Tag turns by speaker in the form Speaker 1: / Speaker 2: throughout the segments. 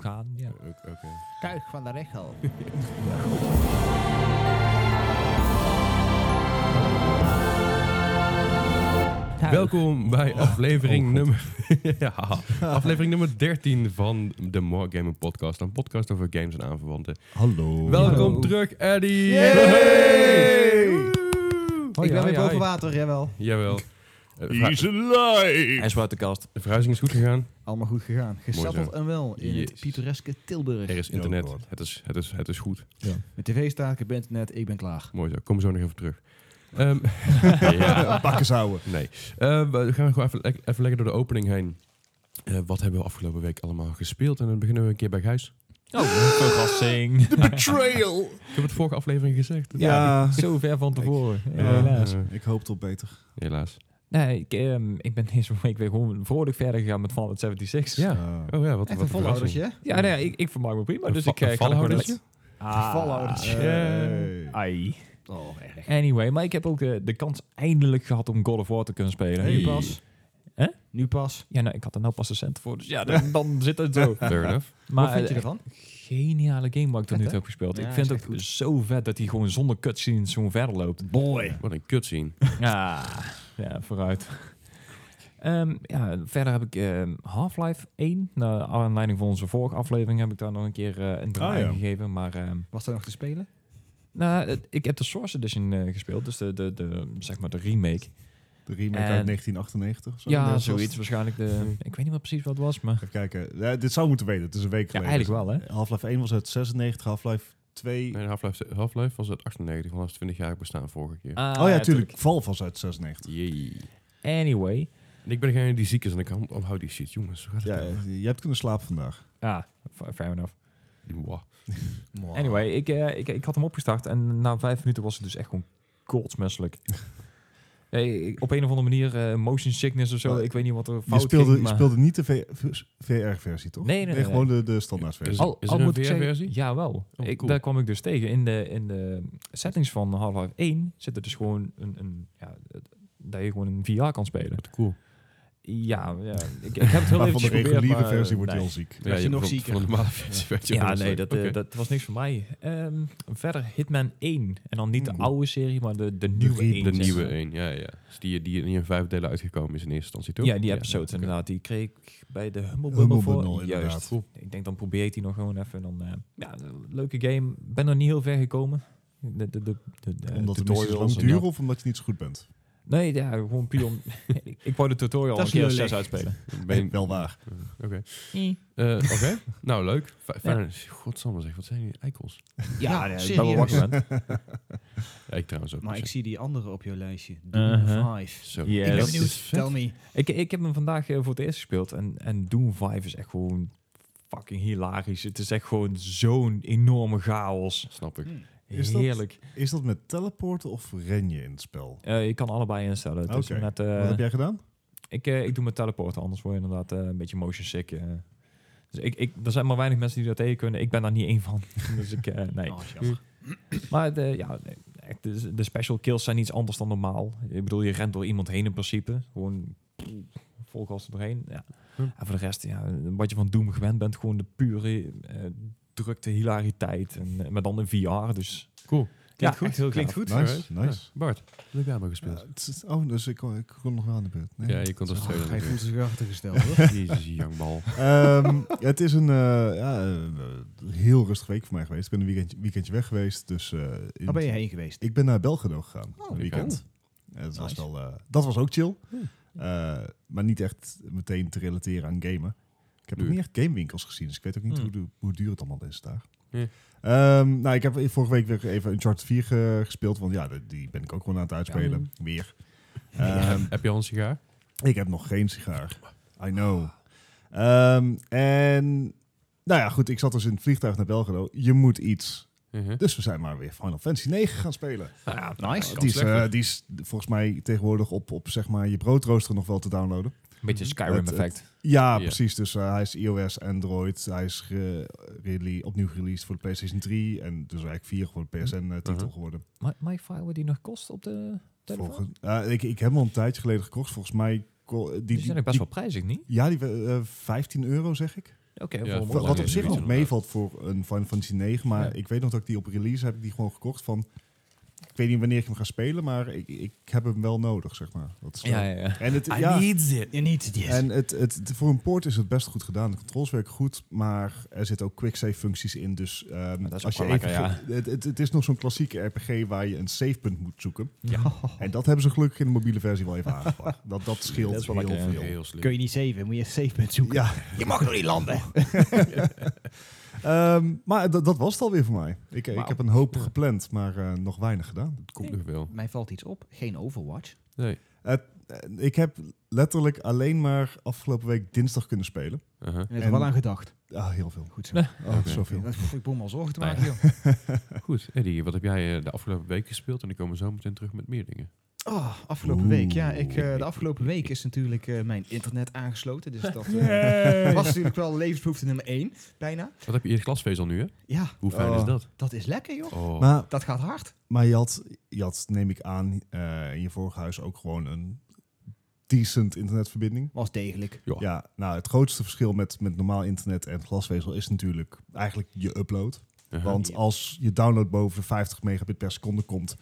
Speaker 1: gaan. Ja.
Speaker 2: Oké.
Speaker 3: Kuig van de regel.
Speaker 2: Welkom bij
Speaker 1: Oh,
Speaker 2: aflevering
Speaker 1: God.
Speaker 2: nummer... ja, haha. aflevering nummer 13 van de More Gamer Podcast. Een podcast over games en aanverwanten.
Speaker 1: Hallo.
Speaker 2: Welkom terug, Eddie!
Speaker 3: Yay!
Speaker 2: Hey!
Speaker 3: ik ben
Speaker 1: hoi,
Speaker 3: weer boven
Speaker 1: hoi.
Speaker 3: water, jawel.
Speaker 2: Jawel. Eh, verhu-
Speaker 4: He's alive!
Speaker 5: Hij is uit de kast.
Speaker 2: de verhuizing is goed gegaan.
Speaker 3: Allemaal goed gegaan. Gesetteld en wel in het
Speaker 2: Yes.
Speaker 3: pittoreske Tilburg.
Speaker 2: Er is internet. het, is, het, is, het is goed.
Speaker 3: Met tv staat, ik heb internet, ik ben klaar.
Speaker 2: Mooi zo. Kom zo nog even terug. Ehm, ja.
Speaker 4: Ja. Bakken zouden.
Speaker 2: Nee. Eh, we gaan gewoon even, even lekker door de opening heen. Eh, wat hebben we afgelopen week allemaal gespeeld? En dan beginnen we een keer bij Gijs.
Speaker 1: Oh, verrassing.
Speaker 4: The betrayal!
Speaker 2: Ik heb het vorige aflevering gezegd.
Speaker 4: Ja.
Speaker 1: Zo ver van tevoren.
Speaker 4: Ja.
Speaker 1: Helaas. Oh,
Speaker 2: Eh,
Speaker 4: Ik hoop tot beter.
Speaker 2: helaas.
Speaker 1: Nee, ik, ehm, ik ben deze week weer gewoon vrolijk verder gegaan met Fallout 76.
Speaker 2: Ja. Oh ja, wat,
Speaker 3: Echt
Speaker 2: wat
Speaker 3: een volhoudertje, hè?
Speaker 1: Ja, nee, ik, ik vermaak me prima.
Speaker 2: Een
Speaker 1: Dus
Speaker 2: va-
Speaker 1: ik eh,
Speaker 2: een
Speaker 1: ga er gewoon
Speaker 2: valhoudertje?
Speaker 1: lekker- Ah,
Speaker 3: valhoudertje.
Speaker 1: eh,
Speaker 4: Hey.
Speaker 1: Ai.
Speaker 3: Oh, erg.
Speaker 1: Anyway, maar ik heb ook eh, de kans eindelijk gehad om God of War te kunnen spelen.
Speaker 2: Hey.
Speaker 3: Nu pas.
Speaker 1: Hè?
Speaker 3: Nu pas.
Speaker 1: Ja, nou, ik had er nou pas een cent voor. Dus ja, dan, dan zit het zo.
Speaker 2: Oh. Fair enough.
Speaker 1: Maar
Speaker 3: Hoe vind je
Speaker 1: eh,
Speaker 3: dat dan?
Speaker 1: geniale game waar ik tot
Speaker 3: Vet,
Speaker 1: nu
Speaker 3: hè?
Speaker 1: toe heb gespeeld.
Speaker 3: Ja,
Speaker 1: ik vind
Speaker 3: is
Speaker 1: het
Speaker 3: echt goed.
Speaker 1: zo vet dat hij gewoon zonder cutscenes zo verder loopt.
Speaker 3: Boy.
Speaker 2: Wat een cutscene.
Speaker 1: Ja, ja vooruit. Ehm, ja, verder heb ik ehm, Half-Life 1. Naar aanleiding van onze vorige aflevering heb ik daar nog een keer eh, een draai
Speaker 4: Ah, ja.
Speaker 1: aan gegeven. Maar ehm,
Speaker 3: Was daar nog te spelen?
Speaker 1: nou, het- ik heb de Source Edition eh, gespeeld, dus de, de, de, zeg maar de remake.
Speaker 4: De remake
Speaker 1: En-
Speaker 4: uit 1998. of zo.
Speaker 1: ja,
Speaker 4: Nee, dat was-
Speaker 1: zoiets waarschijnlijk. De, ik weet niet meer precies wat het was, maar
Speaker 4: Even kijken. Ja, dit zou moeten weten. Het is een week
Speaker 1: ja,
Speaker 4: geleden.
Speaker 1: eigenlijk wel, hè?
Speaker 4: Half-Life 1 was uit 96. Half-Life Oh 2...
Speaker 2: Nee, Half-Life Half-Life was het 98, want dat is 20 jaar bestaan vorige
Speaker 1: Ah.
Speaker 2: keer.
Speaker 4: oh
Speaker 1: Eh,
Speaker 4: ja, tuurlijk. Valve was uit 96.
Speaker 2: Jee.
Speaker 1: Anyway.
Speaker 2: En ik ben degene die ziek is en ik hou- onthoud die shit, jongens. Zo gaat het
Speaker 4: Ja,
Speaker 2: nou?
Speaker 4: je hebt kunnen slapen vandaag.
Speaker 1: Ah, fa- fair enough.
Speaker 2: Die moi.
Speaker 1: Anyway, ik, eh, ik, ik had hem opgestart en na vijf minuten was het dus echt gewoon kotsmisselijk. Ja, ik- op een of andere manier eh, motion sickness of zo.
Speaker 4: Maar
Speaker 1: Ik weet niet wat er
Speaker 4: Je
Speaker 1: fout
Speaker 4: speelde,
Speaker 1: ging,
Speaker 4: je
Speaker 1: maar-
Speaker 4: speelde niet de VR-versie, toch?
Speaker 1: Nee, nee, nee.
Speaker 4: gewoon de, de standaardversie.
Speaker 2: Is het- is er een
Speaker 1: moet ik zeggen-
Speaker 2: VR-versie?
Speaker 1: Jawel.
Speaker 2: Oh,
Speaker 1: ik,
Speaker 2: cool.
Speaker 1: Daar kwam ik dus tegen. In de, in de settings van Half-Life 1 zit er dus gewoon een... een ja, het- dat je gewoon een VR kan spelen.
Speaker 2: Wat cool.
Speaker 1: Ja, ja. Ik, ik heb het heel
Speaker 4: maar
Speaker 1: even
Speaker 4: van de
Speaker 1: geprobeerd,
Speaker 4: reguliere
Speaker 1: maar, eh,
Speaker 4: versie wordt je
Speaker 1: nee.
Speaker 4: al ziek.
Speaker 2: Ja,
Speaker 3: je nog
Speaker 2: van-
Speaker 3: zieker.
Speaker 2: Van de normale versie werd je
Speaker 1: Ja,
Speaker 2: wel
Speaker 1: nee,
Speaker 2: slecht.
Speaker 1: dat, eh,
Speaker 2: Oké.
Speaker 1: dat was niks voor mij. Ehm, verder Hitman 1. En dan niet de
Speaker 4: Oeh.
Speaker 1: oude serie, maar de, de nieuwe
Speaker 4: remake.
Speaker 1: 1.
Speaker 2: De
Speaker 1: zeg
Speaker 2: nieuwe
Speaker 1: maar.
Speaker 2: een, ja, ja. Dus die, die in vijf delen uitgekomen is in eerste instantie, toch?
Speaker 1: Ja, die episodes
Speaker 2: oké.
Speaker 1: inderdaad. Die kreeg ik bij de Humble Bundle
Speaker 4: Humble
Speaker 1: voor.
Speaker 4: Bundle, inderdaad.
Speaker 1: Juist.
Speaker 2: Cool.
Speaker 1: Ik denk dan probeer ik die nog gewoon even. Dan, eh, ja, leuke game. Ben nog niet heel ver gekomen. De, de, de, de, de
Speaker 4: Omdat
Speaker 1: tutorials
Speaker 4: het missies lang
Speaker 1: en
Speaker 4: duren
Speaker 1: dat.
Speaker 4: of omdat je niet zo goed bent?
Speaker 1: Nee, ja, gewoon puur om... ik- ik wou de tutorial
Speaker 3: Dat
Speaker 1: al een
Speaker 3: is
Speaker 1: keer als
Speaker 3: lullig.
Speaker 1: zes uitspelen.
Speaker 2: Ben je-
Speaker 4: Wel waar.
Speaker 2: Oké. Eh, Oké, nou leuk. Fi- Fijn. Godsamme zeg, wat zijn die eikels?
Speaker 3: Ja,
Speaker 1: nee, ik ben wel
Speaker 3: serieus.
Speaker 1: wakker, man.
Speaker 2: Ja, ik trouwens ook.
Speaker 3: Maar ik
Speaker 2: zeg.
Speaker 3: zie die andere op jouw lijstje. Doom
Speaker 1: Uh-huh.
Speaker 3: 5.
Speaker 2: Zo.
Speaker 1: Yes.
Speaker 3: Ik ben
Speaker 1: dat
Speaker 3: benieuwd.
Speaker 2: is vet.
Speaker 3: Tell me.
Speaker 1: Ik, ik heb hem vandaag eh, voor het eerst gespeeld. En, en Doom 5 is echt gewoon fucking hilarisch. Het is echt gewoon zo'n enorme chaos.
Speaker 2: Snap ik.
Speaker 3: Oh,
Speaker 4: Is dat-
Speaker 1: Heerlijk.
Speaker 4: Is dat met teleporten of ren je in het spel?
Speaker 1: Eh, je kan allebei instellen. Het is
Speaker 4: Oké.
Speaker 1: met, eh,
Speaker 4: Wat heb jij gedaan?
Speaker 1: ik, eh, ik doe mijn teleporten, anders word je inderdaad eh, een beetje motion sick. eh. Dus ik, ik, er zijn maar weinig mensen die dat tegen kunnen. Ik ben daar niet één van. dus ik, eh, nee.
Speaker 3: Oh, jammer.
Speaker 1: Maar de, ja, nee, echt, de, de special kills zijn iets anders dan normaal. Ik bedoel, je rent door iemand heen in principe. Gewoon vol gas er doorheen. Ja.
Speaker 2: Hm.
Speaker 1: En voor de rest, ja, wat je van Doom gewend bent, gewoon de pure eh, drukte, hilariteit. En, eh, maar dan in VR, dus...
Speaker 2: Cool.
Speaker 1: Klinkt goed.
Speaker 3: Klinkt
Speaker 1: gaaf.
Speaker 3: goed.
Speaker 4: Nice,
Speaker 2: Alright.
Speaker 4: nice.
Speaker 2: Ja, Bart, wat heb jij allemaal
Speaker 4: Ja,
Speaker 2: gespeeld? Oh,
Speaker 4: het is- oh, dus ik kon, ik kon nog wel aan de beurt. Nee.
Speaker 2: Ja, je kon dat
Speaker 3: Ach, hij
Speaker 2: spelen.
Speaker 3: voelt zich weer achtergesteld, hoor.
Speaker 2: Jezus, jankbal.
Speaker 4: Ehm, het is een eh, ja, eh, heel rustige week voor mij geweest. Ik ben een weekendje, weekendje weg geweest. Dus, eh, in-
Speaker 3: Waar ben je heen geweest?
Speaker 4: Ik ben naar Belgrado gegaan.
Speaker 3: Oh,
Speaker 4: een weekend. En dat, was
Speaker 3: Nice.
Speaker 4: wel, eh, dat was ook chill.
Speaker 2: Hmm.
Speaker 4: Eh, maar niet echt meteen te relateren aan gamen. Ik heb ook
Speaker 2: Nee.
Speaker 4: niet echt gamewinkels gezien, dus ik weet ook niet
Speaker 1: Hmm.
Speaker 4: hoe, du- hoe duur het allemaal is daar.
Speaker 2: Nee.
Speaker 4: Ehm, nou, ik heb vorige week weer even Uncharted 4 ge- gespeeld, want ja, de- die ben ik ook gewoon aan het uitspelen. Weer. Ehm,
Speaker 2: Heb je al een sigaar?
Speaker 4: ik heb nog geen sigaar. I know. Ehm, en nou ja, goed, ik zat dus in het vliegtuig naar Belgrado. Je moet iets.
Speaker 2: Mhm.
Speaker 4: Dus we zijn maar weer Final Fantasy 9 gaan spelen.
Speaker 3: Nice.
Speaker 4: Die is, eh, die is volgens mij tegenwoordig op, op zeg maar, je broodrooster nog wel te downloaden.
Speaker 1: Een beetje
Speaker 4: Het- het-
Speaker 1: Skyrim-effect.
Speaker 4: Ja,
Speaker 2: Ja.
Speaker 4: precies. Dus eh, hij is iOS, Android. Hij is ge- rele- opnieuw gereleased voor de PlayStation 3. En dus eigenlijk 4 voor de PSN-titel
Speaker 2: Mhm.
Speaker 4: eh, geworden.
Speaker 1: Mag ik vragen wat die nog kost op de telefoon?
Speaker 4: Volgens, eh, ik, ik heb hem al een tijdje geleden gekocht. Volgens mij... ko- Die,
Speaker 1: die zijn ook best
Speaker 4: die-
Speaker 1: wel prijzig, niet?
Speaker 4: Ja, die, eh, 15 euro zeg ik.
Speaker 1: Oké,
Speaker 2: Ja,
Speaker 1: voor een
Speaker 2: wat-
Speaker 4: Wat,
Speaker 1: belangrijk
Speaker 4: op
Speaker 2: is
Speaker 4: zich
Speaker 1: iets.
Speaker 2: zoiets,
Speaker 4: nog meevalt voor een Final Fantasy 9, maar
Speaker 1: Ja.
Speaker 4: ik weet nog dat ik die op release heb ik die gewoon gekocht van. Ik weet niet wanneer ik hem ga spelen, maar ik, ik heb hem wel nodig, zeg maar. Dat is wel-
Speaker 1: Ja, Ah, ja, ja.
Speaker 4: En het, ja,
Speaker 3: Je niet, yes.
Speaker 4: en het, het, het- voor een port is het best goed gedaan. De controls werken goed, maar er zitten ook quick save functies in. Dus ehm,
Speaker 1: dat is ook
Speaker 4: als je
Speaker 1: wel
Speaker 4: even
Speaker 1: lekker,
Speaker 4: ge- het, het, het is nog zo'n klassieke RPG waar je een savepunt moet zoeken.
Speaker 1: Ja.
Speaker 4: En dat hebben ze gelukkig in de mobiele versie wel even aangepakt. Dat, dat scheelt
Speaker 1: Dat is wel
Speaker 4: heel
Speaker 1: lekker, ja.
Speaker 4: veel.
Speaker 2: Heel slim.
Speaker 3: Kun je niet saven, moet je een savepunt zoeken.
Speaker 4: Ja,
Speaker 3: Je mag nog niet landen.
Speaker 4: Ehm, maar dat, dat was het alweer voor mij. Ik,
Speaker 1: Wauw.
Speaker 4: ik heb een hoop gepland, maar eh, nog weinig gedaan.
Speaker 2: Dat komt nog wel.
Speaker 3: Mij valt iets op, geen Overwatch.
Speaker 2: Nee.
Speaker 4: Eh, ik heb letterlijk alleen maar afgelopen week dinsdag kunnen spelen.
Speaker 2: Uh-huh.
Speaker 3: En heb er
Speaker 4: En-
Speaker 3: wel aan gedacht.
Speaker 4: Ah, heel veel.
Speaker 3: Goed zo.
Speaker 4: Oh, zoveel.
Speaker 3: Dat- pff, Ik begon me al zorgen te
Speaker 1: Nou
Speaker 3: maken, joh.
Speaker 2: Goed, Eddie, wat heb jij eh, de afgelopen week gespeeld? En dan komen we zo meteen terug met meer dingen.
Speaker 3: Oh, afgelopen
Speaker 4: Oeh.
Speaker 3: week. Ja, ik, eh, de afgelopen week is natuurlijk eh, mijn internet aangesloten. Dus dat eh, was natuurlijk wel levensbehoefte nummer één, bijna.
Speaker 2: Wat heb je je glasvezel nu, hè?
Speaker 3: Ja,
Speaker 2: Hoe fijn
Speaker 4: Oh.
Speaker 2: is dat?
Speaker 3: dat is lekker, joh.
Speaker 2: Oh.
Speaker 4: Maar,
Speaker 3: Dat gaat hard.
Speaker 4: maar je, had, je had, neem ik aan, eh, in je vorige huis ook gewoon een decent internetverbinding.
Speaker 3: Was degelijk.
Speaker 2: Oh.
Speaker 4: Ja, nou, het grootste verschil met, met normaal internet en glasvezel is natuurlijk eigenlijk je upload.
Speaker 2: Uh-huh.
Speaker 4: Want als je download boven de 50 megabit per seconde komt,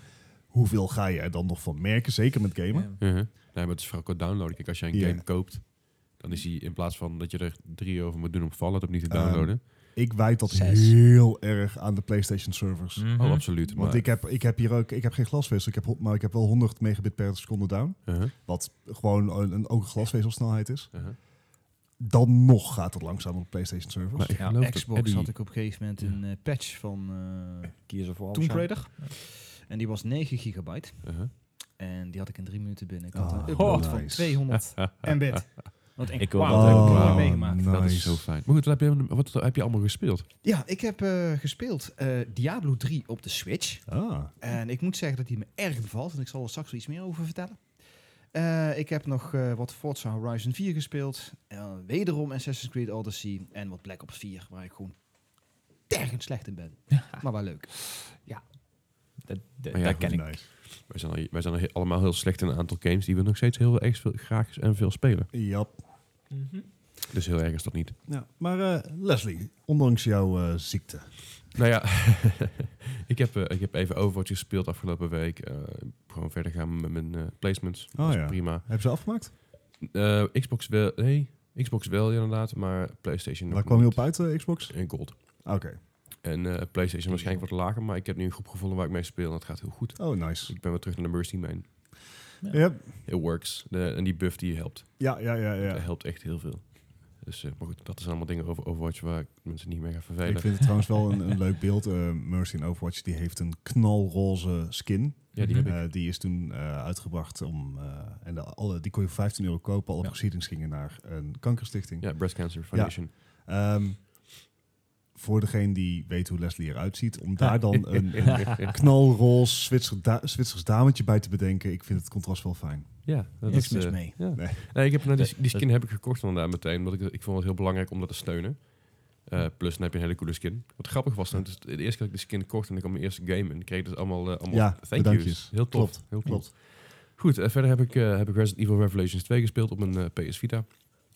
Speaker 4: hoeveel ga je er dan nog van merken? Zeker met gamen.
Speaker 1: Ja.
Speaker 2: Uh-huh. Nee, maar het is vooral qua downloaden. Kijk, als jij een
Speaker 4: Ja.
Speaker 2: game koopt, dan is die in plaats van dat je er drie over moet doen om Fallout opnieuw te
Speaker 4: Ehm,
Speaker 2: downloaden.
Speaker 4: Ik wijd dat
Speaker 3: Zes.
Speaker 4: heel erg aan de PlayStation servers.
Speaker 1: Mhm.
Speaker 2: oh, absoluut.
Speaker 4: Want
Speaker 2: Maar,
Speaker 4: ik heb, ik heb hier ook, ik heb geen glasvezel, ik heb, ho- maar ik heb wel 100 megabit per seconde down.
Speaker 2: Uh-huh.
Speaker 4: Wat gewoon een, een, ook een glasvezelsnelheid is.
Speaker 2: Uh-huh.
Speaker 4: Dan nog gaat het langzaam op de PlayStation servers.
Speaker 2: Maar ik
Speaker 1: Ja,
Speaker 2: geloof dat
Speaker 3: Xbox
Speaker 2: Eddie-
Speaker 3: had ik op een gegeven moment een eh, patch van eh
Speaker 1: Gears of War of
Speaker 3: Tomb
Speaker 1: zo.
Speaker 3: Raider. En die was 9 gigabyte.
Speaker 2: Uh-huh.
Speaker 3: En die had ik in drie minuten binnen. Ik had
Speaker 4: Ah,
Speaker 2: Oh,
Speaker 3: een upload
Speaker 4: nice.
Speaker 3: van 200 mbit. Want
Speaker 1: Ik
Speaker 3: ik
Speaker 1: wil
Speaker 3: heb
Speaker 1: dat ook.
Speaker 3: mooi
Speaker 1: Wauw.
Speaker 3: meegemaakt.
Speaker 4: Ah, Nice.
Speaker 2: Dat is zo fijn. Maar goed, wat heb je, wat heb je allemaal gespeeld?
Speaker 3: Ja, ik heb eh, gespeeld eh, Diablo 3 op de Switch.
Speaker 4: Ah,
Speaker 3: En ik moet zeggen dat die me erg bevalt. En ik zal er straks wel iets meer over vertellen. Eh, ik heb nog eh, wat Forza Horizon 4 gespeeld. Eh, wederom Assassin's Creed Odyssey. En wat Black Ops 4, waar ik gewoon tergend slecht in ben. Maar wel leuk.
Speaker 1: Dat, dat,
Speaker 2: Maar ja,
Speaker 1: dat ken ik.
Speaker 4: nice.
Speaker 2: Wij zijn, al- wij zijn al he- allemaal heel slecht in een aantal games die we nog steeds heel erg veel, graag en veel spelen.
Speaker 4: Ja.
Speaker 2: Dus heel erg is dat niet.
Speaker 4: Ja, maar eh, Leslie, ondanks jouw eh, ziekte.
Speaker 2: Nou ja, ik, heb, eh, ik heb even Overwatch gespeeld afgelopen week. Eh, gewoon verder gaan met mijn eh, placements.
Speaker 4: Oh
Speaker 2: Dat is
Speaker 4: ja.
Speaker 2: prima.
Speaker 4: Heb je ze afgemaakt?
Speaker 2: Eh, Xbox wel, nee, Xbox wel inderdaad, maar PlayStation nog
Speaker 4: Waar kwam je
Speaker 2: niet.
Speaker 4: op uit, eh, Xbox?
Speaker 2: In gold.
Speaker 4: Oké.
Speaker 2: En eh, PlayStation waarschijnlijk wat lager, maar ik heb nu een groep gevonden waar ik mee speel en dat gaat heel goed.
Speaker 4: Oh, nice.
Speaker 2: Ik ben weer terug naar de Mercy Main.
Speaker 4: Ja,
Speaker 2: It works. De- en die buff die helpt.
Speaker 4: ja, ja, ja. ja.
Speaker 2: Dat helpt echt heel veel. Dus, eh, maar goed, dat zijn allemaal dingen over Overwatch waar ik mensen niet mee ga
Speaker 4: Ik
Speaker 2: vervelen.
Speaker 4: vind het trouwens wel een, een leuk beeld. Eh, Mercy in Overwatch die heeft een knalroze skin.
Speaker 2: Ja, die heb ik.
Speaker 4: Eh, die is toen eh, uitgebracht om. eh, en de, alle, die kon je voor 15 euro kopen. Alle
Speaker 1: Ja.
Speaker 4: proceedings gingen naar een kankerstichting.
Speaker 2: Ja, Breast Cancer Foundation.
Speaker 4: Ehm, voor degene die weet hoe Leslie eruit ziet, om daar dan een, een knalroze Zwitser da- Zwitsers dametje bij te bedenken. Ik vind het contrast wel fijn.
Speaker 2: Ja, dat
Speaker 3: Niks
Speaker 2: is,
Speaker 3: mis
Speaker 2: eh,
Speaker 3: mee.
Speaker 2: ja.
Speaker 4: Nee.
Speaker 2: Nee. ik heb, nou, die,
Speaker 1: Nee,
Speaker 2: die
Speaker 1: dat-
Speaker 2: skin heb ik gekocht inderdaad meteen, want ik, ik vond het heel belangrijk om dat te steunen. Eh, plus dan heb je een hele coole skin. Wat grappig was, dan, dus de eerste keer dat ik de skin kocht en ik kwam mijn eerste game en kreeg ik dus allemaal, eh, allemaal
Speaker 4: Ja,
Speaker 2: thank
Speaker 4: bedankjes.
Speaker 2: yous. Heel tof.
Speaker 4: Klopt,
Speaker 2: Heel tof.
Speaker 4: Klopt.
Speaker 2: Goed, eh, verder heb ik, eh, heb ik Resident Evil Revelations 2 gespeeld op mijn eh, PS Vita.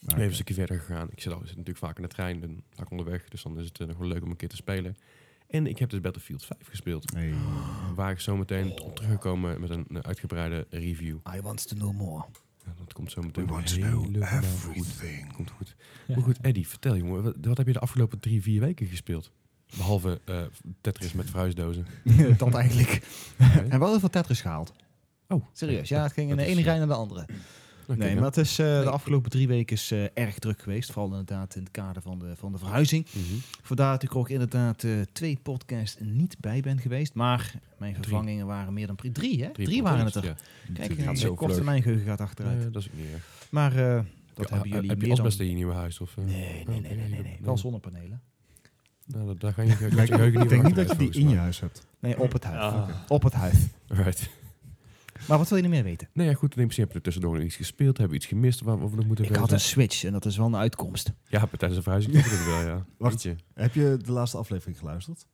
Speaker 4: Nou,
Speaker 2: Even een stukje verder gegaan. Ik zit, al, ik zit natuurlijk vaak in de trein en vaak onderweg, dus dan is het eh, nog wel leuk om een keer te spelen. En ik heb dus Battlefield 5 gespeeld,
Speaker 4: eh, hey.
Speaker 2: waar ik zo meteen op teruggekomen met een eh, uitgebreide review.
Speaker 3: I want to know more.
Speaker 2: Ja, dat komt zo
Speaker 4: We
Speaker 2: meteen
Speaker 4: want to know
Speaker 2: helemaal goed.
Speaker 4: everything.
Speaker 2: Komt goed.
Speaker 1: Ja.
Speaker 2: Maar goed, Eddie, vertel jongen, wat, wat heb je de afgelopen drie, vier weken gespeeld? Behalve eh, Tetris met verhuisdozen.
Speaker 3: dat eigenlijk.
Speaker 2: Oké.
Speaker 3: En wel heel veel Tetris gehaald.
Speaker 2: Oh.
Speaker 3: Serieus, ja, het ging in de
Speaker 2: Dat is,
Speaker 3: ene
Speaker 2: eh,
Speaker 3: rij naar de andere.
Speaker 2: Nou,
Speaker 3: Nee,
Speaker 2: kijk,
Speaker 3: maar het is, eh, de
Speaker 2: Nee.
Speaker 3: afgelopen drie weken is eh, erg druk geweest. Vooral inderdaad in het kader van de, van de verhuizing.
Speaker 2: hè. Mhm.
Speaker 3: Vandaar dat ik er ook inderdaad eh, twee podcasts niet bij ben geweest. Maar mijn vervangingen waren meer dan pri- drie, hè? Drie, waren het er.
Speaker 2: Ja.
Speaker 3: Kijk,
Speaker 4: Drie.
Speaker 3: eh,
Speaker 1: zo
Speaker 3: de korte
Speaker 1: vlug.
Speaker 3: mijn geheugen gaat achteruit.
Speaker 2: Eh, dat is ook niet erg.
Speaker 3: maar eh, dat
Speaker 2: Ja,
Speaker 3: hebben
Speaker 2: eh,
Speaker 3: jullie
Speaker 2: heb je
Speaker 3: meer dan...
Speaker 2: asbest in je nieuwe huis? Of, eh?
Speaker 3: Nee, nee, nee, nee, nee, nee. Wel zonnepanelen.
Speaker 2: Nou, dat- daar ga je je
Speaker 4: Kijk,
Speaker 2: geheugen
Speaker 4: Ik denk niet
Speaker 2: voor
Speaker 4: dat je die
Speaker 2: achteruit,
Speaker 4: in je huis hebt.
Speaker 3: Nee, op het huis.
Speaker 1: Ah.
Speaker 3: Oké. Op het huis.
Speaker 2: volgens mij. Right.
Speaker 3: Maar wat wil je er meer weten?
Speaker 2: Nee, ja, goed. In principe hebben we tussendoor nog iets gespeeld. Hebben we iets gemist waar we nog moeten
Speaker 3: Ik had een
Speaker 2: verder-
Speaker 3: Switch en dat is wel een uitkomst.
Speaker 2: Ja, maar tijdens de verhuizing toch het wel, ja.
Speaker 4: Wacht.
Speaker 2: Weet je.
Speaker 4: Heb je de laatste aflevering geluisterd?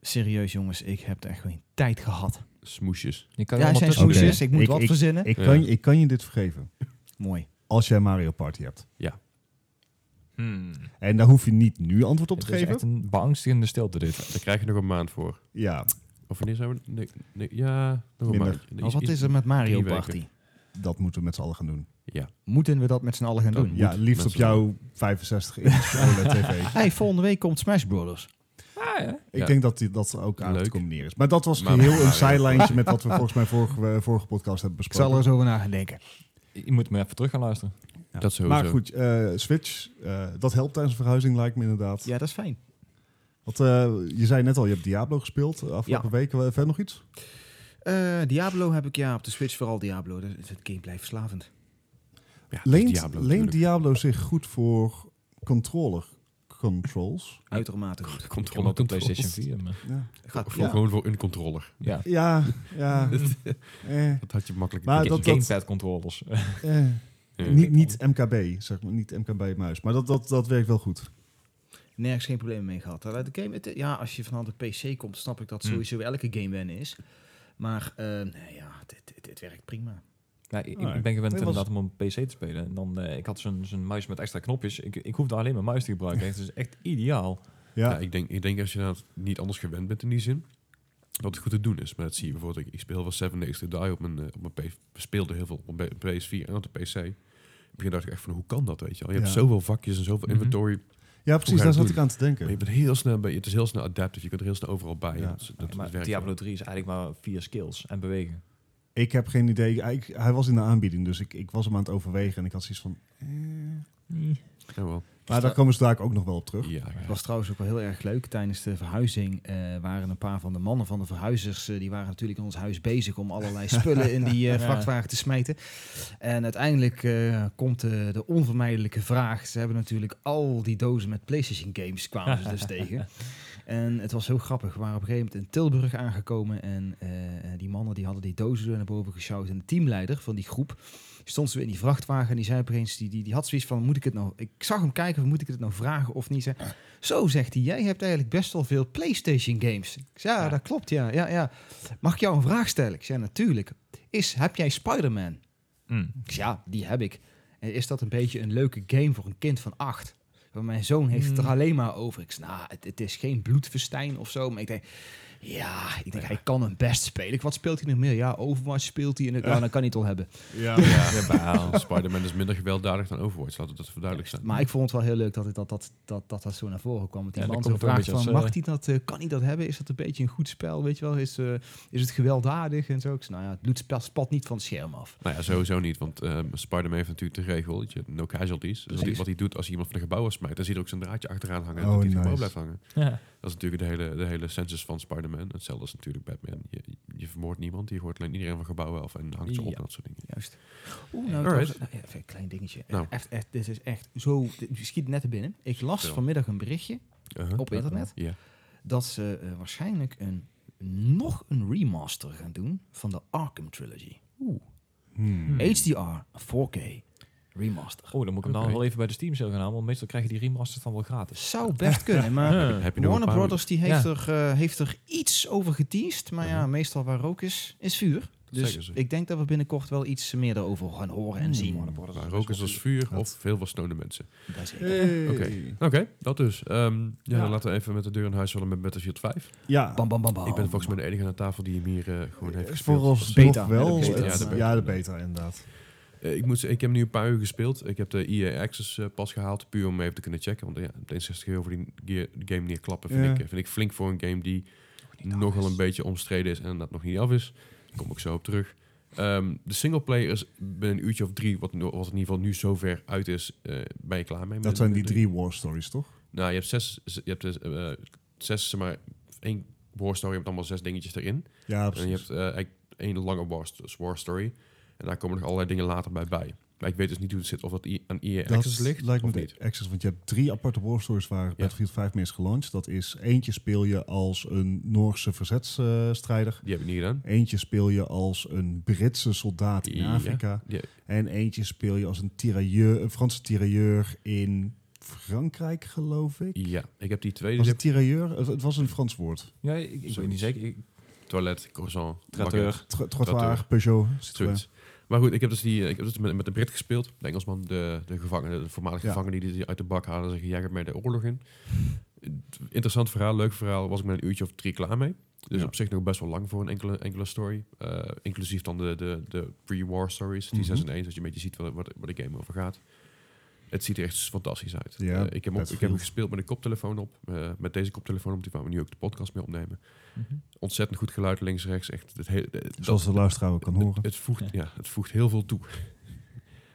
Speaker 3: Serieus jongens, ik heb er echt geen tijd gehad.
Speaker 2: Smoesjes.
Speaker 1: Je kan
Speaker 3: Ja, er
Speaker 1: allemaal
Speaker 3: zijn
Speaker 1: tussen-
Speaker 4: smoesjes.
Speaker 3: smoesjes, ik moet
Speaker 4: Ik-
Speaker 3: wat verzinnen.
Speaker 4: Ik
Speaker 2: Ja.
Speaker 4: kan, je- ik kan je dit vergeven.
Speaker 3: Mooi.
Speaker 4: Als jij Mario Party hebt.
Speaker 2: Ja.
Speaker 1: Hmm.
Speaker 4: En daar hoef je niet nu antwoord op
Speaker 1: Het
Speaker 4: te
Speaker 1: is
Speaker 4: geven.
Speaker 1: echt een beangstigende stilte dit.
Speaker 2: Daar krijg je nog een maand voor.
Speaker 4: Ja,
Speaker 2: Of wanneer zijn we... Nee, nee, ja, nog een
Speaker 4: Minder. Oh,
Speaker 2: maand.
Speaker 3: Maar wat is er met Mario
Speaker 2: drie weken.
Speaker 3: Party?
Speaker 4: dat moeten we met z'n allen gaan doen.
Speaker 2: Ja,
Speaker 3: Moeten we dat met z'n allen gaan
Speaker 2: Dat
Speaker 3: doen?
Speaker 4: Ja,
Speaker 2: Moet
Speaker 4: liefst
Speaker 2: met
Speaker 4: op
Speaker 2: z'n
Speaker 4: jouw 65 inch OLED TV.
Speaker 3: Hey, volgende week komt Smash Brothers.
Speaker 4: Ik
Speaker 2: Ja.
Speaker 4: denk dat die, dat ook aan
Speaker 2: Leuk.
Speaker 4: te combineren is. Maar dat was
Speaker 2: Maar-
Speaker 4: geheel een
Speaker 2: maar-
Speaker 4: zijlijntje met wat we volgens mij vorige, eh, vorige podcast hebben
Speaker 3: Ik zal er
Speaker 4: besproken.
Speaker 3: eens over na gaan denken.
Speaker 1: Je moet me even terug gaan luisteren.
Speaker 2: dat sowieso.
Speaker 4: Maar goed, eh, Switch, eh, dat helpt tijdens een verhuizing lijkt me inderdaad.
Speaker 3: Ja, dat is fijn.
Speaker 4: Want eh, je zei net al, je hebt Diablo gespeeld eh, afgelopen week. Wel, Verder nog iets?
Speaker 3: Eh, Diablo heb ik, ja, op de Switch vooral Diablo. Dat- Het game blijft verslavend.
Speaker 2: Ja, dat is
Speaker 4: Leent
Speaker 2: Diablo
Speaker 4: Diablo,
Speaker 2: natuurlijk.
Speaker 4: Diablo zich goed voor controller controls?
Speaker 3: Uitermate goed.
Speaker 1: Ik heb ook een PlayStation
Speaker 2: controls.
Speaker 1: 4. Maar,
Speaker 4: Ja,
Speaker 3: Gaat
Speaker 2: Of
Speaker 4: Ja.
Speaker 2: gewoon voor een controller.
Speaker 1: ja.
Speaker 4: ja. ja. eh,
Speaker 2: Dat had je makkelijk.
Speaker 4: Maar
Speaker 1: Ga-
Speaker 4: dat- dat-
Speaker 1: Gamepad controllers.
Speaker 4: eh.
Speaker 2: Ja.
Speaker 4: Niet, niet MKB, zeg maar. Niet MKB muis. Maar dat, dat, dat werkt wel goed.
Speaker 3: nergens geen problemen mee gehad. Terwijl De game, het, ja, als je vanaf de PC komt, snap ik dat
Speaker 1: Hmm.
Speaker 3: sowieso elke game wennen is. Maar eh, nee, ja, dit, dit, dit werkt prima.
Speaker 1: Ja, Nou, ik,
Speaker 4: Nee.
Speaker 1: ik ben gewend
Speaker 4: Nee, was-
Speaker 1: inderdaad om op een PC te spelen. En dan, eh, ik had zo'n zo'n muis met extra knopjes. Ik, ik hoefde alleen mijn muis te gebruiken. Het is echt ideaal.
Speaker 4: Ja.
Speaker 2: Ja, ik, denk, ik denk als je nou niet anders gewend bent in die zin, dat het goed te doen is. Maar dat zie je bijvoorbeeld, ik, ik speel heel veel Seven Days to Die op mijn, eh, op mijn P, speelde heel veel op mijn PS4 en op de PC. In het begin dacht ik echt van, hoe kan dat, weet je wel? Je hebt
Speaker 4: Ja.
Speaker 2: zoveel vakjes en zoveel
Speaker 1: Mhm.
Speaker 2: inventory,
Speaker 4: ja,
Speaker 2: Hoe
Speaker 4: precies.
Speaker 2: ga je
Speaker 4: Daar
Speaker 2: het
Speaker 4: zat
Speaker 2: doen?
Speaker 4: ik aan te
Speaker 2: maar
Speaker 4: denken.
Speaker 2: je bent heel snel, bij, het is heel snel adaptive, je kunt er heel snel overal bij.
Speaker 4: Ja.
Speaker 2: Dat, dat,
Speaker 1: maar
Speaker 2: dat werkt
Speaker 1: Diablo
Speaker 2: wel.
Speaker 1: 3 is eigenlijk maar vier skills en bewegen.
Speaker 4: Ik heb geen idee. Hij, ik- hij was in de aanbieding, dus ik, ik was hem aan het overwegen. En ik had zoiets van... eh.
Speaker 2: Ja, wel.
Speaker 4: Maar daar komen ze daar ook nog wel op terug.
Speaker 2: Ja,
Speaker 3: Het
Speaker 2: ja.
Speaker 3: was trouwens ook wel heel erg leuk. Tijdens de verhuizing eh, waren een paar van de mannen van de verhuizers... eh, die waren natuurlijk in ons huis bezig om allerlei spullen in die eh,
Speaker 1: Ja.
Speaker 3: vrachtwagen te smijten. En uiteindelijk eh, komt eh, de onvermijdelijke vraag. Ze hebben natuurlijk al die dozen met PlayStation games kwamen ze dus tegen. En het was heel grappig. We waren op een gegeven moment in Tilburg aangekomen. En eh, die mannen die hadden die dozen door naar boven gesjouwd. En de teamleider van die groep stond zo in die vrachtwagen. En die zei opeens, die, die, die had zoiets van, moet ik het nou... Ik zag hem kijken, van, moet ik het nou vragen of niet? Zei, zo zegt hij, jij hebt eigenlijk best wel veel PlayStation games. Ik zei, ja,
Speaker 1: Ja.
Speaker 3: dat klopt, ja, ja, ja. Mag ik jou een vraag stellen? Ik zei, natuurlijk. Is, heb jij Spider-Man?
Speaker 1: Mm.
Speaker 3: Ik zei, ja, die heb ik. En is dat een beetje een leuke game voor een kind van acht? Want mijn zoon heeft het er
Speaker 1: Mm.
Speaker 3: alleen maar over. Ik zei, nou, het, het is geen bloedverstijn of zo. Maar ik denk, ja, ik denk, hij kan hem best spelen. Ik, wat speelt hij nog meer? Ja, Overwatch speelt hij. En ik, ja, dan kan hij het al hebben.
Speaker 4: Ja.
Speaker 2: Ja, Spider-Man is minder gewelddadig dan Overwatch, laten we dat verduidelijk zijn.
Speaker 3: Maar ik vond het wel heel leuk dat het- dat, dat, dat, dat, dat zo naar voren kwam. Want die
Speaker 1: Ja,
Speaker 3: man
Speaker 1: dan
Speaker 3: zo
Speaker 1: komt het wel
Speaker 3: vraagt
Speaker 1: een beetje
Speaker 3: van,
Speaker 1: als,
Speaker 3: mag hij dat, eh, kan hij dat hebben? Is dat een beetje een goed spel, weet je wel? Is, eh, is het gewelddadig en zo? Ik zei, nou ja, het bloed spat- spat niet van het scherm af.
Speaker 2: Nou ja, sowieso niet, want ehm, Spider-Man heeft natuurlijk de regel, dat je no casualties. Dus wat hij,
Speaker 3: Precies.
Speaker 2: wat hij doet als hij iemand van de gebouw smijt, dan zie je er ook zijn draadje achteraan hangen en
Speaker 4: Oh,
Speaker 2: dat hij het gebouw
Speaker 4: nice.
Speaker 2: blijft hangen.
Speaker 1: Ja.
Speaker 2: Dat is natuurlijk de hele, de hele census van Spider-Man. Hetzelfde is natuurlijk Batman. Je, je vermoordt niemand, je hoort alleen iedereen van gebouwen af en hangt ze op
Speaker 1: Ja.
Speaker 2: en dat soort dingen.
Speaker 3: Juist. Oeh, nou,
Speaker 2: Alright.
Speaker 3: trouwens, nou, ja, even een klein dingetje.
Speaker 2: Nou.
Speaker 3: Echt, echt, dit is echt zo... Dit schiet net er binnen. Ik las
Speaker 2: Vertel.
Speaker 3: vanmiddag een berichtje
Speaker 2: Uh-huh.
Speaker 3: op internet
Speaker 2: Ja.
Speaker 3: dat ze eh, waarschijnlijk een, nog een remaster gaan doen van de Arkham Trilogy. Hm.
Speaker 4: Hmm.
Speaker 3: HDR 4K remaster.
Speaker 1: Oh, dan moet ik hem dan
Speaker 2: Oké.
Speaker 1: wel even bij de Steam sale gaan halen. Want meestal krijg je die remasters dan wel gratis.
Speaker 3: Zou best kunnen, maar...
Speaker 1: Ja.
Speaker 2: Heb je nog
Speaker 3: Warner
Speaker 2: een paar-
Speaker 3: Brothers die heeft,
Speaker 1: Ja.
Speaker 3: er, eh, heeft er iets over geteased. Maar ja,
Speaker 2: Mhm.
Speaker 3: meestal waar rook is, is vuur. Dus
Speaker 2: zeggen ze.
Speaker 3: ik denk dat we binnenkort wel iets meer daarover gaan horen en zien.
Speaker 2: Maar rook is als vuur
Speaker 4: Dat-
Speaker 2: of heel veel snode mensen.
Speaker 3: Dat is zeker.
Speaker 4: Hey.
Speaker 2: Oké. Oké, dat dus. Ehm, ja,
Speaker 4: Ja.
Speaker 2: Laten we even met de deur in huis vallen met Battlefield 5.
Speaker 4: Ja,
Speaker 3: Bam, bam, bam, bam.
Speaker 2: Ik ben volgens mij de enige aan de tafel die hem hier eh, gewoon heeft gespeeld.
Speaker 4: vooralsnog
Speaker 3: Beta.
Speaker 4: wel.
Speaker 3: Ja, de
Speaker 2: beta.
Speaker 4: het-
Speaker 2: Ja, de beta.
Speaker 4: Ja, de beta inderdaad.
Speaker 2: Eh, ik, moet, zeggen, ik heb nu een paar uur gespeeld. Ik heb de EA Access eh, pas gehaald, puur om even te kunnen checken. Want ja, meteen 60 euro voor die ge- game neerklappen vind,
Speaker 4: Ja.
Speaker 2: ik, eh, vind ik flink voor een game die
Speaker 3: af
Speaker 2: nogal
Speaker 3: is.
Speaker 2: een beetje omstreden is en dat nog niet af is. Daar kom ik zo op terug. Ehm de singleplayer is binnen een uurtje of drie, wat, no- wat in ieder geval nu zover uit is, eh, ben je klaar mee.
Speaker 4: Dat zijn die drie war stories, toch?
Speaker 2: Nou, je hebt zes, z- je hebt dus, eh, eh, zes zeg maar één war story met allemaal zes dingetjes erin.
Speaker 4: Ja,
Speaker 2: En je
Speaker 4: precies.
Speaker 2: hebt eh, eigenlijk één lange war, st- war story. En daar komen nog allerlei dingen later bij bij. Maar ik weet dus niet hoe het zit. Of dat i- aan EA Access ligt,
Speaker 4: lijkt me
Speaker 2: of
Speaker 4: de
Speaker 2: niet.
Speaker 4: Access, want je hebt drie aparte war stories waar Battlefield 5 mee is gelanceerd. Dat is eentje speel je als een Noorse verzetsstrijder.
Speaker 2: Die heb ik niet gedaan.
Speaker 4: Eentje speel je als een Britse soldaat in
Speaker 2: Ja.
Speaker 4: Afrika.
Speaker 2: Ja.
Speaker 4: En eentje speel je als een, tirailleur, een Franse tirailleur in Frankrijk, geloof ik.
Speaker 2: Ja, ik heb die dus tweede.
Speaker 4: Was
Speaker 2: die
Speaker 4: het tirailleur? Het, het was een Frans woord.
Speaker 1: Ja, ik, ik weet
Speaker 2: Zoiets.
Speaker 1: niet zeker. Ik,
Speaker 2: heb ik Toilet, croissant,
Speaker 1: Traiteur.
Speaker 2: baguette,
Speaker 4: Tr- Trottoir, Peugeot, Citroën.
Speaker 2: zoiets. Maar goed, ik heb dus, die, ik heb dus met, met de Brit gespeeld. De Engelsman, de, de, gevangene, de voormalige
Speaker 4: Ja.
Speaker 2: gevangene die die uit de bak halen en zeggen, jij gaat mij de oorlog in. Interessant verhaal, leuk verhaal. Was ik met een uurtje of drie klaar mee. Dus
Speaker 4: Ja.
Speaker 2: op zich nog best wel lang voor een enkele, enkele story. Eh, inclusief dan de, de, de pre-war stories, die
Speaker 4: Mhm.
Speaker 2: 6 en 1, zodat je een beetje ziet waar, waar, waar de game over gaat. Het ziet er echt fantastisch uit.
Speaker 4: Ja,
Speaker 2: Eh, ik, heb hem op- ik heb hem
Speaker 4: Battlefield.
Speaker 2: gespeeld met een koptelefoon op. eh, met deze koptelefoon op, die waar we nu ook de podcast mee opnemen.
Speaker 1: Mhm.
Speaker 2: Ontzettend goed geluid links, rechts. Echt het hele, de-
Speaker 4: Zoals de luisteraar ook kan
Speaker 2: het-
Speaker 4: horen.
Speaker 2: Het, voegt,
Speaker 1: Ja.
Speaker 2: ja. het voegt heel veel toe.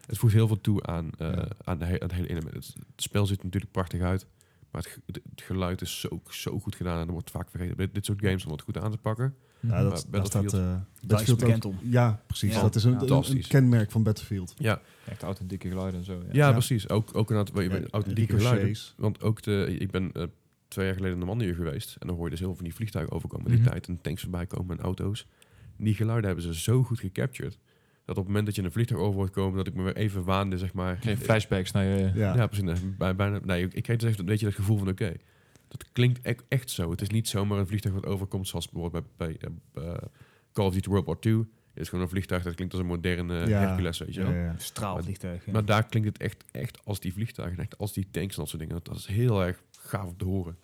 Speaker 2: het voegt heel veel toe aan, eh,
Speaker 4: Ja.
Speaker 2: aan, de he- aan het hele element. Het, het spel ziet er natuurlijk prachtig uit. Maar het, ge- het- het geluid is zo, zo goed gedaan. En dat wordt vaak vergeten. Dit, dit soort games om het goed aan te pakken.
Speaker 4: Ja,
Speaker 2: Maar
Speaker 4: dat, daar
Speaker 2: Battlefield-
Speaker 4: staat, eh,
Speaker 3: Daar is het
Speaker 4: Battlefield ook-
Speaker 3: bekend om.
Speaker 4: Ja, precies.
Speaker 3: Ja.
Speaker 4: Dat is een, een, een
Speaker 2: Fantastisch.
Speaker 4: kenmerk van Battlefield.
Speaker 2: Ja,
Speaker 1: Echt authentieke geluiden en zo.
Speaker 2: ja,
Speaker 1: Ja.
Speaker 2: precies. Ook, ook een aantal
Speaker 4: En-
Speaker 2: authentieke
Speaker 4: en
Speaker 2: geluiden.
Speaker 4: ricochets.
Speaker 2: Want ook de, ik ben eh, twee jaar geleden naar Mandië geweest. En dan hoor je dus heel veel van die vliegtuigen overkomen die
Speaker 1: Mhm.
Speaker 2: tijd. En tanks voorbij komen en auto's. En die geluiden hebben ze zo goed gecaptured. Dat op het moment dat je een vliegtuig over hoort komen, dat ik me weer even waande, zeg maar.
Speaker 1: Kreeg flashbacks naar je.
Speaker 4: Ja.
Speaker 2: Ja, precies. Nee, bij- bijna, nee, ik ik kreeg dus echt een beetje dat gevoel van oké. dat klinkt e- echt zo. Het is niet zomaar een vliegtuig wat overkomt zoals bijvoorbeeld bij, bij eh, eh, Call of Duty World War II. Het is gewoon een vliegtuig dat klinkt als een moderne eh,
Speaker 4: Ja.
Speaker 2: Hercules, weet je wel.
Speaker 4: Ja, ja.
Speaker 3: Straalvliegtuig. ja.
Speaker 2: Maar daar klinkt het echt, echt als die vliegtuigen, echt als die tanks en dat soort dingen. Dat is heel erg gaaf om te horen.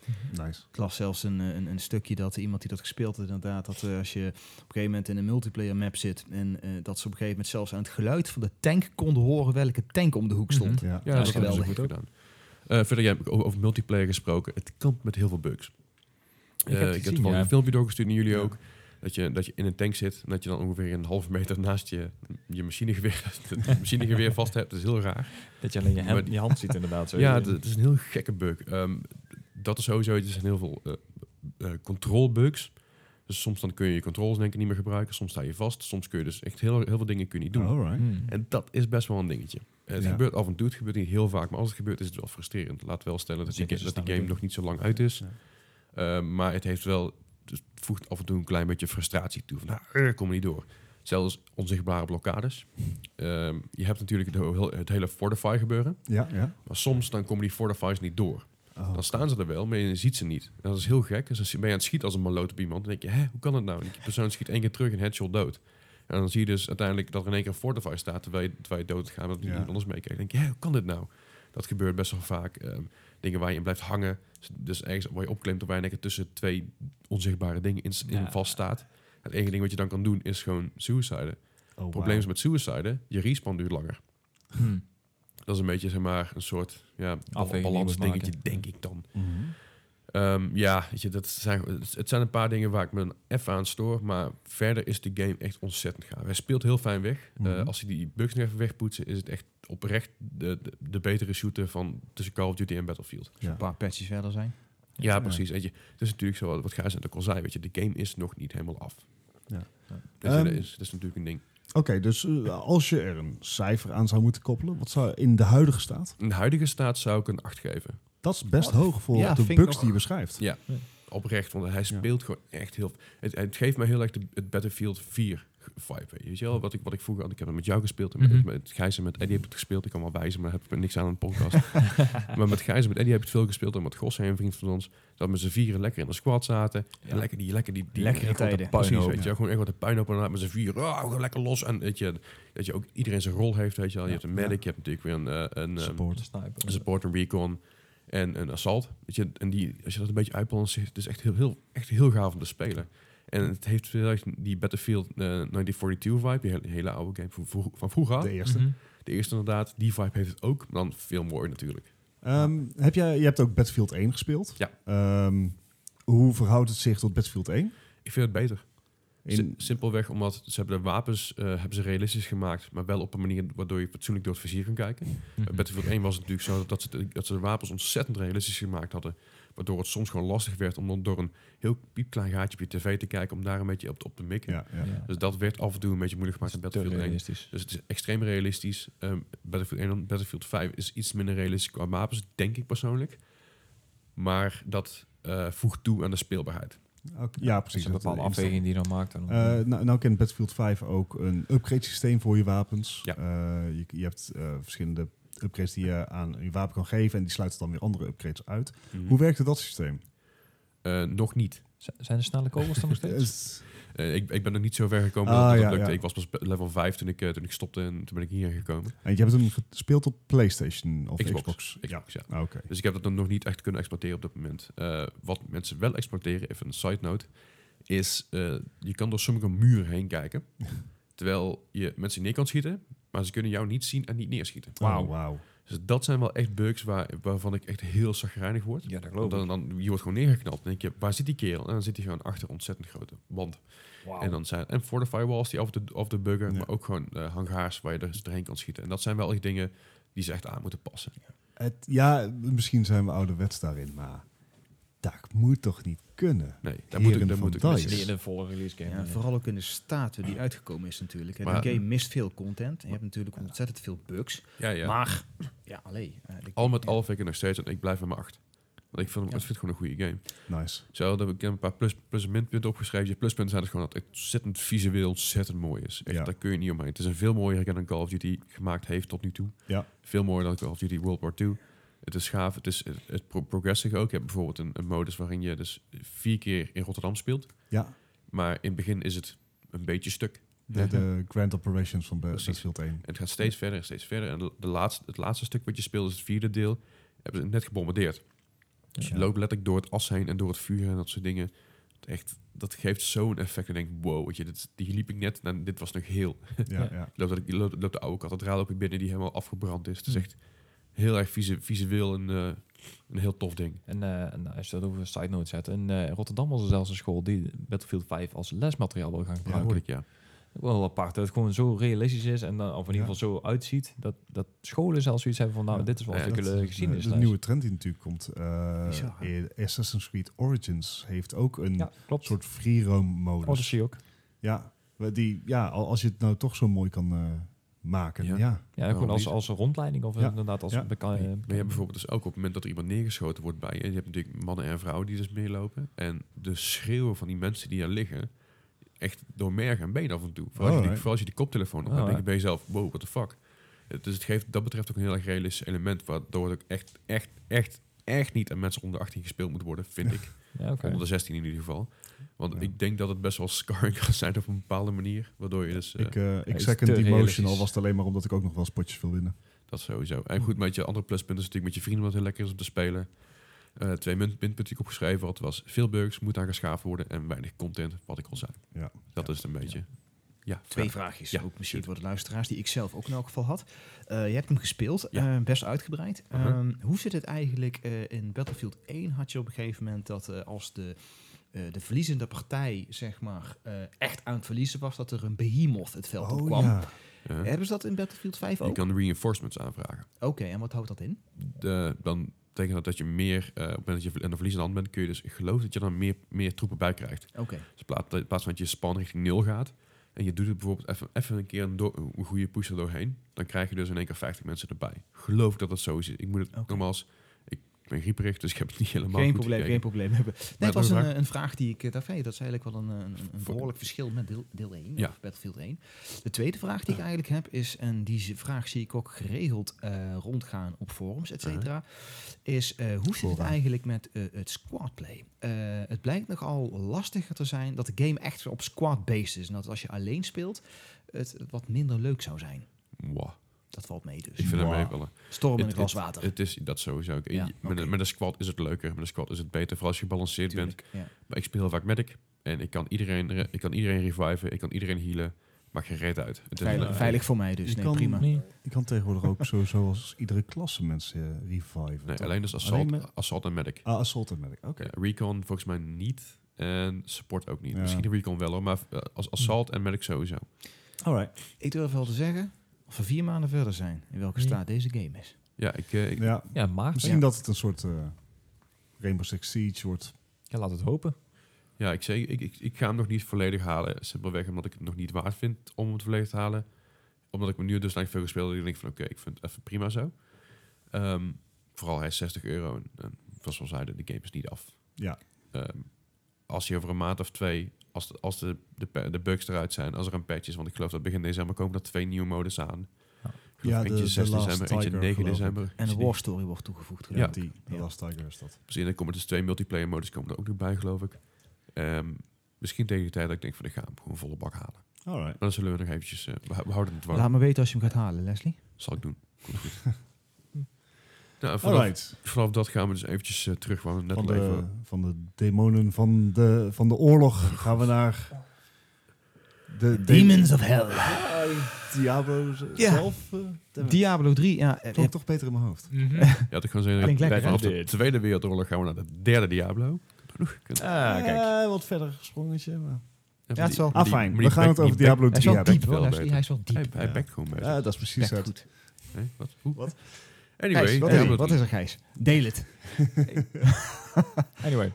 Speaker 4: Nice.
Speaker 3: Ik las zelfs een, eh, een, een stukje dat iemand die dat gespeeld had, inderdaad, dat eh, als je op een gegeven moment in een multiplayer map zit en eh, dat ze op een gegeven moment zelfs aan het geluid van de tank konden horen welke tank om de hoek stond.
Speaker 4: Ja.
Speaker 2: Ja,
Speaker 3: dat
Speaker 2: dat,
Speaker 3: is
Speaker 2: hebben ze
Speaker 3: geweldig.
Speaker 2: goed gedaan. Eh, verder, jij hebt over, over multiplayer gesproken. Het kampt met heel veel bugs.
Speaker 1: heb
Speaker 2: Eh,
Speaker 1: het
Speaker 2: ik heb
Speaker 1: gezien,
Speaker 2: toevallig
Speaker 1: ja.
Speaker 2: een filmpje doorgestuurd naar jullie
Speaker 4: Ja.
Speaker 2: ook. Dat je, dat je in een tank zit en dat je dan ongeveer een halve meter naast je, je machinegeweer, het machinegeweer vast hebt. Dat is heel raar.
Speaker 1: Dat je alleen je, hem-
Speaker 2: Maar-
Speaker 1: je hand ziet inderdaad. Zo
Speaker 2: Ja, het, het is een heel gekke bug. Ehm, dat is sowieso, er zijn heel veel eh eh, control bugs. Dus soms dan kun je je controls denk ik niet meer gebruiken. Soms sta je vast. Soms kun je dus echt heel, heel veel dingen kun je niet doen.
Speaker 4: Alright.
Speaker 1: Hmm.
Speaker 2: En dat is best wel een dingetje. Eh, Het
Speaker 4: Ja.
Speaker 2: gebeurt af en toe, het gebeurt niet heel vaak, maar als het gebeurt is het wel frustrerend. Laat wel stellen dat, die,
Speaker 1: Zeker, ze
Speaker 2: ga- dat die
Speaker 1: staan
Speaker 2: game
Speaker 1: er
Speaker 2: nog niet zo lang uit is.
Speaker 4: Ja.
Speaker 2: Eh, maar het heeft wel, dus het voegt af en toe een klein beetje frustratie toe. Van, nou, eh, ik kom er niet door. Zelfs onzichtbare blokkades. Ehm, je hebt natuurlijk het, heel- het hele Fortify gebeuren,
Speaker 4: Ja, ja.
Speaker 2: maar soms dan komen die Fortifies niet door.
Speaker 4: Oh.
Speaker 2: Dan staan ze er wel, maar je ziet ze niet. En dat is heel gek. Dus dan ben je aan het schieten als een maloot op iemand. Dan denk je, hè, hoe kan dat nou? En die persoon schiet één keer terug en headshot dood. En dan zie je dus uiteindelijk dat er in één keer een Fortify staat... terwijl je, terwijl je dood gaat, dat
Speaker 4: Ja.
Speaker 2: iemand anders meekijkt. Dan denk je, hè, hoe kan dit nou? Dat gebeurt best wel vaak. Ehm, dingen waar je in blijft hangen. Dus ergens waar je opklimt of waar je in één keer tussen twee onzichtbare dingen in, in
Speaker 1: Ja.
Speaker 2: vast staat. Het enige ding wat je dan kan doen is gewoon suiciden.
Speaker 4: Oh,
Speaker 2: Het probleem is met suiciden, je respawn duurt langer.
Speaker 1: Hmm.
Speaker 2: Dat is een beetje zeg maar, een soort ja,
Speaker 1: Afweging die je moet
Speaker 2: balans dingetje,
Speaker 1: maken.
Speaker 2: denk ik dan.
Speaker 4: wauw. Mhm.
Speaker 2: Ehm, ja, weet je, dat zijn, het zijn een paar dingen waar ik me even aan stoor. Maar verder is de game echt ontzettend gaaf. Hij speelt heel fijn weg. Eh,
Speaker 4: Mhm.
Speaker 2: als ze die bugs nog even wegpoetsen, is het echt oprecht de, de, de betere shooter van tussen Call of Duty en Battlefield.
Speaker 4: Ja.
Speaker 3: Een paar patches verder zijn.
Speaker 2: Ja,
Speaker 4: Ja.
Speaker 2: precies. Weet je, het is natuurlijk zo, wat Gijs net ook al zei, weet je, de game is nog niet helemaal af.
Speaker 4: Ja.
Speaker 1: Ja.
Speaker 2: Dus dat,
Speaker 4: Ehm,
Speaker 2: is, dat is natuurlijk een ding.
Speaker 4: Oké, dus eh, als je er een cijfer aan zou moeten koppelen, wat zou in de huidige staat?
Speaker 2: In de huidige staat zou ik een 8 geven.
Speaker 4: Dat is best
Speaker 3: Oh,
Speaker 4: hoog voor
Speaker 3: ja,
Speaker 4: de
Speaker 3: vind ik
Speaker 4: bugs
Speaker 3: nog-
Speaker 4: die je beschrijft.
Speaker 2: Ja. Oprecht, want hij speelt gewoon echt heel... Het, het geeft mij heel erg de, het Battlefield 4 vibe. Weet je wel, wat ik, wat ik vroeger... had, Ik heb het met jou gespeeld, en met,
Speaker 1: Mhm.
Speaker 2: met Gijs en met Eddie heb ik het gespeeld. Ik kan wel wijzen, maar daar heb ik niks aan een podcast. maar met Gijs en met Eddie heb ik het veel gespeeld. En met Gosse, een vriend van ons. Dat we met z'n vieren lekker in de squad zaten. En lekker die... Lekker die, die
Speaker 1: Lekkere
Speaker 2: echt wat de
Speaker 1: tijden.
Speaker 2: Precies,
Speaker 1: Puinhoop,
Speaker 2: weet je wel. Gewoon echt wat de puin op en dan met z'n vieren. Oh, gewoon lekker los. En weet je, dat je ook iedereen zijn rol heeft, weet je wel. Je
Speaker 1: Ja.
Speaker 2: hebt een medic, je hebt natuurlijk weer een... eh, een ehm,
Speaker 4: Support.
Speaker 1: Sniper. Mhm.
Speaker 2: een support, een recon en een assault. Weet je, en die, als je dat een beetje uitbalanceert, het is echt heel, heel, echt heel gaaf om te spelen. En het heeft heel erg die Battlefield eh, 1942 vibe, die hele, hele oude game van, vroeg- van vroeger.
Speaker 4: De
Speaker 2: De,
Speaker 4: eerste.
Speaker 1: Mhm.
Speaker 2: eerste inderdaad, die vibe heeft het ook, maar dan veel mooier natuurlijk.
Speaker 4: Ehm, heb jij, je hebt ook Battlefield 1 gespeeld.
Speaker 2: Ja.
Speaker 4: Ehm, hoe verhoudt het zich tot Battlefield 1?
Speaker 2: Ik vind het beter.
Speaker 4: In,
Speaker 2: Si- Simpelweg omdat ze hebben de wapens eh, hebben ze realistisch gemaakt, maar wel op een manier waardoor je fatsoenlijk door het vizier kan kijken. Bij
Speaker 1: Mhm.
Speaker 2: Battlefield 1 was het natuurlijk zo dat ze, de, dat ze de wapens ontzettend realistisch gemaakt hadden. Waardoor het soms gewoon lastig werd om dan door een heel piepklein gaatje op je tv te kijken om daar een beetje op, te- op te mikken.
Speaker 4: ja, ja.
Speaker 1: Ja.
Speaker 2: Dus dat werd af en toe een beetje moeilijk gemaakt in
Speaker 1: Te
Speaker 2: Battlefield 1.
Speaker 1: realistisch.
Speaker 2: Dus het is extreem realistisch. Ehm, Battlefield 1 en Battlefield 5 is iets minder realistisch qua wapens, denk ik persoonlijk. Maar dat eh, voegt toe aan de speelbaarheid.
Speaker 4: Oké, ja,
Speaker 1: Dat is
Speaker 4: precies.
Speaker 1: een bepaalde
Speaker 4: dat-
Speaker 1: afweging die je dan maakt. Dan.
Speaker 4: Eh, nou, nou kent Battlefield 5 ook een upgrade systeem voor je wapens.
Speaker 2: Ja.
Speaker 4: Eh, je, je hebt eh, verschillende upgrades die je aan je wapen kan geven en die sluiten dan weer andere upgrades uit.
Speaker 2: Mhm.
Speaker 4: Hoe werkte dat systeem?
Speaker 2: Eh, nog niet.
Speaker 1: Z- Zijn de snelle kogels dan nog steeds?
Speaker 4: Is-
Speaker 2: Eh, ik, ik ben nog niet zo ver gekomen
Speaker 4: Ah,
Speaker 2: dat het
Speaker 4: ja,
Speaker 2: lukte.
Speaker 4: ja.
Speaker 2: Ik was pas level 5 toen ik, eh, toen ik stopte en toen ben ik hier gekomen.
Speaker 4: En je hebt hem gespeeld op PlayStation of Xbox?
Speaker 2: Xbox. Xbox, ja.
Speaker 4: Ah, Oké.
Speaker 2: Dus ik heb dat dan nog niet echt kunnen exploiteren op dit moment. Eh, wat mensen wel exploiteren, even een side note, is eh, je kan door sommige muren heen kijken. terwijl je mensen neer kan schieten, maar ze kunnen jou niet zien en niet neerschieten.
Speaker 4: Oh, wauw.
Speaker 2: Dus dat zijn wel echt bugs waar, waarvan ik echt heel zagrijnig word.
Speaker 1: Ja, dat
Speaker 2: Want
Speaker 1: geloof ik.
Speaker 2: dan, dan, je wordt gewoon neergeknald. Dan denk je, waar zit die kerel? En dan zit hij gewoon achter een ontzettend grote wand. En, dan zijn, en voor de firewalls die af de, af de bugger,
Speaker 4: Ja.
Speaker 2: maar ook gewoon eh, hangaars waar je er doorheen kan schieten. En dat zijn wel echt dingen die ze echt aan moeten passen.
Speaker 4: Het, ja, misschien zijn we ouderwets daarin, maar dat moet toch niet kunnen?
Speaker 2: Nee, daar moet ik,
Speaker 4: Heren
Speaker 2: daar
Speaker 4: van
Speaker 2: moet ik mis-
Speaker 4: Dice.
Speaker 1: Die in een volle release game.
Speaker 3: Ja,
Speaker 1: Ja,
Speaker 3: vooral ook in de staat waar die uitgekomen is natuurlijk. hè.
Speaker 2: Maar-
Speaker 3: de game mist veel content. En je hebt natuurlijk ontzettend veel bugs.
Speaker 2: Ja, ja.
Speaker 3: Maar, ja, eh, alleen.
Speaker 2: al met al vind ik het nog steeds, en ik blijf bij mijn acht. Want ik vind, hem,
Speaker 3: Ja.
Speaker 2: ik vind het gewoon een goede game.
Speaker 4: Nice.
Speaker 2: Zo, dat heb ik een paar plus, plus en minpunten opgeschreven. Je pluspunten zijn dus gewoon dat het ontzettend visueel ontzettend mooi is. Echt,
Speaker 4: Ja.
Speaker 2: daar kun je niet omheen. Het is een veel mooier game dan Call of Duty gemaakt heeft tot nu toe.
Speaker 4: Ja.
Speaker 2: Veel mooier dan Call of Duty World War II. Het is gaaf, het is het, het pro- progressive ook. Je hebt bijvoorbeeld een, een modus waarin je dus vier keer in Rotterdam speelt.
Speaker 4: Ja,
Speaker 2: Maar in het begin is het een beetje stuk.
Speaker 4: de, de Grand Operations van Be-
Speaker 2: Precies.
Speaker 4: Battlefield 1.
Speaker 2: En het gaat steeds verder en steeds verder. En de, de laatste, het laatste stuk wat je speelt is het vierde deel. Hebben ze net gebombardeerd. Dus je
Speaker 1: Ja.
Speaker 2: loopt letterlijk door het as heen en door het vuur en dat soort dingen. Het Echt, dat geeft zo'n effect. En denk, wow, weet je, dit, die liep ik net en dit was nog heel.
Speaker 4: Ja,
Speaker 1: Ja.
Speaker 4: ja.
Speaker 2: Ik loop, dat, ik loop, loop de oude kathedraal op je binnen die helemaal afgebrand is. Het is echt heel erg visu- visueel een, eh, een heel tof ding.
Speaker 1: En eh, en als je dat over een side note zet, in eh, Rotterdam was er zelfs een school die Battlefield 5 als lesmateriaal wil gaan
Speaker 2: Ja,
Speaker 1: gebruiken.
Speaker 2: hoor ik, ja.
Speaker 1: Wel apart, dat het gewoon zo realistisch is en dan, of in ieder geval zo uitziet, dat, dat scholen zelfs zoiets hebben van, nou,
Speaker 4: Ja.
Speaker 1: dit is wel een
Speaker 2: Ja,
Speaker 1: stukje
Speaker 4: Dat
Speaker 1: eh,
Speaker 4: is de,
Speaker 1: geschiedenis.
Speaker 4: de nieuwe trend die natuurlijk komt. eh,
Speaker 3: Bizar, hè?
Speaker 4: in Assassin's Creed Origins heeft ook een
Speaker 1: Ja, Oh, klopt. Oh,
Speaker 4: soort free roam modus.
Speaker 1: Odyssey ook.
Speaker 4: Ja, maar die, ja, al- als je het nou toch zo mooi kan eh, maken.
Speaker 2: Ja.
Speaker 4: Ja.
Speaker 1: Ja,
Speaker 2: Waarom
Speaker 1: gewoon als,
Speaker 2: niet?
Speaker 1: als een rondleiding of
Speaker 4: Ja.
Speaker 1: inderdaad als
Speaker 4: Ja.
Speaker 1: beka- eh,
Speaker 2: Maar je hebt
Speaker 1: bekend-
Speaker 2: bijvoorbeeld dus ook op het moment dat er iemand neergeschoten wordt bij je. Je hebt natuurlijk mannen en vrouwen die dus meelopen. En de schreeuwen van die mensen die daar liggen. Echt door merg en been af en toe. Vooral, als, je die,
Speaker 4: Alright.
Speaker 2: vooral als je die koptelefoon op hebt, denk je
Speaker 1: Alright.
Speaker 2: bij jezelf, wow, what the fuck. Eh, Dus het geeft dat betreft ook een heel erg realistisch element. Waardoor het ook echt, echt, echt, echt niet aan mensen onder 18 gespeeld moet worden, vind ik.
Speaker 1: Ja, oké.
Speaker 2: Onder de 16 in ieder geval. Want
Speaker 4: Ja.
Speaker 2: ik denk dat het best wel scarring kan zijn op een bepaalde manier. Waardoor je dus... eh,
Speaker 4: Ik, eh ik
Speaker 1: is
Speaker 4: second
Speaker 1: te
Speaker 4: die motion,
Speaker 1: realistisch.
Speaker 4: al was het alleen maar omdat ik ook nog wel spotjes wil winnen.
Speaker 2: Dat sowieso. En
Speaker 4: Hm.
Speaker 2: goed, met je andere pluspunten is natuurlijk met je vrienden wat heel lekker is om te spelen. Eh, twee min- minpunten die ik opgeschreven had was veel bugs, moet aan geschaafd worden en weinig content, wat ik al zei.
Speaker 4: Ja.
Speaker 2: Dat
Speaker 4: Ja.
Speaker 2: is het een beetje. Ja,
Speaker 3: Twee
Speaker 2: vraag.
Speaker 3: vraagjes,
Speaker 2: Ja,
Speaker 3: ook misschien
Speaker 2: shoot.
Speaker 3: voor de luisteraars, die ik zelf ook in elk geval had. Eh, je hebt hem gespeeld,
Speaker 2: Ja.
Speaker 3: eh, best uitgebreid.
Speaker 2: Mhm.
Speaker 3: Ehm, hoe zit het eigenlijk eh, in Battlefield 1? Had je op een gegeven moment dat eh, als de, eh, de verliezende partij zeg maar, eh, echt aan het verliezen was, dat er een behemoth het veld
Speaker 2: Oh
Speaker 3: op kwam?
Speaker 4: Oh, ja.
Speaker 2: Eh,
Speaker 3: Hebben ze dat in Battlefield 5
Speaker 2: je
Speaker 3: ook?
Speaker 2: kan reinforcements aanvragen.
Speaker 3: Oké, en wat houdt dat in?
Speaker 2: De, dan betekent dat dat je meer, eh, op het moment dat je aan de verliezende hand bent, kun je dus, ik geloof dat je dan meer, meer troepen bij krijgt.
Speaker 3: Oké,
Speaker 2: Dus in plaats, in plaats van dat je span richting nul gaat en je doet het bijvoorbeeld even, even een keer een, do- een goede push er doorheen, dan krijg je dus in één keer 50 mensen erbij. Geloof ik dat dat zo is. Ik moet het
Speaker 3: Oké.
Speaker 2: nogmaals, ik ben grieperig, dus ik heb het niet helemaal
Speaker 3: geen
Speaker 2: goed
Speaker 3: probleem,
Speaker 2: gekeken.
Speaker 3: geen probleem hebben. Nee, het
Speaker 2: nog
Speaker 3: was
Speaker 2: een
Speaker 3: een,
Speaker 2: vraag?
Speaker 3: eh, een vraag die ik eh, daar deed. Dat is eigenlijk wel een, eh, een, een behoorlijk verschil met deel, deel 1,
Speaker 2: Ja. Ah.
Speaker 3: of Battlefield 1. De tweede vraag die ik eigenlijk heb is, en die z- vraag zie ik ook geregeld eh, rondgaan op forums, et
Speaker 2: Uh-huh.
Speaker 3: cetera, is eh, hoe zit het
Speaker 4: Fora.
Speaker 3: eigenlijk met eh, het squadplay? Eh, het blijkt nogal lastiger te zijn dat de game echt op squad-based is. En dat als je alleen speelt, het wat minder leuk zou zijn.
Speaker 2: Mwah.
Speaker 3: Dat valt mee dus.
Speaker 2: Ik vind hem
Speaker 4: Wow.
Speaker 2: meevallen.
Speaker 3: Storm in een
Speaker 2: Het-
Speaker 3: glas
Speaker 2: het-
Speaker 3: water.
Speaker 2: Het is dat sowieso. ook.
Speaker 3: Ja,
Speaker 2: Je- met,
Speaker 3: oké.
Speaker 2: een, met een squad is het leuker, met een squad is het beter, vooral als je gebalanceerd bent.
Speaker 3: Tuurlijk, ja.
Speaker 2: Maar ik speel heel vaak medic en ik kan iedereen, re- ik kan iedereen reviven, ik kan iedereen healen. Maakt geen reet uit. Het is
Speaker 3: Veilig,
Speaker 2: een-
Speaker 3: veilig voor mij dus.
Speaker 4: Je
Speaker 3: Nee,
Speaker 4: kan-
Speaker 3: prima.
Speaker 1: Nee.
Speaker 4: Je kan tegenwoordig ook sowieso als iedere klasse mensen eh, reviven.
Speaker 2: Nee,
Speaker 4: toch?
Speaker 2: alleen dus assault,
Speaker 4: Alleen met-
Speaker 2: assault en medic.
Speaker 4: Ah, assault en medic. Oké.
Speaker 2: Ja, recon volgens mij niet en support ook niet.
Speaker 4: Ja.
Speaker 2: Misschien de recon wel hoor, maar eh, als assault en medic sowieso.
Speaker 4: Alright.
Speaker 3: Ik durf wel te zeggen, als we vier maanden verder zijn, in welke
Speaker 1: Ja.
Speaker 3: staat deze game is.
Speaker 2: Ja, ik, eh, ik-
Speaker 4: Ja,
Speaker 1: Ja, maar
Speaker 4: misschien
Speaker 1: ja.
Speaker 4: dat het een soort eh, Rainbow Six Siege wordt.
Speaker 1: Ja, laat het hopen.
Speaker 2: Ja, ik, zeg, ik, ik, ik ga hem nog niet volledig halen. Simpelweg omdat ik het nog niet waard vind om het volledig te halen. Omdat ik me nu dus lang veel gespeeld heb. Ik denk van oké, ik vind het even prima zo. Ehm, vooral hij is 60 euro. En, en zoals we al zeiden, de game is niet af.
Speaker 4: Ja.
Speaker 2: Ehm, als je over een maand of twee, als, de, als de, de, pa- de bugs eruit zijn, als er een patch is, want ik geloof dat begin december komen er twee nieuwe modes aan.
Speaker 1: Ja.
Speaker 2: Ik geloof
Speaker 4: Ja, de-
Speaker 2: eentje
Speaker 4: de
Speaker 2: 6
Speaker 4: Last
Speaker 2: december, eentje
Speaker 4: Tiger,
Speaker 2: 9
Speaker 4: geloof ik.
Speaker 2: december.
Speaker 3: En de
Speaker 2: Eentje
Speaker 3: War Story wordt toegevoegd.
Speaker 4: Ja,
Speaker 3: geloof ik.
Speaker 4: die de
Speaker 3: Ja.
Speaker 4: Last Tiger is dat.
Speaker 2: Precies, en dan komen er dus twee multiplayer modus komen er ook nog bij, geloof ik. Ehm, Misschien tegen de tijd dat ik denk van ik ga hem gewoon volle bak halen.
Speaker 4: Alright.
Speaker 2: Dan zullen we nog eventjes, eh, we, hou- we houden het warm.
Speaker 3: Laat me weten als je hem gaat halen, Leslie.
Speaker 2: Zal ik doen. Komt goed. nou, en vanaf,
Speaker 4: Alright.
Speaker 2: vanaf dat gaan we dus eventjes eh, terug waar we net
Speaker 4: Van
Speaker 2: al
Speaker 4: de,
Speaker 2: even...
Speaker 4: van de demonen van de, van de oorlog gaan we naar... De
Speaker 3: of Hell.
Speaker 4: Diablo
Speaker 3: Ja.
Speaker 4: zelf. eh, dat
Speaker 3: Diablo 3, ja. eh,
Speaker 4: klonk toch beter in mijn hoofd.
Speaker 2: Ja, dat kan zeggen,
Speaker 3: Klinkt lekker,
Speaker 2: bij vanaf
Speaker 1: hè?
Speaker 2: de
Speaker 1: Dit.
Speaker 2: Tweede Wereldoorlog gaan we naar de derde Diablo.
Speaker 1: Ah, kijk.
Speaker 4: Eh, wat verder gesprongetje. Maar.
Speaker 3: Ja, het zal-
Speaker 4: Ah, fijn. We gaan het over Diablo
Speaker 3: Hij is
Speaker 4: 3
Speaker 3: wel
Speaker 4: hebben.
Speaker 3: diep, hoor,
Speaker 2: wel
Speaker 3: Leslie.
Speaker 2: beter.
Speaker 3: Hij is wel diep.
Speaker 2: Hij, hij
Speaker 4: Ja.
Speaker 2: backt gewoon bij.
Speaker 4: Eh, dat is precies
Speaker 3: Echt
Speaker 4: het.
Speaker 3: goed.
Speaker 2: Nee, wat? Hoe?
Speaker 4: Wat?
Speaker 2: Anyway,
Speaker 3: Gijs, wat, is,
Speaker 2: Diablo
Speaker 3: wat is er, Gijs? Deel het.
Speaker 1: Anyway.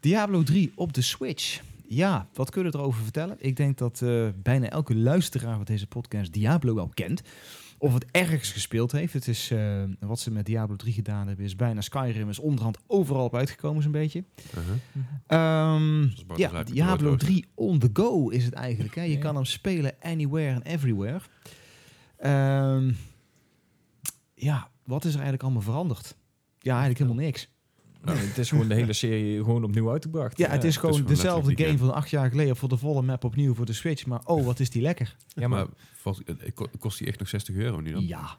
Speaker 3: Diablo 3 op de Switch. Ja, wat kunnen we erover vertellen? Ik denk dat eh, bijna elke luisteraar van deze podcast Diablo wel kent. Of het ergens gespeeld heeft. Het is, eh, wat ze met Diablo 3 gedaan hebben, is bijna Skyrim is onderhand overal op uitgekomen zo'n beetje.
Speaker 2: Uh-huh.
Speaker 3: Ehm,
Speaker 2: Zoals Bart al zei,
Speaker 3: ja,
Speaker 2: heb ik het
Speaker 3: Diablo
Speaker 2: nooit
Speaker 3: 3 on the go is het eigenlijk. Hè? Je
Speaker 1: Ja.
Speaker 3: kan hem spelen anywhere and everywhere. Ehm, ja, wat is er eigenlijk allemaal veranderd? Ja, eigenlijk helemaal niks.
Speaker 1: Nee, Nou, het is gewoon de hele serie gewoon opnieuw uitgebracht. Eh,
Speaker 3: Ja, het is gewoon
Speaker 2: gewoon
Speaker 3: dezelfde
Speaker 2: letterlijk die
Speaker 3: game van acht jaar geleden voor de volle map opnieuw voor de Switch. Maar oh, wat is die lekker.
Speaker 1: Ja, maar,
Speaker 2: Maar valt- eh, ko- kost die echt nog 60 euro nu dan?
Speaker 3: Ja,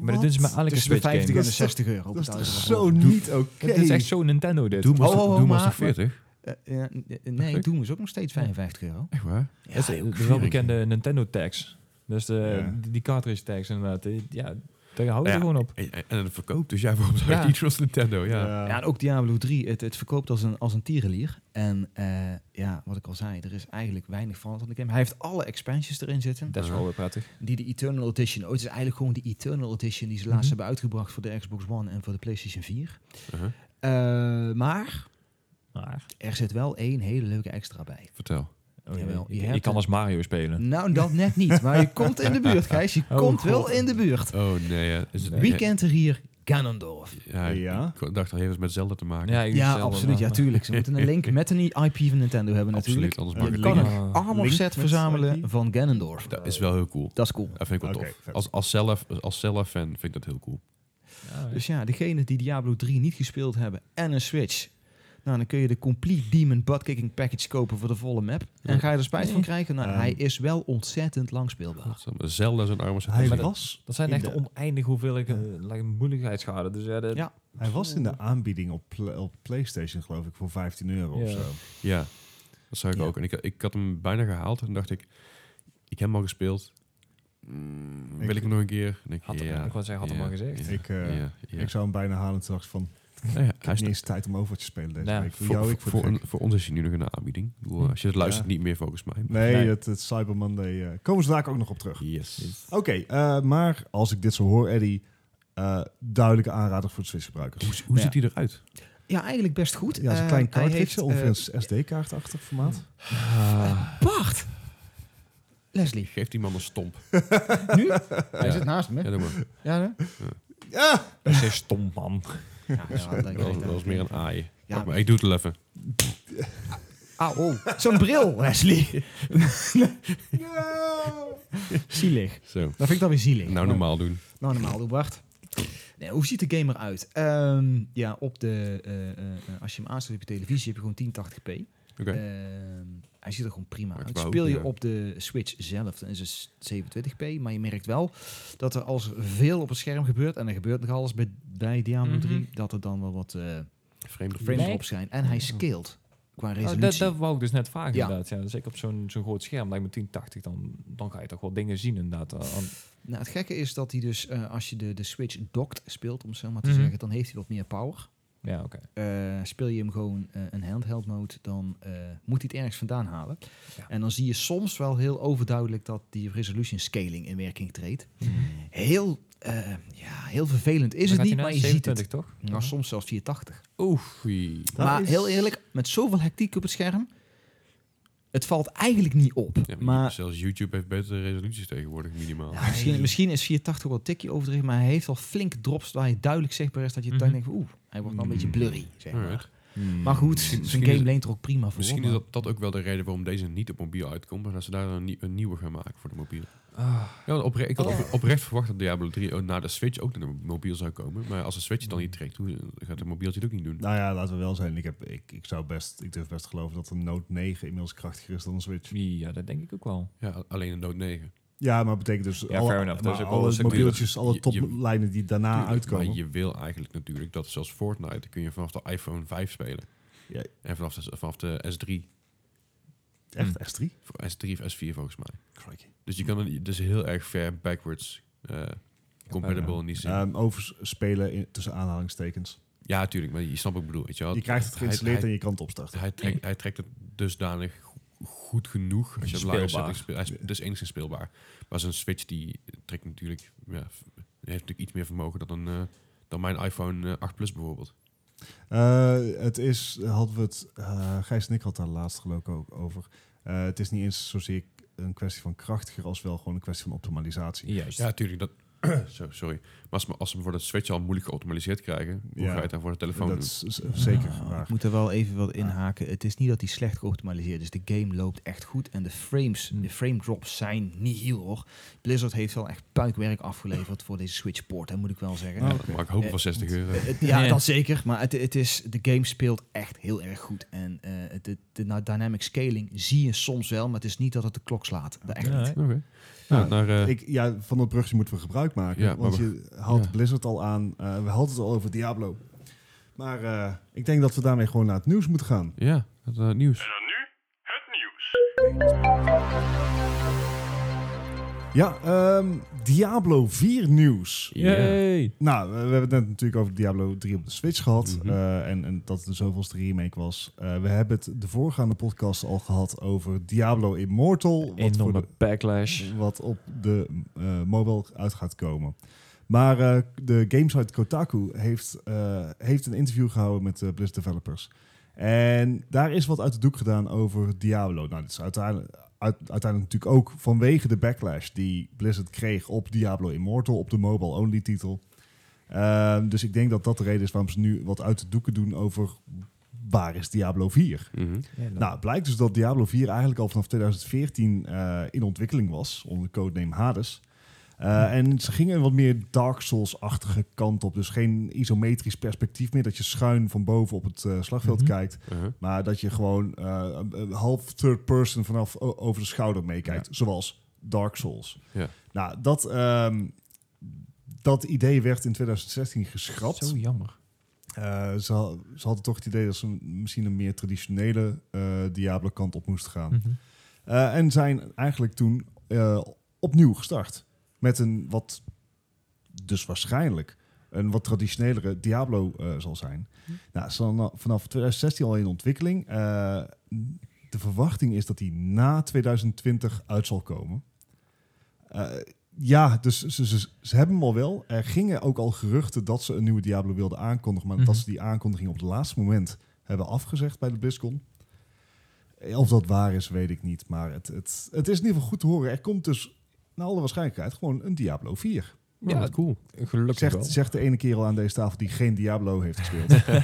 Speaker 1: maar dit is maar elke
Speaker 3: tussen de
Speaker 1: Switch
Speaker 3: 50
Speaker 1: game.
Speaker 3: en
Speaker 4: Oh, Dat
Speaker 3: de
Speaker 4: is toch-
Speaker 3: 60 euro.
Speaker 4: Dat is toch
Speaker 3: betalen ze
Speaker 4: zo
Speaker 3: ervoor.
Speaker 4: niet oké.
Speaker 1: Dit is echt zo Nintendo dit.
Speaker 2: Doe maar
Speaker 3: Oh, oh,
Speaker 2: doe maar
Speaker 3: maar-
Speaker 2: 40.
Speaker 3: Eh, eh, eh, nee,
Speaker 2: Echt?
Speaker 3: doen we ook nog steeds 55 euro.
Speaker 2: Echt waar?
Speaker 1: Dat is, dat is wel
Speaker 2: Tering.
Speaker 1: bekende Nintendo tags. Dus de,
Speaker 4: Ja.
Speaker 1: die, die cartridge tags inderdaad. die- Ja, daar houden
Speaker 2: Ja.
Speaker 1: ze gewoon op.
Speaker 2: En, en- en het verkoopt, dus jij waarom zou
Speaker 1: Ja.
Speaker 2: je iets als Nintendo? Ja.
Speaker 3: Ja, en ook Diablo 3, het, het verkoopt als een, als een tierenlier. En eh, ja, wat ik al zei, er is eigenlijk weinig veranderd aan de game. Hij heeft alle expansions erin zitten.
Speaker 1: Dat is wel weer prettig.
Speaker 3: Die de Eternal Edition, oh, het is eigenlijk gewoon de Eternal Edition die ze laatst
Speaker 1: Mhm.
Speaker 3: hebben uitgebracht voor de Xbox One en voor de PlayStation 4.
Speaker 2: Uh-huh.
Speaker 3: Eh, maar
Speaker 1: Maar,
Speaker 3: er zit wel één hele leuke extra bij.
Speaker 2: Vertel.
Speaker 1: oh,
Speaker 3: Jawel,
Speaker 1: je,
Speaker 3: je
Speaker 1: je
Speaker 3: hebt
Speaker 1: kan
Speaker 3: een-
Speaker 1: als Mario spelen.
Speaker 3: Nou, dat net niet. Maar je komt in de buurt, Gijs. Je
Speaker 1: Oh,
Speaker 3: komt
Speaker 1: God.
Speaker 3: wel in de buurt.
Speaker 2: Oh nee, ja. Is het,
Speaker 3: Wie kent er hier Ganondorf?
Speaker 2: Ja, ik-
Speaker 4: Ja.
Speaker 2: ik dacht al heeft het met Zelda te maken.
Speaker 1: Ja, ik doe
Speaker 3: Ja,
Speaker 1: hetzelfde,
Speaker 3: absoluut. Ja,
Speaker 1: maar-
Speaker 3: tuurlijk. Ze moeten een link met een IP van Nintendo hebben natuurlijk.
Speaker 2: Absoluut, anders
Speaker 4: Ja,
Speaker 2: maakt
Speaker 3: Je
Speaker 2: het
Speaker 3: kan
Speaker 2: link.
Speaker 3: een
Speaker 1: Ah,
Speaker 3: armor
Speaker 4: link
Speaker 3: set
Speaker 4: met IP.
Speaker 3: verzamelen van Ganondorf.
Speaker 2: Dat is wel heel cool.
Speaker 3: Dat is cool.
Speaker 2: Dat vind ik wel
Speaker 4: Oké,
Speaker 2: tof.
Speaker 4: vet.
Speaker 2: Als, als, zelf, als zelf fan vind ik dat heel cool.
Speaker 1: Ja,
Speaker 3: Dus ja, degene die Diablo 3 niet gespeeld hebben en een Switch... Nou, dan kun je de Complete Demon Buttkicking Package kopen voor de volle map. En ga je er spijt van krijgen? Nou,
Speaker 4: Ehm.
Speaker 3: hij is wel ontzettend lang speelbaar.
Speaker 2: Godsamme, Zelda zijn armers.
Speaker 4: Ah. Hij
Speaker 1: Maar dat-
Speaker 4: was,
Speaker 1: Dat zijn
Speaker 4: in
Speaker 1: echt
Speaker 4: de-
Speaker 1: oneindig hoeveel ik, moeilijkheidsschade. Dus ja, dat,
Speaker 3: Ja.
Speaker 4: hij was in de aanbieding op, pla- op PlayStation, geloof ik, voor 15 euro of
Speaker 1: Ja.
Speaker 4: zo.
Speaker 2: Ja, dat zou ik
Speaker 3: Ja.
Speaker 2: ook. En ik, ik had hem bijna gehaald en dacht ik, ik heb hem al gespeeld. Mm,
Speaker 4: Ik-
Speaker 2: wil ik hem nog een keer? En ik,
Speaker 1: had hem,
Speaker 2: ja,
Speaker 1: ik wou zeggen, had hem
Speaker 2: ja,
Speaker 1: al gezegd.
Speaker 2: Ja,
Speaker 4: Ik, eh,
Speaker 2: ja, ja.
Speaker 4: Ik zou hem bijna halen en toen dacht ik van,
Speaker 2: Nou ja,
Speaker 4: ik
Speaker 2: hij
Speaker 4: heb
Speaker 2: is-
Speaker 4: niet eens tijd om over te spelen deze
Speaker 1: Nou,
Speaker 4: week. Voor,
Speaker 2: voor,
Speaker 4: jou, ik
Speaker 2: voor,
Speaker 4: voor, de gek. Hm.
Speaker 2: voor- voor ons is hij nu nog in de aanbieding. Ik bedoel, als je het luistert,
Speaker 4: Ja.
Speaker 2: niet meer volgens mij.
Speaker 4: Nee,
Speaker 1: Nee.
Speaker 4: Het, het Cyber Monday. eh, komen ze daar ook nog op terug.
Speaker 2: Yes.
Speaker 4: Oké, eh, maar als ik dit zo hoor, Eddie, eh duidelijke aanrader voor de Switch gebruikers.
Speaker 2: Hoe, hoe
Speaker 3: Ja.
Speaker 2: ziet hij eruit?
Speaker 3: Ja, eigenlijk best goed.
Speaker 4: Ja, zo'n
Speaker 3: Eh,
Speaker 4: klein
Speaker 3: hij heeft,
Speaker 4: cartridge,
Speaker 3: eh,
Speaker 4: ongeveer een SD-kaartachtig formaat.
Speaker 1: Ah,
Speaker 3: Bart! Leslie,
Speaker 2: Geef die man een stomp.
Speaker 3: nu? Hij zit naast me.
Speaker 2: Ja, doe maar.
Speaker 3: Ja, hè?
Speaker 4: Ja!
Speaker 1: Dat is een stom man.
Speaker 3: Ja, ja, dat
Speaker 2: Dat was, dat was meer een aai.
Speaker 3: Ja.
Speaker 2: Pak maar, ik doe het wel even.
Speaker 3: Ah, oh. Zo'n bril, Wesley. zielig.
Speaker 2: Zo.
Speaker 3: Dat vind ik dan weer zielig.
Speaker 2: Nou, normaal doen.
Speaker 3: Nou, normaal doe Bart. Nee, hoe ziet de game eruit? Ehm, ja, op de, eh, eh, eh, als je hem aansluit op je televisie heb je gewoon 1080p.
Speaker 2: Oké.
Speaker 3: Ehm, hij ziet er gewoon prima
Speaker 2: Maar ik
Speaker 3: uit.
Speaker 2: wou
Speaker 3: Speel
Speaker 2: ook,
Speaker 3: je
Speaker 2: ja.
Speaker 3: op de Switch zelf, dan is het 27p. Maar je merkt wel dat er als er veel op het scherm gebeurt, en er gebeurt nog alles bij, bij Diablo 3,
Speaker 1: Mhm.
Speaker 3: dat er dan wel wat eh
Speaker 2: Vreemde
Speaker 3: frames
Speaker 1: Nee.
Speaker 3: op zijn. En hij scaled qua
Speaker 1: Oh,
Speaker 3: resolutie.
Speaker 1: dat, dat wou ik dus net vragen
Speaker 3: Ja.
Speaker 1: inderdaad. Ja, zeker op zo'n zo'n groot scherm, lijkt me 1080, dan, dan ga je toch wel dingen zien inderdaad. eh, aan-
Speaker 3: Nou, het gekke is dat hij dus, eh, als je de, de Switch docked speelt, om het zo maar te
Speaker 1: Mhm.
Speaker 3: zeggen, dan heeft hij wat meer power.
Speaker 1: ja, oké.
Speaker 3: Eh, speel je hem gewoon eh, een handheld mode, dan eh, moet hij het ergens vandaan halen.
Speaker 1: Ja.
Speaker 3: En dan zie je soms wel heel overduidelijk dat die resolution scaling in werking treedt. Heel, eh, ja, heel vervelend
Speaker 1: Dan
Speaker 3: is
Speaker 1: gaat
Speaker 3: het
Speaker 1: hij
Speaker 2: nou?
Speaker 3: niet,
Speaker 1: naar
Speaker 3: maar je ziet het.
Speaker 1: 27, toch?
Speaker 3: Nou, soms zelfs 480.
Speaker 2: Oei.
Speaker 4: Dat
Speaker 3: maar
Speaker 4: is-
Speaker 3: heel eerlijk, met zoveel hectiek op het scherm, het valt eigenlijk niet op.
Speaker 2: Ja, maar
Speaker 3: maar
Speaker 2: zelfs YouTube heeft betere resoluties tegenwoordig, minimaal.
Speaker 3: Ja, misschien, misschien is 480 wel een tikje overdreven, maar hij heeft al flink drops waar je duidelijk zichtbaar is dat je
Speaker 1: Mhm.
Speaker 3: dan denkt, oeh, hij wordt nou een beetje blurry. Zeg maar.
Speaker 2: Alright.
Speaker 1: Hmm.
Speaker 3: Maar goed, zijn
Speaker 2: Mhm. misschien
Speaker 3: game
Speaker 2: is-
Speaker 3: leent er ook prima voor.
Speaker 2: Misschien is
Speaker 3: maar-
Speaker 2: dat, dat ook wel de reden waarom deze niet op mobiel uitkomt. Maar dat ze daar een, nie- een nieuwe gaan maken voor de mobiel. Ja, want opre- ik had
Speaker 3: Oh.
Speaker 2: op- oprecht verwacht dat Diablo 3 ook naar de Switch ook naar de mobiel zou komen. Maar als de Switch het dan niet trekt, hoe- gaat de mobieltje het ook niet doen.
Speaker 4: Nou ja, laten we wel zijn. Ik, heb, ik, ik zou best, ik durf best te geloven dat een Note 9 inmiddels krachtiger is dan een Switch.
Speaker 1: Ah, Ja, dat denk ik ook wel.
Speaker 2: Ja, a- alleen een Note 9.
Speaker 4: Ja, maar betekent dus
Speaker 1: Ja,
Speaker 4: alle,
Speaker 1: fair enough. Dat
Speaker 4: maar
Speaker 1: is ook wel een
Speaker 4: alle
Speaker 1: stuk
Speaker 4: mobieltjes, alle
Speaker 2: duurder. Je- je-
Speaker 4: toplijnen die daarna
Speaker 2: Tuurlijk,
Speaker 4: uitkomen.
Speaker 2: Maar je wil eigenlijk natuurlijk dat zelfs Fortnite, die kun je vanaf de iPhone 5 spelen.
Speaker 4: Ja.
Speaker 2: En vanaf de, vanaf de S3,
Speaker 4: Echt, S3?
Speaker 2: voor S3 of S4 volgens mij.
Speaker 4: Crikey.
Speaker 2: Dus je kan een, dus heel erg ver backwards eh, compatible in die zin.
Speaker 4: Ehm, overigens spelen in- tussen aanhalingstekens.
Speaker 2: ja, natuurlijk, maar je snapt wat ik bedoel. Weet je, wel.
Speaker 4: Je krijgt het
Speaker 2: Hij-
Speaker 4: geïnstalleerd
Speaker 2: hij-
Speaker 4: en je kan het opstarten.
Speaker 2: Hij trekt, hij trekt het dusdanig go- goed genoeg. Als je het langer
Speaker 1: Speelbaar.
Speaker 2: zet, speel- hij is dus enigszins speelbaar. Maar zo'n Switch die trekt natuurlijk, ja, v- die heeft natuurlijk iets meer vermogen dan, een, eh, dan mijn iPhone eh, 8 Plus bijvoorbeeld.
Speaker 4: Eh, het is, hadden we het, eh, Gijs en ik had daar laatst geloof ik ook over. Eh, het is niet eens zozeer een kwestie van krachtiger als wel gewoon een kwestie van optimalisatie.
Speaker 1: Juist.
Speaker 2: Ja, natuurlijk. Dat, zo, sorry. Maar als, we- als ze hem voor de Switch al moeilijk geautomatiseerd krijgen, hoe
Speaker 4: Ja.
Speaker 2: ga je het dan voor de telefoon
Speaker 4: dat
Speaker 2: doen?
Speaker 4: is z- zeker
Speaker 3: Nou,
Speaker 4: waar.
Speaker 3: Ik moet er wel even wat inhaken. Het is niet dat die slecht geoptimaliseerd is. De game loopt echt goed en de frames,
Speaker 4: Hm.
Speaker 1: Hmm.
Speaker 3: de frame drops zijn niet heel hoor. Blizzard heeft wel echt puikwerk afgeleverd voor deze Switch port, hè, moet ik wel zeggen.
Speaker 4: Oh,
Speaker 2: Ja,
Speaker 4: oké.
Speaker 2: Maar ik hoop
Speaker 3: Eh,
Speaker 2: voor 60 euro.
Speaker 3: Eh, het- ja,
Speaker 1: Ja.
Speaker 3: dat zeker. Maar het, het is, de game speelt echt heel erg goed. En eh, de, de na- dynamic scaling zie je soms wel, maar het is niet dat het de klok slaat. Dat echt
Speaker 1: Ja,
Speaker 3: niet.
Speaker 1: hè?
Speaker 2: Oké.
Speaker 4: Nou,
Speaker 2: Nou, naar, eh,
Speaker 4: Ik, ja, van dat brugje moeten we gebruik maken.
Speaker 2: Ja,
Speaker 4: want
Speaker 2: maar
Speaker 4: je haalt
Speaker 2: ja.
Speaker 4: Blizzard al aan. Eh, we hadden het al over Diablo. Maar eh, ik denk dat we daarmee gewoon naar het nieuws moeten gaan.
Speaker 2: ja, het eh, nieuws.
Speaker 4: Ja, ehm, Diablo 4 nieuws.
Speaker 2: Yay!
Speaker 4: Nou, we we hebben het net natuurlijk over Diablo 3 op de Switch gehad.
Speaker 2: Mhm.
Speaker 4: eh, en, en dat het de zoveelste remake was. Eh, we hebben het de voorgaande podcast al gehad over Diablo Immortal. Wat voor
Speaker 1: Enorme
Speaker 4: de-
Speaker 1: backlash.
Speaker 4: wat op de eh, mobile uit gaat komen. Maar eh, de gamesite Kotaku heeft, eh, heeft een interview gehouden met de Blizzard developers. En daar is wat uit de doek gedaan over Diablo. Nou, dit is uiteindelijk, uit- uiteindelijk natuurlijk ook vanwege de backlash die Blizzard kreeg op Diablo Immortal, op de mobile-only titel. Ehm, dus ik denk dat dat de reden is waarom ze nu wat uit de doeken doen over waar is Diablo 4?
Speaker 2: Mhm.
Speaker 4: Nou, het blijkt dus dat Diablo 4 eigenlijk al vanaf 2014 eh, in ontwikkeling was, onder codename Hades. Eh, En ze gingen een wat meer Dark Souls-achtige kant op. Dus geen isometrisch perspectief meer, dat je schuin van boven op het eh, slagveld
Speaker 1: Mhm.
Speaker 4: kijkt.
Speaker 2: Uh-huh.
Speaker 4: Maar dat je gewoon eh, eh, half third person vanaf o- over de schouder meekijkt. Zoals Dark Souls.
Speaker 2: Ja.
Speaker 4: Nou, dat, ehm, dat idee werd in 2016 geschrapt.
Speaker 1: Zo jammer.
Speaker 4: Eh, ze, ha- ze hadden toch het idee dat ze misschien een meer traditionele eh, Diablo-kant op moest gaan.
Speaker 1: Mhm.
Speaker 4: Eh, en zijn eigenlijk toen eh, opnieuw gestart. Met een wat, dus waarschijnlijk, een wat traditionelere Diablo eh, zal zijn.
Speaker 1: Hm.
Speaker 4: Nou, ze zijn al vanaf 2016 al in ontwikkeling. Eh, de verwachting is dat die na 2020 uit zal komen. Eh, ja, dus ze, ze, ze hebben hem al wel. Er gingen ook al geruchten dat ze een nieuwe Diablo wilden aankondigen. Maar dat
Speaker 1: Mhm.
Speaker 4: ze die aankondiging op het laatste moment hebben afgezegd bij de BlizzCon. Eh, Of dat waar is, weet ik niet. Maar het, het, het is in ieder geval goed te horen. Er komt dus, naar alle waarschijnlijkheid, gewoon een Diablo 4.
Speaker 1: Ja,
Speaker 2: Ja, dat is cool.
Speaker 1: Gelukkig wel.
Speaker 4: Zegt, zegt de ene kerel aan deze tafel die geen Diablo heeft gespeeld.
Speaker 2: nee,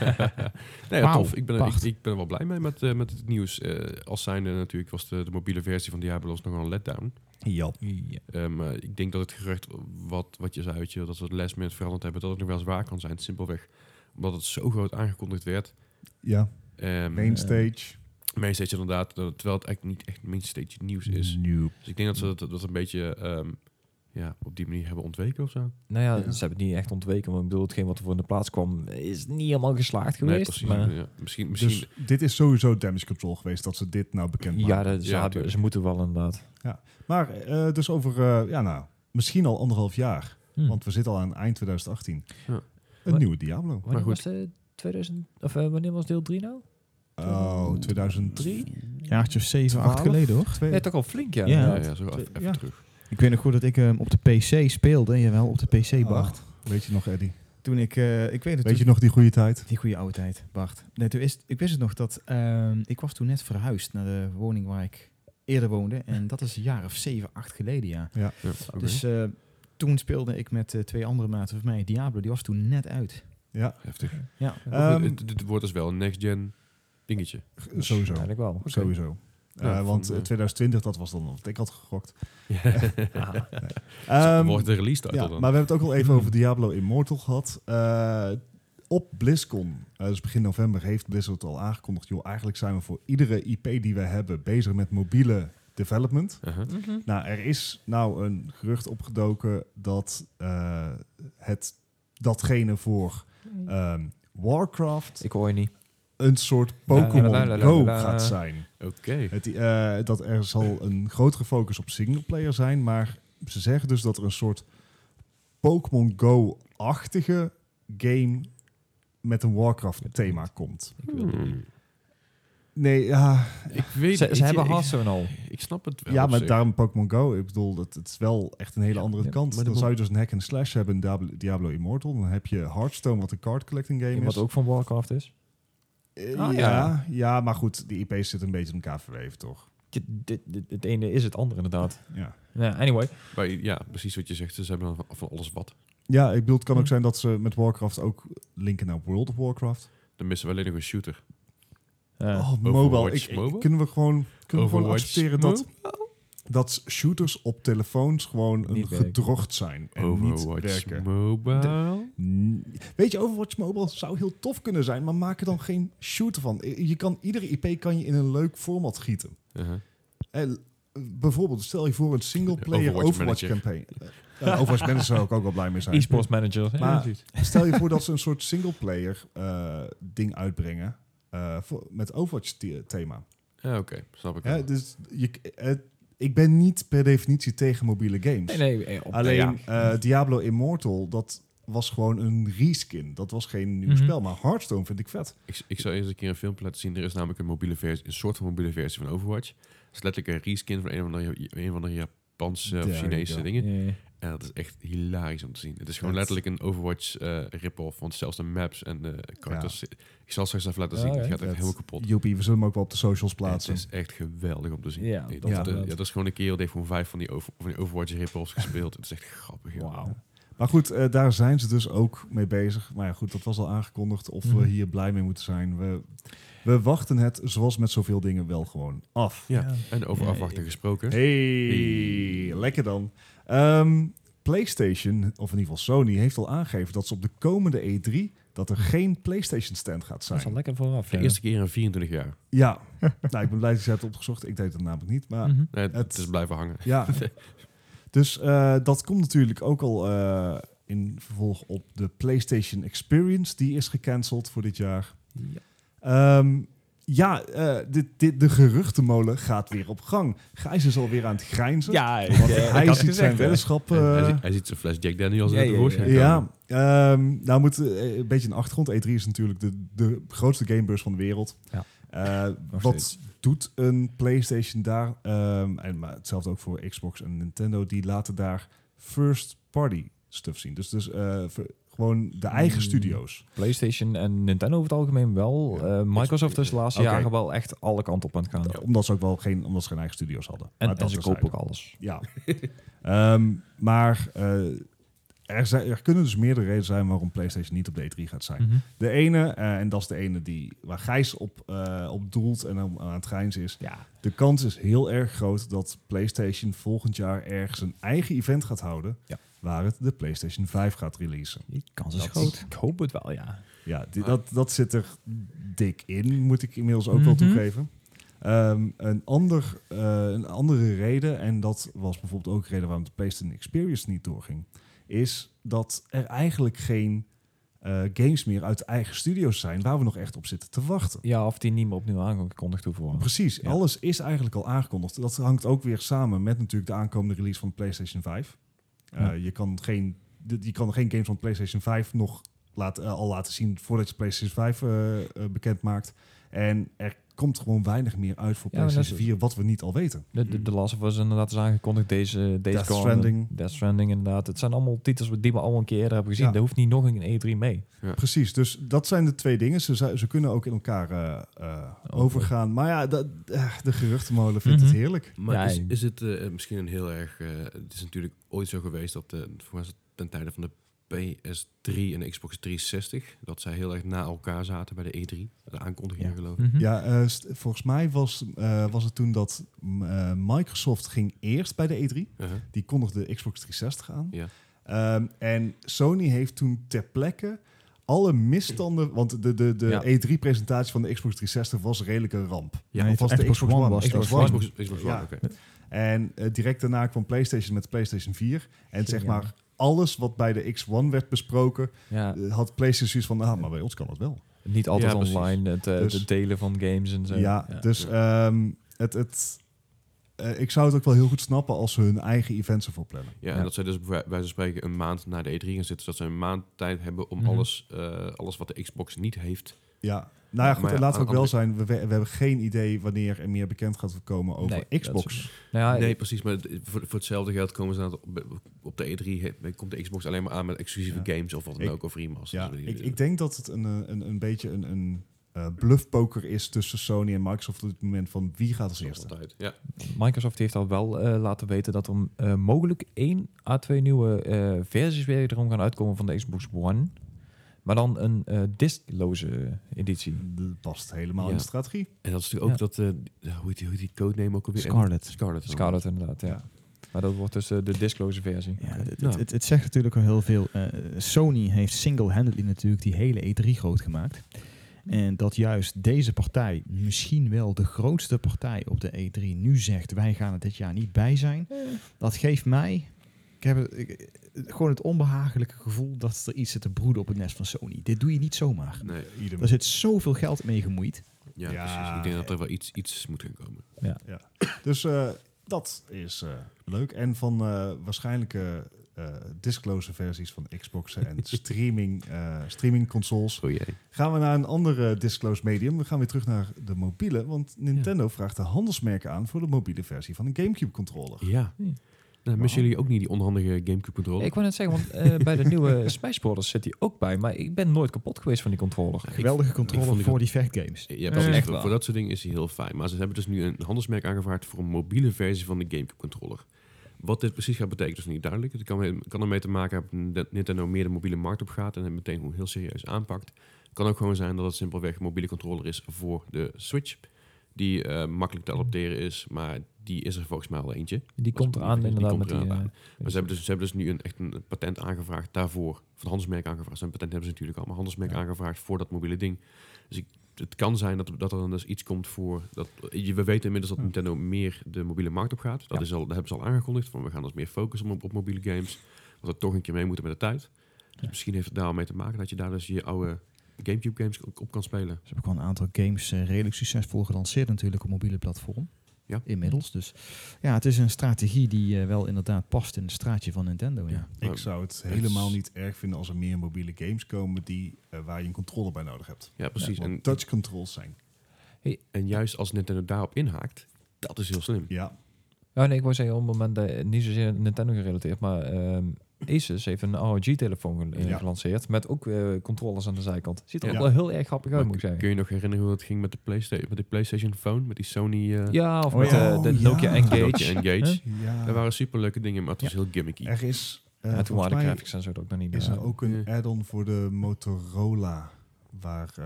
Speaker 2: ja,
Speaker 1: Wauw,
Speaker 2: tof. Ik ben, er- ik,
Speaker 1: Bart.
Speaker 2: ik ben er wel blij mee met, eh, met het nieuws. Eh, als zijnde natuurlijk was de, de mobiele versie van Diablo nog wel een letdown.
Speaker 4: ja.
Speaker 1: Ja.
Speaker 2: Eh, maar ik denk dat het gerucht, wat, wat je zei, weet je, dat ze het last minute veranderd hebben, dat het nog wel eens waar kan zijn. Simpelweg omdat het zo groot aangekondigd werd.
Speaker 4: ja,
Speaker 2: Um,
Speaker 4: main stage.
Speaker 2: Main stage inderdaad, eh, terwijl het eigenlijk niet echt main stage nieuws is.
Speaker 4: Nope.
Speaker 2: Dus ik denk dat ze dat, dat een beetje ehm, ja, op die manier hebben ontweken of zo.
Speaker 1: Nou ja,
Speaker 4: Ja.
Speaker 1: ze hebben het niet echt ontweken. Want ik bedoel, hetgeen wat er voor in de plaats kwam, is niet helemaal geslaagd geweest.
Speaker 2: nee, precies.
Speaker 1: maar-
Speaker 2: ja. Misschien, misschien
Speaker 4: Dus dit is sowieso damage control geweest dat ze dit nou bekend maken.
Speaker 1: ja, dat, ze,
Speaker 2: Ja,
Speaker 1: hadden-
Speaker 2: tuurlijk.
Speaker 1: ze moeten wel inderdaad.
Speaker 4: Maar eh, dus over, eh, ja nou, misschien al anderhalf jaar.
Speaker 1: Hm.
Speaker 4: Want we zitten al aan eind 2018.
Speaker 2: Ja.
Speaker 4: Een
Speaker 1: Wat?
Speaker 4: nieuwe Diablo.
Speaker 1: wanneer was
Speaker 2: goed.
Speaker 1: de 2000, of eh, wanneer was deel 3 nou?
Speaker 4: Oh, 2003.
Speaker 3: Jaartje of 7,
Speaker 4: 8 geleden,
Speaker 3: hoor.
Speaker 4: Twee-
Speaker 1: Ja, toch al flink, ja.
Speaker 3: Ja.
Speaker 2: ja,
Speaker 1: inderdaad.
Speaker 2: ja, zo even, even
Speaker 4: Ja.
Speaker 2: terug.
Speaker 3: Ik weet nog goed dat ik hem op de PC speelde. Jawel, op de PC, Bart.
Speaker 4: Oh, weet je nog, Eddie?
Speaker 3: Toen ik, eh, ik weet het
Speaker 4: Weet je nog die goede tijd?
Speaker 3: Die goede oude tijd, Bart. Nee, toen is, ik wist het nog dat ehm, ik was toen net verhuisd naar de woning waar ik eerder woonde. En dat is een jaar of zeven, acht geleden, ja.
Speaker 2: Ja, oké.
Speaker 3: Dus eh, toen speelde ik met eh, twee andere maten van mij Diablo. Die was toen net uit.
Speaker 4: Ja,
Speaker 2: Heftig.
Speaker 1: Ja,
Speaker 4: Ehm,
Speaker 2: Goed, het, het wordt dus wel een next-gen dingetje.
Speaker 4: sowieso.
Speaker 1: eigenlijk wel.
Speaker 4: Sowieso.
Speaker 2: Ja,
Speaker 4: Eh, want
Speaker 2: van,
Speaker 4: eh,
Speaker 2: eh,
Speaker 4: 2020, dat was dan wat ik had gegokt.
Speaker 1: Ah,
Speaker 4: Ehm,
Speaker 2: wordt de release
Speaker 4: ja,
Speaker 2: title
Speaker 4: maar
Speaker 2: dan?
Speaker 4: we hebben het ook al even over Diablo Immortal gehad. Eh, op BlizzCon, eh, dus begin november, heeft Blizzard al aangekondigd... joh, eigenlijk zijn we voor iedere IP die we hebben bezig met mobiele development.
Speaker 2: Aha.
Speaker 1: mhm.
Speaker 4: Nou, er is nou een gerucht opgedoken dat eh, het, datgene voor ehm, Warcraft
Speaker 1: Ik hoor je niet.
Speaker 4: een soort Pokémon
Speaker 1: La, la, la, la,
Speaker 4: Go
Speaker 1: la, la.
Speaker 4: gaat zijn.
Speaker 2: Oké.
Speaker 4: Het, eh, dat er zal een grotere focus op singleplayer zijn, maar ze zeggen dus dat er een soort Pokémon Go-achtige game met een Warcraft-thema komt.
Speaker 1: Ik wil het niet.
Speaker 2: Hmm.
Speaker 4: Nee, ja,
Speaker 2: Ik weet
Speaker 1: Ze,
Speaker 2: het
Speaker 1: ze
Speaker 2: niet.
Speaker 1: hebben
Speaker 2: Ik-
Speaker 1: Hearthstone al.
Speaker 2: Ik snap het wel.
Speaker 4: ja
Speaker 2: op
Speaker 4: maar
Speaker 2: zich.
Speaker 4: daarom Pokémon Go. Ik bedoel, dat het is wel echt een hele
Speaker 1: Ja,
Speaker 4: andere
Speaker 1: ja,
Speaker 4: kant.
Speaker 1: maar
Speaker 4: Dan
Speaker 1: de mo-
Speaker 4: zou je dus een hack and slash hebben in Diablo, Diablo Immortal. Dan heb je Hearthstone, wat een card collecting game
Speaker 1: Wat
Speaker 4: is.
Speaker 1: ook van Warcraft is.
Speaker 4: Eh,
Speaker 1: Ah,
Speaker 4: ja.
Speaker 1: ja.
Speaker 4: Ja. maar goed, die IP's zitten een beetje in elkaar verweven, toch?
Speaker 1: Dit- dit- dit- Het ene is het andere inderdaad.
Speaker 4: Ja.
Speaker 1: Ja, anyway.
Speaker 2: Maar ja, precies wat je zegt. Ze hebben dan van- van alles wat.
Speaker 4: Ja, ik bedoel, het kan ook
Speaker 1: Hm.
Speaker 4: zijn dat ze met Warcraft ook linken naar World of Warcraft.
Speaker 2: Dan missen we alleen nog een shooter.
Speaker 1: eh,
Speaker 4: oh, mobile.
Speaker 2: Overwatch
Speaker 4: Ik, ik-
Speaker 2: mobile?
Speaker 4: Kunnen we gewoon, kunnen we gewoon
Speaker 2: Overwatch
Speaker 4: accepteren dat, dat shooters op telefoons gewoon een
Speaker 1: Niet werken.
Speaker 4: gedrocht zijn en niet
Speaker 2: Overwatch
Speaker 4: werken?
Speaker 2: Mobile.
Speaker 4: Mm, Weet je, Overwatch Mobile zou heel tof kunnen zijn, maar maak er dan geen shooter van. I- Je kan, iedere IP kan je in een leuk format gieten.
Speaker 2: Aha.
Speaker 4: Eh, l- bijvoorbeeld, stel je voor een single-player
Speaker 2: Overwatch
Speaker 4: Overwatch,
Speaker 2: Manager.
Speaker 4: campaign. Eh, Overwatch Manager zou ik ook wel blij mee zijn.
Speaker 1: E-sports manager.
Speaker 4: Oh, Maar-
Speaker 1: Ja, precies.
Speaker 4: Stel je voor dat ze een soort single-player eh, ding uitbrengen eh, voor, met Overwatch-thema.
Speaker 2: Ja, oké. Snap ik wel.
Speaker 4: dus je, eh, ik ben niet per definitie tegen mobiele games.
Speaker 1: Nee, nee. eh, op-
Speaker 4: Alleen
Speaker 1: ja.
Speaker 4: eh, Diablo Immortal, dat was gewoon een reskin. Dat was geen nieuw
Speaker 1: Mhm.
Speaker 4: spel, maar Hearthstone vind ik vet.
Speaker 2: Ik, ik zal eens een keer een filmpje laten zien. Er is namelijk een mobiele versie, een soort van mobiele versie van Overwatch. Het is letterlijk een reskin van een of andere, een of andere Japanse of
Speaker 4: There you
Speaker 2: Chinese
Speaker 4: go.
Speaker 2: dingen.
Speaker 1: Ja.
Speaker 2: En dat is echt hilarisch om te zien. Het is gewoon
Speaker 4: Dat-
Speaker 2: letterlijk een Overwatch eh rip-off. Want zelfs de maps en de characters... Ik zal straks even laten zien.
Speaker 1: Ja,
Speaker 2: het
Speaker 1: ja.
Speaker 2: gaat echt
Speaker 4: Dat-
Speaker 2: helemaal kapot.
Speaker 4: Joepie, we zullen hem ook wel op de socials plaatsen.
Speaker 2: Het is echt geweldig om te zien.
Speaker 1: Ja,
Speaker 2: Nee,
Speaker 1: dat
Speaker 2: dat, eh,
Speaker 1: inderdaad.
Speaker 2: ja, dat is gewoon een kerel die heeft gewoon vijf van die, over, van die Overwatch rip-offs gespeeld. Het is echt grappig. joh.
Speaker 1: Wauw.
Speaker 4: Maar goed, eh, daar zijn ze dus ook mee bezig. Maar ja, goed, dat was al aangekondigd of
Speaker 1: Mhm.
Speaker 4: we hier blij mee moeten zijn. We, we wachten het, zoals met zoveel dingen, wel gewoon af.
Speaker 2: Ja. En over
Speaker 1: Ja,
Speaker 2: afwachten
Speaker 1: ik-
Speaker 2: gesproken.
Speaker 4: Hey, lekker dan. Ehm, PlayStation, of in ieder geval Sony, heeft al aangegeven dat ze op de komende E3 dat er geen PlayStation stand gaat
Speaker 1: Dat is al
Speaker 4: zijn.
Speaker 1: lekker vooraf.
Speaker 2: Voor de
Speaker 1: ja.
Speaker 2: eerste keer in 24 jaar.
Speaker 4: Ja, nou, ik ben blij dat je het hebt opgezocht. Ik deed het namelijk niet, maar
Speaker 1: Mhm.
Speaker 2: Nee, het,
Speaker 4: Het-
Speaker 2: is blijven hangen.
Speaker 4: Ja. dus eh, dat komt natuurlijk ook al eh, in vervolg op de PlayStation Experience. Die is gecanceld voor dit jaar.
Speaker 1: Ja.
Speaker 4: Ehm, ja, eh, dit, dit, de geruchtenmolen gaat weer op gang. Gijs is alweer aan het grijnzen.
Speaker 1: Ja, ik,
Speaker 4: want
Speaker 1: eh, ik
Speaker 4: hij
Speaker 1: had
Speaker 4: ziet
Speaker 1: gezegd,
Speaker 4: zijn
Speaker 1: hè.
Speaker 4: weddenschap...
Speaker 2: En hij,
Speaker 4: eh,
Speaker 2: ziet, hij ziet zijn fles Jack Daniels
Speaker 1: Ja,
Speaker 2: uit
Speaker 1: ja,
Speaker 2: de
Speaker 1: ja.
Speaker 2: voorschijn komen.
Speaker 4: Ja, ehm, nou moet eh, een beetje een achtergrond. E3 is natuurlijk de, de grootste gamebeurs van de wereld.
Speaker 1: Ja.
Speaker 4: Eh,
Speaker 1: Nog
Speaker 4: wat
Speaker 1: steeds.
Speaker 4: doet een PlayStation daar? Ehm, en, maar hetzelfde ook voor Xbox en Nintendo. Die laten daar first party stuff zien. Dus, dus eh, ver- gewoon de eigen
Speaker 1: Hmm.
Speaker 4: studio's.
Speaker 1: PlayStation en Nintendo over het algemeen wel.
Speaker 4: Ja.
Speaker 1: Eh, Microsoft is de laatste
Speaker 4: Oké.
Speaker 1: jaren wel echt alle kanten op aan het gaan.
Speaker 4: Da- Omdat ze ook wel geen, omdat ze geen eigen studio's hadden.
Speaker 1: En,
Speaker 4: Maar
Speaker 1: en
Speaker 4: dat
Speaker 1: ze
Speaker 4: is
Speaker 1: kopen ook
Speaker 4: eigenlijk-
Speaker 1: alles.
Speaker 4: Ja. Ehm, maar eh, er, zijn, er kunnen dus meerdere redenen zijn waarom PlayStation niet op de E3 gaat zijn.
Speaker 1: Mhm.
Speaker 4: De ene, eh, en dat is de ene die, waar Gijs op, eh, op doelt en om- aan het grijnzen is.
Speaker 1: Ja.
Speaker 4: De kans is heel erg groot dat PlayStation volgend jaar ergens een eigen event gaat houden.
Speaker 1: Ja.
Speaker 4: Waar het de PlayStation 5 gaat releasen.
Speaker 1: Die kans is
Speaker 4: Dat-
Speaker 1: groot. Ik hoop het wel, ja.
Speaker 4: Ja, die- dat, dat zit er dik in, moet ik inmiddels ook wel
Speaker 1: Mhm.
Speaker 4: toegeven. Ehm, een, ander, eh, een andere reden, en dat was bijvoorbeeld ook een reden waarom de PlayStation Experience niet doorging, is dat er eigenlijk geen eh, games meer uit de eigen studio's zijn waar we nog echt op zitten te wachten.
Speaker 1: Ja, of die niet meer opnieuw aangekondigd hoeven worden.
Speaker 4: Precies,
Speaker 1: Ja.
Speaker 4: alles is eigenlijk al aangekondigd. Dat hangt ook weer samen met natuurlijk de aankomende release van de PlayStation 5. Eh,
Speaker 1: Ja.
Speaker 4: je, kan geen, de- je kan geen games van PlayStation 5 nog laten, eh, al laten zien voordat je PlayStation 5 eh, eh, bekend maakt. En er komt gewoon weinig meer uit voor
Speaker 1: Ja, maar
Speaker 4: PlayStation
Speaker 1: dat is-
Speaker 4: 4 wat we niet al weten.
Speaker 1: De, de, de Last of Us inderdaad is aangekondigd. Deze, deze
Speaker 4: Hmm. Death
Speaker 1: komen.
Speaker 4: Stranding.
Speaker 1: Death Stranding inderdaad. Het zijn allemaal titels die we al een keer eerder hebben gezien.
Speaker 4: Ja.
Speaker 1: Daar hoeft niet nog een E3 mee.
Speaker 4: Precies, dus dat zijn de twee dingen. Ze, zou- ze kunnen ook in elkaar eh, eh, overgaan. Maar ja, dat, eh, de geruchtenmolen vindt
Speaker 1: Mhm.
Speaker 4: het heerlijk.
Speaker 2: Maar
Speaker 1: Ja,
Speaker 2: is,
Speaker 1: ik-
Speaker 2: is het eh, misschien een heel erg... eh, het is natuurlijk ooit zo geweest dat... eh, volgens mij is het ten tijde van de PS3 en Xbox 360. Dat zij heel erg na elkaar zaten bij de E3. De aankondiging
Speaker 4: Ja.
Speaker 2: geloof ik.
Speaker 1: Mhm.
Speaker 4: Ja, eh, st- volgens mij was, eh, was het toen dat m, eh, Microsoft ging eerst bij de E3.
Speaker 2: Uh-huh.
Speaker 4: Die kondigde de Xbox 360 aan.
Speaker 2: Ja.
Speaker 4: Ehm, en Sony heeft toen ter plekke alle misstanden... Want de, de, de
Speaker 1: Ja.
Speaker 4: E3-presentatie van de Xbox 360 was redelijk een ramp.
Speaker 2: Ja,
Speaker 4: Of
Speaker 2: nee,
Speaker 4: was de Xbox, One, was
Speaker 1: dat.
Speaker 4: Xbox
Speaker 1: One.
Speaker 4: One.
Speaker 2: Xbox, Xbox One,
Speaker 4: Oh, Ja. Hm.
Speaker 2: oké.
Speaker 4: En eh, direct daarna kwam PlayStation met de PlayStation 4. En zeg
Speaker 1: Geniaal.
Speaker 4: maar, alles wat bij de X1 werd besproken,
Speaker 1: Ja,
Speaker 4: eh, had PlayStation zoiets van, ah, maar bij ons kan dat wel.
Speaker 1: niet altijd
Speaker 2: Ja, precies.
Speaker 1: online, het, eh,
Speaker 4: Dus-
Speaker 1: het delen van games en zo.
Speaker 4: ja, dus ehm, het, het, eh, ik zou het ook wel heel goed snappen als ze hun eigen events ervoor plannen.
Speaker 2: Ja,
Speaker 1: Ja.
Speaker 2: en dat zij dus bij wijze van spreken een maand na de E3 gaan zitten. Zodat zij een maand tijd hebben om
Speaker 1: Mhm.
Speaker 2: alles, eh, alles wat de Xbox niet heeft.
Speaker 4: Ja. Nou ja, goed,
Speaker 2: Maar ja,
Speaker 4: en laten we ook
Speaker 2: aan-
Speaker 4: wel
Speaker 2: aan-
Speaker 4: zijn, we, we hebben geen idee wanneer er meer bekend gaat komen over
Speaker 1: Nee, dat
Speaker 4: Xbox.
Speaker 1: Nou ja,
Speaker 2: nee, precies. Maar het- voor, voor hetzelfde geld komen ze aan het- op, op de E3. he- komt de Xbox alleen maar aan met exclusieve
Speaker 4: Ja.
Speaker 2: games of wat dan
Speaker 4: Ik-
Speaker 2: ook. Of remasters.
Speaker 4: Ja,
Speaker 2: Dus die-
Speaker 4: ik, ik denk dat het een, eh, een, een beetje een, een eh, bluffpoker is tussen Sony en Microsoft op dit moment van wie gaat als
Speaker 2: dat is
Speaker 4: eerste.
Speaker 2: altijd. Ja.
Speaker 1: Microsoft heeft al wel eh, laten weten dat er eh, mogelijk één à twee nieuwe eh, versies weer erom gaan uitkomen van de Xbox One. Maar dan een eh diskloze editie.
Speaker 4: Dat past helemaal
Speaker 2: Ja.
Speaker 4: in de strategie.
Speaker 2: En dat is natuurlijk ook dat... eh, hoe, heet die, hoe heet die codename ook alweer?
Speaker 5: Scarlet.
Speaker 2: Scarlet.
Speaker 1: Scarlet inderdaad, ja. Maar dat wordt dus eh, de diskloze versie.
Speaker 5: Ja, het, het,
Speaker 2: Nou.
Speaker 5: het, het zegt natuurlijk al heel veel. Eh, Sony heeft single-handedly natuurlijk die hele E3 groot gemaakt. En dat juist deze partij, misschien wel de grootste partij op de E3, nu zegt wij gaan er dit jaar niet bij zijn. Dat geeft mij ik heb, het- ik- eh, gewoon het onbehagelijke gevoel dat er iets zit te broeden op het nest van Sony. Dit doe je niet zomaar.
Speaker 2: Nee,
Speaker 4: Idem.
Speaker 5: Er zit zoveel geld mee gemoeid.
Speaker 2: ja,
Speaker 4: Ja.
Speaker 2: precies. Ik denk dat er wel iets, iets moet gaan komen.
Speaker 4: Dus eh, dat is eh, leuk. En van eh, waarschijnlijke eh disclose versies van Xboxen en streaming, eh, streaming consoles.
Speaker 2: Zo jij.
Speaker 4: Gaan we naar een ander eh, disclose medium. We gaan weer terug naar de mobiele. Want Nintendo vraagt de handelsmerken aan voor de mobiele versie van een Gamecube controller.
Speaker 2: Ja.
Speaker 1: Hmm.
Speaker 2: Nou, missen jullie ook niet die onhandige Gamecube controller?
Speaker 1: Ik wou net zeggen, want eh, bij de nieuwe Smash Bros. zit die ook bij. Maar ik ben nooit kapot geweest van die controller.
Speaker 5: Geweldige
Speaker 2: vond
Speaker 5: controle
Speaker 2: die-
Speaker 5: voor die fact games.
Speaker 2: Ja,
Speaker 1: Dat is
Speaker 2: precies.
Speaker 1: echt
Speaker 2: voor,
Speaker 1: waar.
Speaker 2: voor dat soort dingen is hij heel fijn. Maar ze hebben dus nu een handelsmerk aangevraagd voor een mobiele versie van de Gamecube controller. Wat dit precies gaat betekenen is niet duidelijk. Het kan, kan ermee te maken hebben dat Nintendo meer de mobiele markt op gaat en het meteen gewoon heel serieus aanpakt. Het kan ook gewoon zijn dat het simpelweg een mobiele controller is voor de Switch. Die eh, makkelijk te adopteren is, maar die is er volgens mij al eentje.
Speaker 1: Die
Speaker 2: Was
Speaker 1: komt
Speaker 2: het
Speaker 1: eraan
Speaker 2: niet- die
Speaker 1: inderdaad
Speaker 2: komt
Speaker 1: met die...
Speaker 2: eraan
Speaker 1: eh,
Speaker 2: aan. Maar ze hebben dus, ze hebben dus nu een, echt een patent aangevraagd daarvoor. Van het handelsmerk aangevraagd. Zijn patent hebben ze natuurlijk al, maar handelsmerk
Speaker 4: Ja.
Speaker 2: aangevraagd voor dat mobiele ding. Dus ik, het kan zijn dat, dat er dan dus iets komt voor... Dat, je- we weten inmiddels dat
Speaker 4: Ja.
Speaker 2: Nintendo meer de mobiele markt op gaat. Dat,
Speaker 1: Ja.
Speaker 2: is al, dat hebben ze al aangekondigd. Van we gaan ons meer focussen op, op mobiele games. Dat we toch een keer mee moeten met de tijd. Dus
Speaker 1: Ja.
Speaker 2: misschien heeft het daar al mee te maken dat je daar dus je oude Gamecube games op, op kan spelen.
Speaker 5: Ze hebben ook Dus al een aantal games eh, redelijk succesvol gelanceerd natuurlijk op mobiele platform.
Speaker 2: Ja.
Speaker 5: Inmiddels. Dus ja, het is een strategie die eh, wel inderdaad past in het straatje van Nintendo. Ja.
Speaker 2: Ja.
Speaker 4: Ik zou het helemaal niet erg vinden als er meer mobiele games komen die, eh, waar je een controller bij nodig hebt.
Speaker 2: Ja, precies. en,
Speaker 4: Want touch controls zijn.
Speaker 2: en juist als Nintendo daarop inhaakt, dat is heel slim.
Speaker 4: Ja,
Speaker 1: Oh nee, ik wou zeggen, op het moment eh, niet zozeer Nintendo gerelateerd, maar ehm Asus heeft een ROG-telefoon gel- eh,
Speaker 4: Ja.
Speaker 1: gelanceerd met ook eh, controllers aan de zijkant. Ziet er
Speaker 4: Ja.
Speaker 1: ook wel heel erg grappig uit,
Speaker 2: Maar
Speaker 1: moet ik zeggen.
Speaker 2: Kun je nog herinneren hoe het ging met de PlayStation, met de PlayStation Phone, met die Sony eh
Speaker 1: Ja, of
Speaker 4: Oh,
Speaker 1: met
Speaker 4: ja.
Speaker 1: eh, de
Speaker 4: Oh, ja.
Speaker 1: Nokia Engage.
Speaker 2: Nokia Engage?
Speaker 1: Huh?
Speaker 4: ja.
Speaker 2: Dat waren super leuke dingen, maar het was heel gimmicky.
Speaker 4: er is... eh,
Speaker 1: ja, toen
Speaker 4: volgens
Speaker 1: waren de
Speaker 4: mij
Speaker 1: graphics en zo er ook nog niet
Speaker 4: is
Speaker 1: bij.
Speaker 4: er ook een
Speaker 2: Ja.
Speaker 4: add-on voor de Motorola waar eh,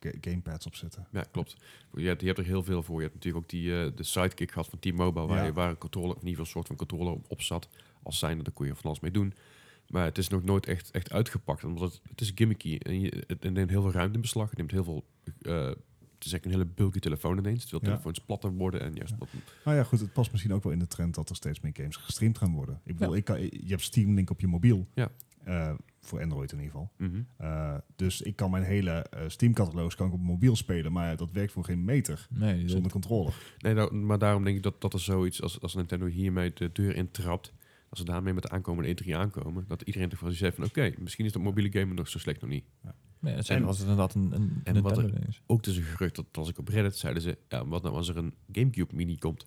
Speaker 4: ga- gamepads op zitten.
Speaker 2: Ja, klopt. Je hebt, je hebt er heel veel voor. Je hebt natuurlijk ook die eh, de sidekick gehad van T-Mobile, waar,
Speaker 4: Ja.
Speaker 2: je, waar een controller, in ieder geval een soort van controller op, op zat. Als zijnde, daar kon je van alles mee doen. Maar het is nog nooit echt, echt uitgepakt, omdat het, het is gimmicky. En je, het neemt heel veel ruimte in beslag. Het neemt heel veel... eh, het is eigenlijk een hele bulky telefoon ineens. Terwijl
Speaker 4: Ja.
Speaker 2: telefoons platter worden en juist
Speaker 4: Ja.
Speaker 2: wat...
Speaker 4: Nou ja, goed, het past misschien ook wel in de trend dat er steeds meer games gestreamd gaan worden. Ik bedoel, ik kan, je hebt Steam Link op je mobiel.
Speaker 2: Ja.
Speaker 4: Eh, voor Android in ieder geval.
Speaker 2: Mhm.
Speaker 4: Eh, dus ik kan mijn hele eh, Steam-catalogus kan ik op mijn mobiel spelen, maar ja, dat werkt voor geen meter
Speaker 1: Nee, dat-
Speaker 4: zonder controller.
Speaker 2: Nee, daar- maar daarom denk ik dat, dat er zoiets als, als Nintendo hiermee de deur intrapt. Als ze daarmee met de aankomende E3 aankomen, dat iedereen toch wel eens heeft van oké, misschien is dat mobiele gamen nog zo slecht nog niet.
Speaker 1: nee, dat zijn
Speaker 4: En-
Speaker 1: als het inderdaad een, een
Speaker 2: en wat
Speaker 1: Nintendo
Speaker 2: er-
Speaker 1: ding is.
Speaker 2: Ook dus een gerucht dat als ik op Reddit zeiden ze, ja, wat nou als er een GameCube mini komt?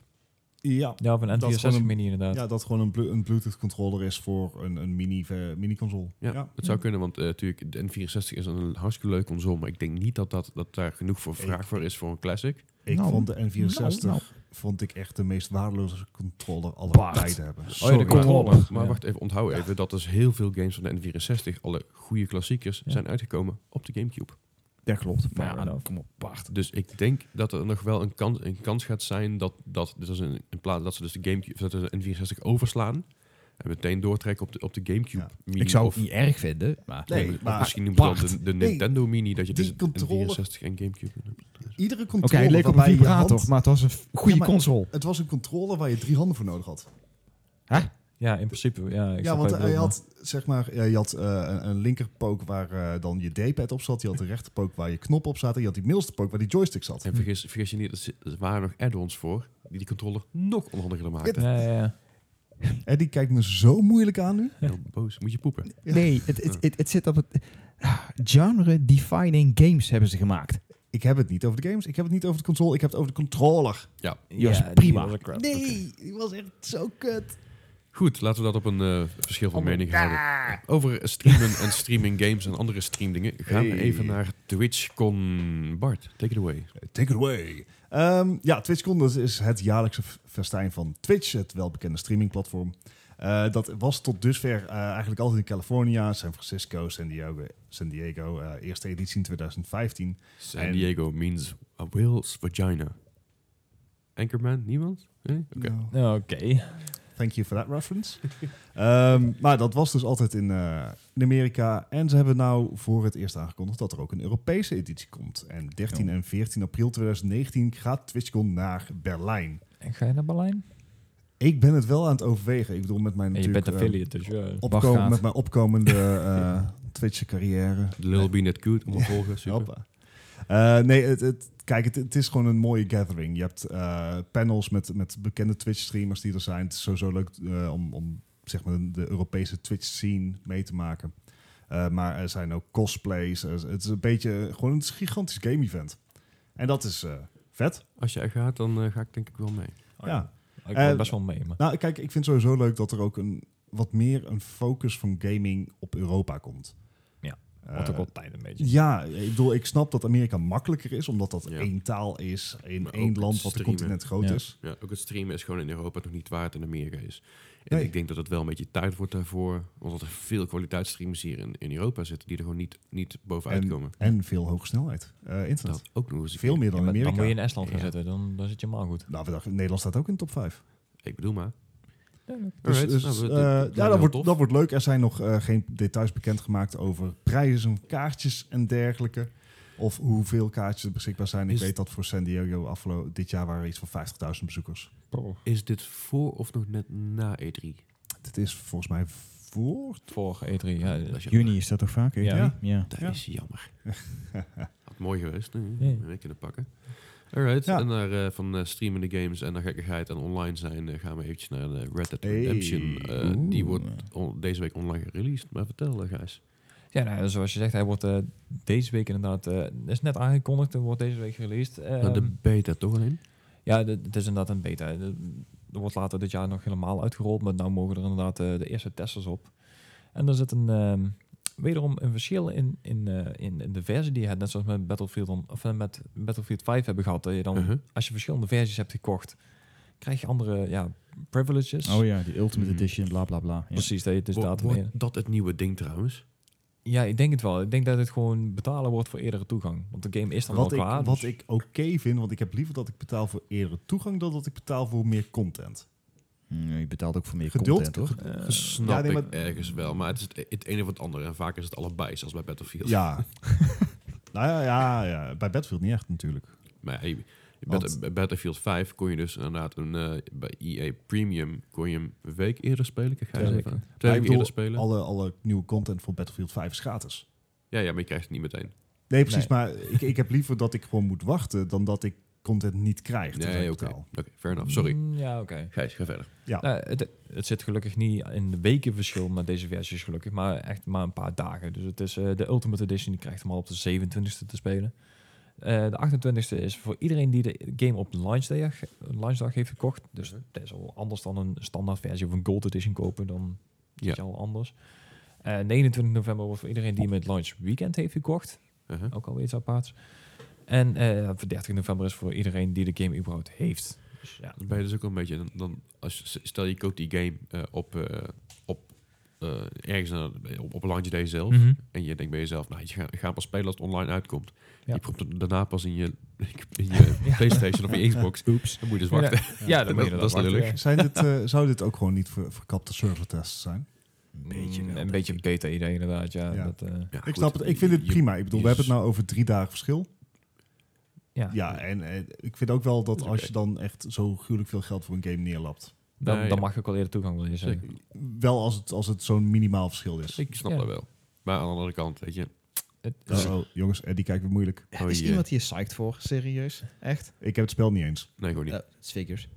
Speaker 4: Ja,
Speaker 1: Ja, of een
Speaker 4: Dat is gewoon
Speaker 1: N64
Speaker 4: een-
Speaker 1: mini inderdaad.
Speaker 4: ja dat gewoon een, blu- een Bluetooth-controller is voor een, een mini- eh, mini-console.
Speaker 2: Ja,
Speaker 4: ja.
Speaker 2: Het zou kunnen, want eh, natuurlijk, de N64 is een hartstikke leuk console, maar ik denk niet dat, dat, dat daar genoeg voor
Speaker 4: Ik-
Speaker 5: Oh
Speaker 2: vraag voor is voor een classic.
Speaker 4: Ik
Speaker 5: Nou,
Speaker 4: vond de N64
Speaker 5: nou, nou.
Speaker 4: vond ik echt de meest waardeloze controller aller
Speaker 5: Bart.
Speaker 4: tijden hebben.
Speaker 5: Oh ja, de
Speaker 2: maar-
Speaker 5: controller.
Speaker 2: Maar
Speaker 5: Ja.
Speaker 2: wacht even, onthoud even dat dus heel veel games van de N64, alle goede klassiekers,
Speaker 1: Ja.
Speaker 2: zijn uitgekomen op de Gamecube.
Speaker 5: Dat klopt.
Speaker 1: Fair
Speaker 5: Maar ja,
Speaker 1: enough.
Speaker 5: kom op, Bart.
Speaker 2: Dus ik denk dat er nog wel een kans, een kans gaat zijn dat, dat dus als in, in plaats dat ze dus de Gamecube, dat ze de N64 overslaan en meteen doortrekken op de, op de Gamecube.
Speaker 4: Ja.
Speaker 2: Mini
Speaker 5: Ik zou
Speaker 2: of-
Speaker 5: het niet erg vinden, maar...
Speaker 4: Nee,
Speaker 2: of
Speaker 4: maar-
Speaker 2: misschien noemen ze
Speaker 4: Bart,
Speaker 2: dan de, de
Speaker 4: nee,
Speaker 2: Nintendo Mini, dat je
Speaker 4: die
Speaker 2: dus een
Speaker 4: controller-
Speaker 2: N64 en Gamecube
Speaker 4: Iedere
Speaker 5: Oké,
Speaker 4: controller
Speaker 5: het leek op een
Speaker 4: waarbij je
Speaker 5: vibrator,
Speaker 4: hand-
Speaker 5: maar het was een f- goede
Speaker 4: Ja, maar-
Speaker 5: console.
Speaker 4: Het was een controller waar je drie handen voor nodig had.
Speaker 1: Ja, in principe. Ja, ik
Speaker 4: Ja,
Speaker 1: snap
Speaker 4: want
Speaker 1: wat
Speaker 4: eh, je
Speaker 1: bedoelt,
Speaker 4: had, zeg maar, eh, je had eh, een, een linkerpook waar eh, dan je D-pad op zat. Je had de rechterpook waar je knop op zat. En je had die middelste pook waar die joystick zat.
Speaker 2: En vergis, vergis je niet, er zi- er waren nog add-ons voor die die controller nog onhandiger maakten.
Speaker 1: maar. Ja, ja, ja.
Speaker 4: En die kijkt me zo moeilijk aan nu.
Speaker 2: Heel boos, moet je poepen.
Speaker 4: Ja.
Speaker 5: Nee, het, het, het, het zit op het... Ah, Genre-defining games hebben ze gemaakt.
Speaker 4: Ik heb het niet over de games. Ik heb het niet over de console. Ik heb het over de controller.
Speaker 2: Ja.
Speaker 5: Ja, is
Speaker 1: die
Speaker 5: prima.
Speaker 1: was een crap.
Speaker 4: die was echt zo kut.
Speaker 2: Goed, laten we dat op een eh, verschil van mening
Speaker 5: Ah.
Speaker 2: houden. Over streamen en streaming games en andere streamdingen gaan we
Speaker 4: Hey.
Speaker 2: even naar TwitchCon. Bart, take it away.
Speaker 4: Take it away. Ehm, ja, TwitchCon dat is het jaarlijkse f- festijn van Twitch, het welbekende streamingplatform. Eh, dat was tot dusver eh, eigenlijk altijd in California, San Francisco, San Diego, San Diego eh, eerste editie in 2015.
Speaker 2: San
Speaker 4: En-
Speaker 2: Diego means a whale's vagina. Anchorman, niemand? Nee? Oké.
Speaker 4: Nou,
Speaker 1: Ja, Oké.
Speaker 4: Thank you for that reference. Ehm, maar dat was dus altijd in, eh, in Amerika. En ze hebben nou voor het eerst aangekondigd dat er ook een Europese editie komt. En 13
Speaker 1: Ja.
Speaker 4: en 14 april 2019 gaat TwitchCon naar Berlijn.
Speaker 1: En ga je naar Berlijn?
Speaker 4: Ik ben het wel aan het overwegen. Ik bedoel, met mijn,
Speaker 1: En je bent
Speaker 4: natuurlijk,
Speaker 1: affiliate, dus ja.
Speaker 4: eh, opko-
Speaker 1: wachtgaat.
Speaker 4: met mijn opkomende eh, Twitch-carrière.
Speaker 2: Lil Be Net Cute, om te volgen. Super.
Speaker 4: Hoppa. Eh, nee, het, het, kijk, het, het is gewoon een mooie gathering. Je hebt eh, panels met, met bekende Twitch-streamers die er zijn. Het is sowieso leuk eh, om, om zeg maar, de Europese Twitch-scene mee te maken. Eh, maar er zijn ook cosplays. Er is- het is een beetje gewoon een gigantisch game-event. En dat is eh, vet.
Speaker 2: Als jij gaat, dan eh, ga ik denk ik wel mee.
Speaker 1: Oh,
Speaker 4: ja.
Speaker 1: Ik wil
Speaker 4: Eh,
Speaker 1: best wel mee, maar...
Speaker 4: Nou, kijk, ik vind sowieso leuk dat er ook een, wat meer een focus van gaming op Europa komt.
Speaker 1: Ja,
Speaker 4: Eh,
Speaker 1: Wat ook wel tijd een beetje.
Speaker 4: Ja, ik bedoel, ik snap dat Amerika makkelijker is, omdat dat
Speaker 2: Ja.
Speaker 4: één taal is in
Speaker 2: Maar ook
Speaker 4: één land wat een
Speaker 2: streamen.
Speaker 4: continent groot
Speaker 1: Ja.
Speaker 4: is.
Speaker 2: Ja, ook het streamen is gewoon in Europa nog niet waar het in Amerika is. En
Speaker 4: Nee.
Speaker 2: ik denk dat het wel een beetje tijd wordt daarvoor. Omdat er veel kwaliteitsstreamers hier in, in Europa zitten die er gewoon niet, niet bovenuit komen.
Speaker 4: En veel hoge snelheid. eh, internet.
Speaker 2: Dat ook nog eens. een
Speaker 4: Veel
Speaker 2: keer.
Speaker 4: meer
Speaker 1: Ja,
Speaker 4: dan
Speaker 1: maar dan
Speaker 4: Amerika.
Speaker 1: moet je in Estland gaan
Speaker 2: Ja.
Speaker 1: zitten, dan, dan zit je maar goed.
Speaker 4: Nou, we dachten, Nederland staat ook in de top 5.
Speaker 2: Ik bedoel maar.
Speaker 4: Dus,
Speaker 2: Alright,
Speaker 4: dus,
Speaker 2: nou, dat-
Speaker 4: eh,
Speaker 2: dat lijkt
Speaker 4: ja,
Speaker 2: me
Speaker 4: dat wordt,
Speaker 2: tof.
Speaker 4: dat wordt leuk. Er zijn nog eh, geen details bekendgemaakt over prijzen, kaartjes en dergelijke. Of hoeveel kaartjes er beschikbaar zijn. Ik
Speaker 2: Is-
Speaker 4: weet dat voor San Diego afgelopen dit jaar waren er iets van 50.000 bezoekers.
Speaker 2: Is dit voor of nog net na E E3?
Speaker 4: Dit is volgens mij voor.
Speaker 1: Vorige E3, E ja.
Speaker 2: Dat is jammer.
Speaker 5: Juni is dat toch vaak? Ja.
Speaker 1: Ja.
Speaker 5: ja.
Speaker 2: Dat
Speaker 4: Ja.
Speaker 2: is jammer. Had mooi geweest. Nee,
Speaker 1: Ja.
Speaker 2: ben ik kunnen pakken. Alright,
Speaker 4: Ja.
Speaker 2: en naar, eh, van eh, streamende games en naar gekkigheid en online zijn eh, gaan we eventjes naar de Red Dead
Speaker 4: Hey.
Speaker 2: Redemption. Eh, die
Speaker 5: Oeh.
Speaker 2: wordt on- deze week online gereleased. Maar vertel, eh, Gijs.
Speaker 1: Ja, nou, zoals je zegt, hij wordt eh, deze week inderdaad... eh is net aangekondigd, er wordt deze week gereleased.
Speaker 2: Nou, de
Speaker 1: Ehm,
Speaker 2: beta toch alleen?
Speaker 1: Ja, de- het is inderdaad een beta. De- Er wordt later dit jaar nog helemaal uitgerold, maar nu mogen er inderdaad eh, de eerste testers op. En er zit een, ehm, wederom een verschil in, in, eh, in, in de versie die je hebt, net zoals met Battlefield, on- of eh, met Battlefield 5 hebben gehad. Dat je dan,
Speaker 2: Uh-huh.
Speaker 1: als je verschillende versies hebt gekocht, krijg je andere ja, privileges.
Speaker 5: Oh ja, die Ultimate
Speaker 2: Hmm.
Speaker 5: Edition, bla bla bla. Ja.
Speaker 1: Precies, dat je dus
Speaker 2: Wo-
Speaker 1: datum
Speaker 2: wordt
Speaker 1: in-
Speaker 2: dat het nieuwe ding trouwens?
Speaker 1: Ja, ik denk het wel. Ik denk dat het gewoon betalen wordt voor eerdere toegang. Want de game is dan
Speaker 4: Wat
Speaker 1: al
Speaker 4: ik,
Speaker 1: klaar.
Speaker 4: wat
Speaker 1: dus-
Speaker 4: ik oké vind, want ik heb liever dat ik betaal voor eerdere toegang dan dat ik betaal voor meer content.
Speaker 5: Hmm, Je betaalt ook voor meer
Speaker 4: Geduld.
Speaker 5: content, hoor.
Speaker 1: eh,
Speaker 2: Snap
Speaker 4: Ja, nee,
Speaker 2: ik
Speaker 4: maar-
Speaker 2: ergens wel. Maar het is het, het ene of het andere. En vaak is het allebei, zoals bij Battlefield.
Speaker 4: Ja. nou ja, ja, ja, bij Battlefield niet echt natuurlijk.
Speaker 2: Maar hey,
Speaker 4: Want-
Speaker 2: Bat- bij Battlefield 5 kon je dus inderdaad een, eh, bij EA Premium kon je hem een week eerder spelen. Kijk, ga je
Speaker 1: Twee weken.
Speaker 2: even aan. Twee
Speaker 4: Maar ik
Speaker 2: weken
Speaker 4: bedoel,
Speaker 2: eerder spelen.
Speaker 4: Alle, alle nieuwe content voor Battlefield 5 is gratis.
Speaker 2: Ja, ja, maar je krijgt het niet meteen.
Speaker 4: Nee, precies,
Speaker 1: Nee.
Speaker 4: maar ik, ik heb liever dat ik gewoon moet wachten dan dat ik content niet krijg. terwijl
Speaker 2: Nee,
Speaker 4: ik
Speaker 2: oké. Oké,
Speaker 4: betaal.
Speaker 2: fair enough. Sorry.
Speaker 1: Mm, Ja, oké.
Speaker 2: Gijs, ga verder.
Speaker 1: Nou, het, het zit gelukkig niet in de weken verschil met deze versies gelukkig, maar echt maar een paar dagen. Dus het is eh, de Ultimate Edition, die krijgt hem al op de 27e te spelen. Eh, de 28e is voor iedereen die de game op launchdag, launchdag heeft gekocht. Dus dat is al anders dan een standaard versie of een Gold Edition kopen. Dan is
Speaker 2: Ja.
Speaker 1: het al anders. Eh 29 november wordt voor iedereen die hem het launch weekend heeft gekocht.
Speaker 2: Uh-huh.
Speaker 1: Ook alweer iets aparts. En eh, voor 30 november is voor iedereen die de game überhaupt heeft. Dus ja.
Speaker 2: Dan ben je dus ook wel een beetje... Dan, dan als, stel je koopt die game eh, op, eh, op eh, ergens aan- op, op een landje day zelf.
Speaker 1: Mhm.
Speaker 2: En je denkt bij jezelf, nou, je gaat, gaat pas spelen als het online uitkomt.
Speaker 1: Ja.
Speaker 2: Je komt er daarna pas in je, in je
Speaker 1: Ja.
Speaker 2: Playstation of in je Xbox. Dan moet je dus
Speaker 1: Ja,
Speaker 2: wachten.
Speaker 1: Ja, dan moet je inderdaad
Speaker 2: dat- dat is
Speaker 1: wachten,
Speaker 2: lullig.
Speaker 1: ja.
Speaker 4: Zijn dit, eh, zou dit ook gewoon niet ver, verkapte servertests zijn?
Speaker 1: Mm,
Speaker 5: Hmm.
Speaker 1: een beetje een beta-idee inderdaad, ja.
Speaker 4: Ja.
Speaker 1: Dat, eh,
Speaker 2: Ja,
Speaker 4: ik
Speaker 2: goed,
Speaker 4: snap het. Ik vind het
Speaker 2: je-
Speaker 4: prima. Ik bedoel,
Speaker 2: je-
Speaker 4: we hebben het nou over drie dagen verschil.
Speaker 1: ja.
Speaker 4: Ja, en eh, ik vind ook wel dat
Speaker 2: Is
Speaker 4: als
Speaker 2: oké.
Speaker 4: je dan echt zo gruwelijk veel geld voor een game neerlapt.
Speaker 1: Dan,
Speaker 2: Nee,
Speaker 1: dan
Speaker 2: Nou, ja.
Speaker 1: mag ik wel eerder toegang willen zeggen.
Speaker 4: Wel als het, als het zo'n minimaal verschil is.
Speaker 2: Ik snap
Speaker 1: Ja.
Speaker 2: dat wel. Maar aan de andere kant, weet je...
Speaker 1: Het-
Speaker 4: Oh, oh, jongens, eh, die kijkt weer moeilijk.
Speaker 6: Ja,
Speaker 2: Oh,
Speaker 6: is
Speaker 2: jee.
Speaker 6: iemand hier psyched voor? Serieus? Echt?
Speaker 4: Ik heb het spel niet eens.
Speaker 2: Nee, gewoon niet.
Speaker 6: Ja, it's figures.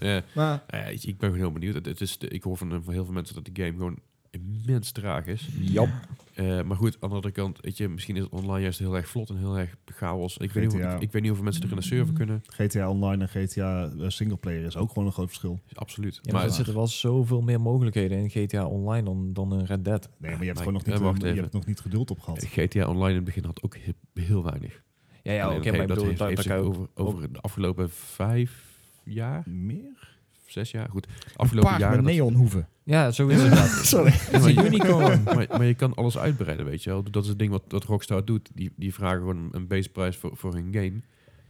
Speaker 2: Ja.
Speaker 6: Maar
Speaker 2: Nou ja, ik, ik ben gewoon heel benieuwd. Het, het is, de- ik hoor van, eh, van heel veel mensen dat de game gewoon immens traag is.
Speaker 1: Jap.
Speaker 2: Eh, maar goed, aan de andere kant, weet je, misschien is het online juist heel erg vlot en heel erg chaos. Ik, weet niet,
Speaker 4: GTA.
Speaker 2: of, ik, ik weet niet hoeveel mensen er in de server kunnen.
Speaker 4: GTA Online en GTA eh, Singleplayer is ook gewoon een groot verschil.
Speaker 2: Absoluut.
Speaker 1: Ja, maar
Speaker 2: maar
Speaker 1: er
Speaker 2: het,
Speaker 1: zitten wel zoveel meer mogelijkheden in GTA Online dan, dan in Red Dead.
Speaker 4: Nee, maar je hebt
Speaker 2: maar
Speaker 4: gewoon nog
Speaker 2: ik-
Speaker 4: niet,
Speaker 2: eh, wacht
Speaker 4: je hebt
Speaker 2: even.
Speaker 4: het nog niet geduld op gehad.
Speaker 2: GTA Online in het begin had ook heel, heel weinig.
Speaker 1: Ja, ja oké,
Speaker 2: Alleen,
Speaker 1: maar ik
Speaker 2: dat
Speaker 1: bedoel,
Speaker 2: heeft-
Speaker 1: daar,
Speaker 2: heeft
Speaker 1: daar kan
Speaker 2: zich
Speaker 1: je ook-
Speaker 2: over, over de afgelopen vijf jaar,
Speaker 4: Meer?
Speaker 2: zes jaar, goed.
Speaker 3: Een
Speaker 2: Afgelopen
Speaker 3: paard
Speaker 2: jaren.
Speaker 3: met
Speaker 2: dat-
Speaker 3: neonhoeven.
Speaker 1: Ja, zo is het inderdaad.
Speaker 3: Sorry.
Speaker 2: Ja, maar, je,
Speaker 1: Unicorn.
Speaker 2: maar, maar je kan alles uitbreiden, weet je wel. Dat is het ding wat, wat Rockstar doet. Die, die vragen gewoon een- een baseprijs voor, voor hun game.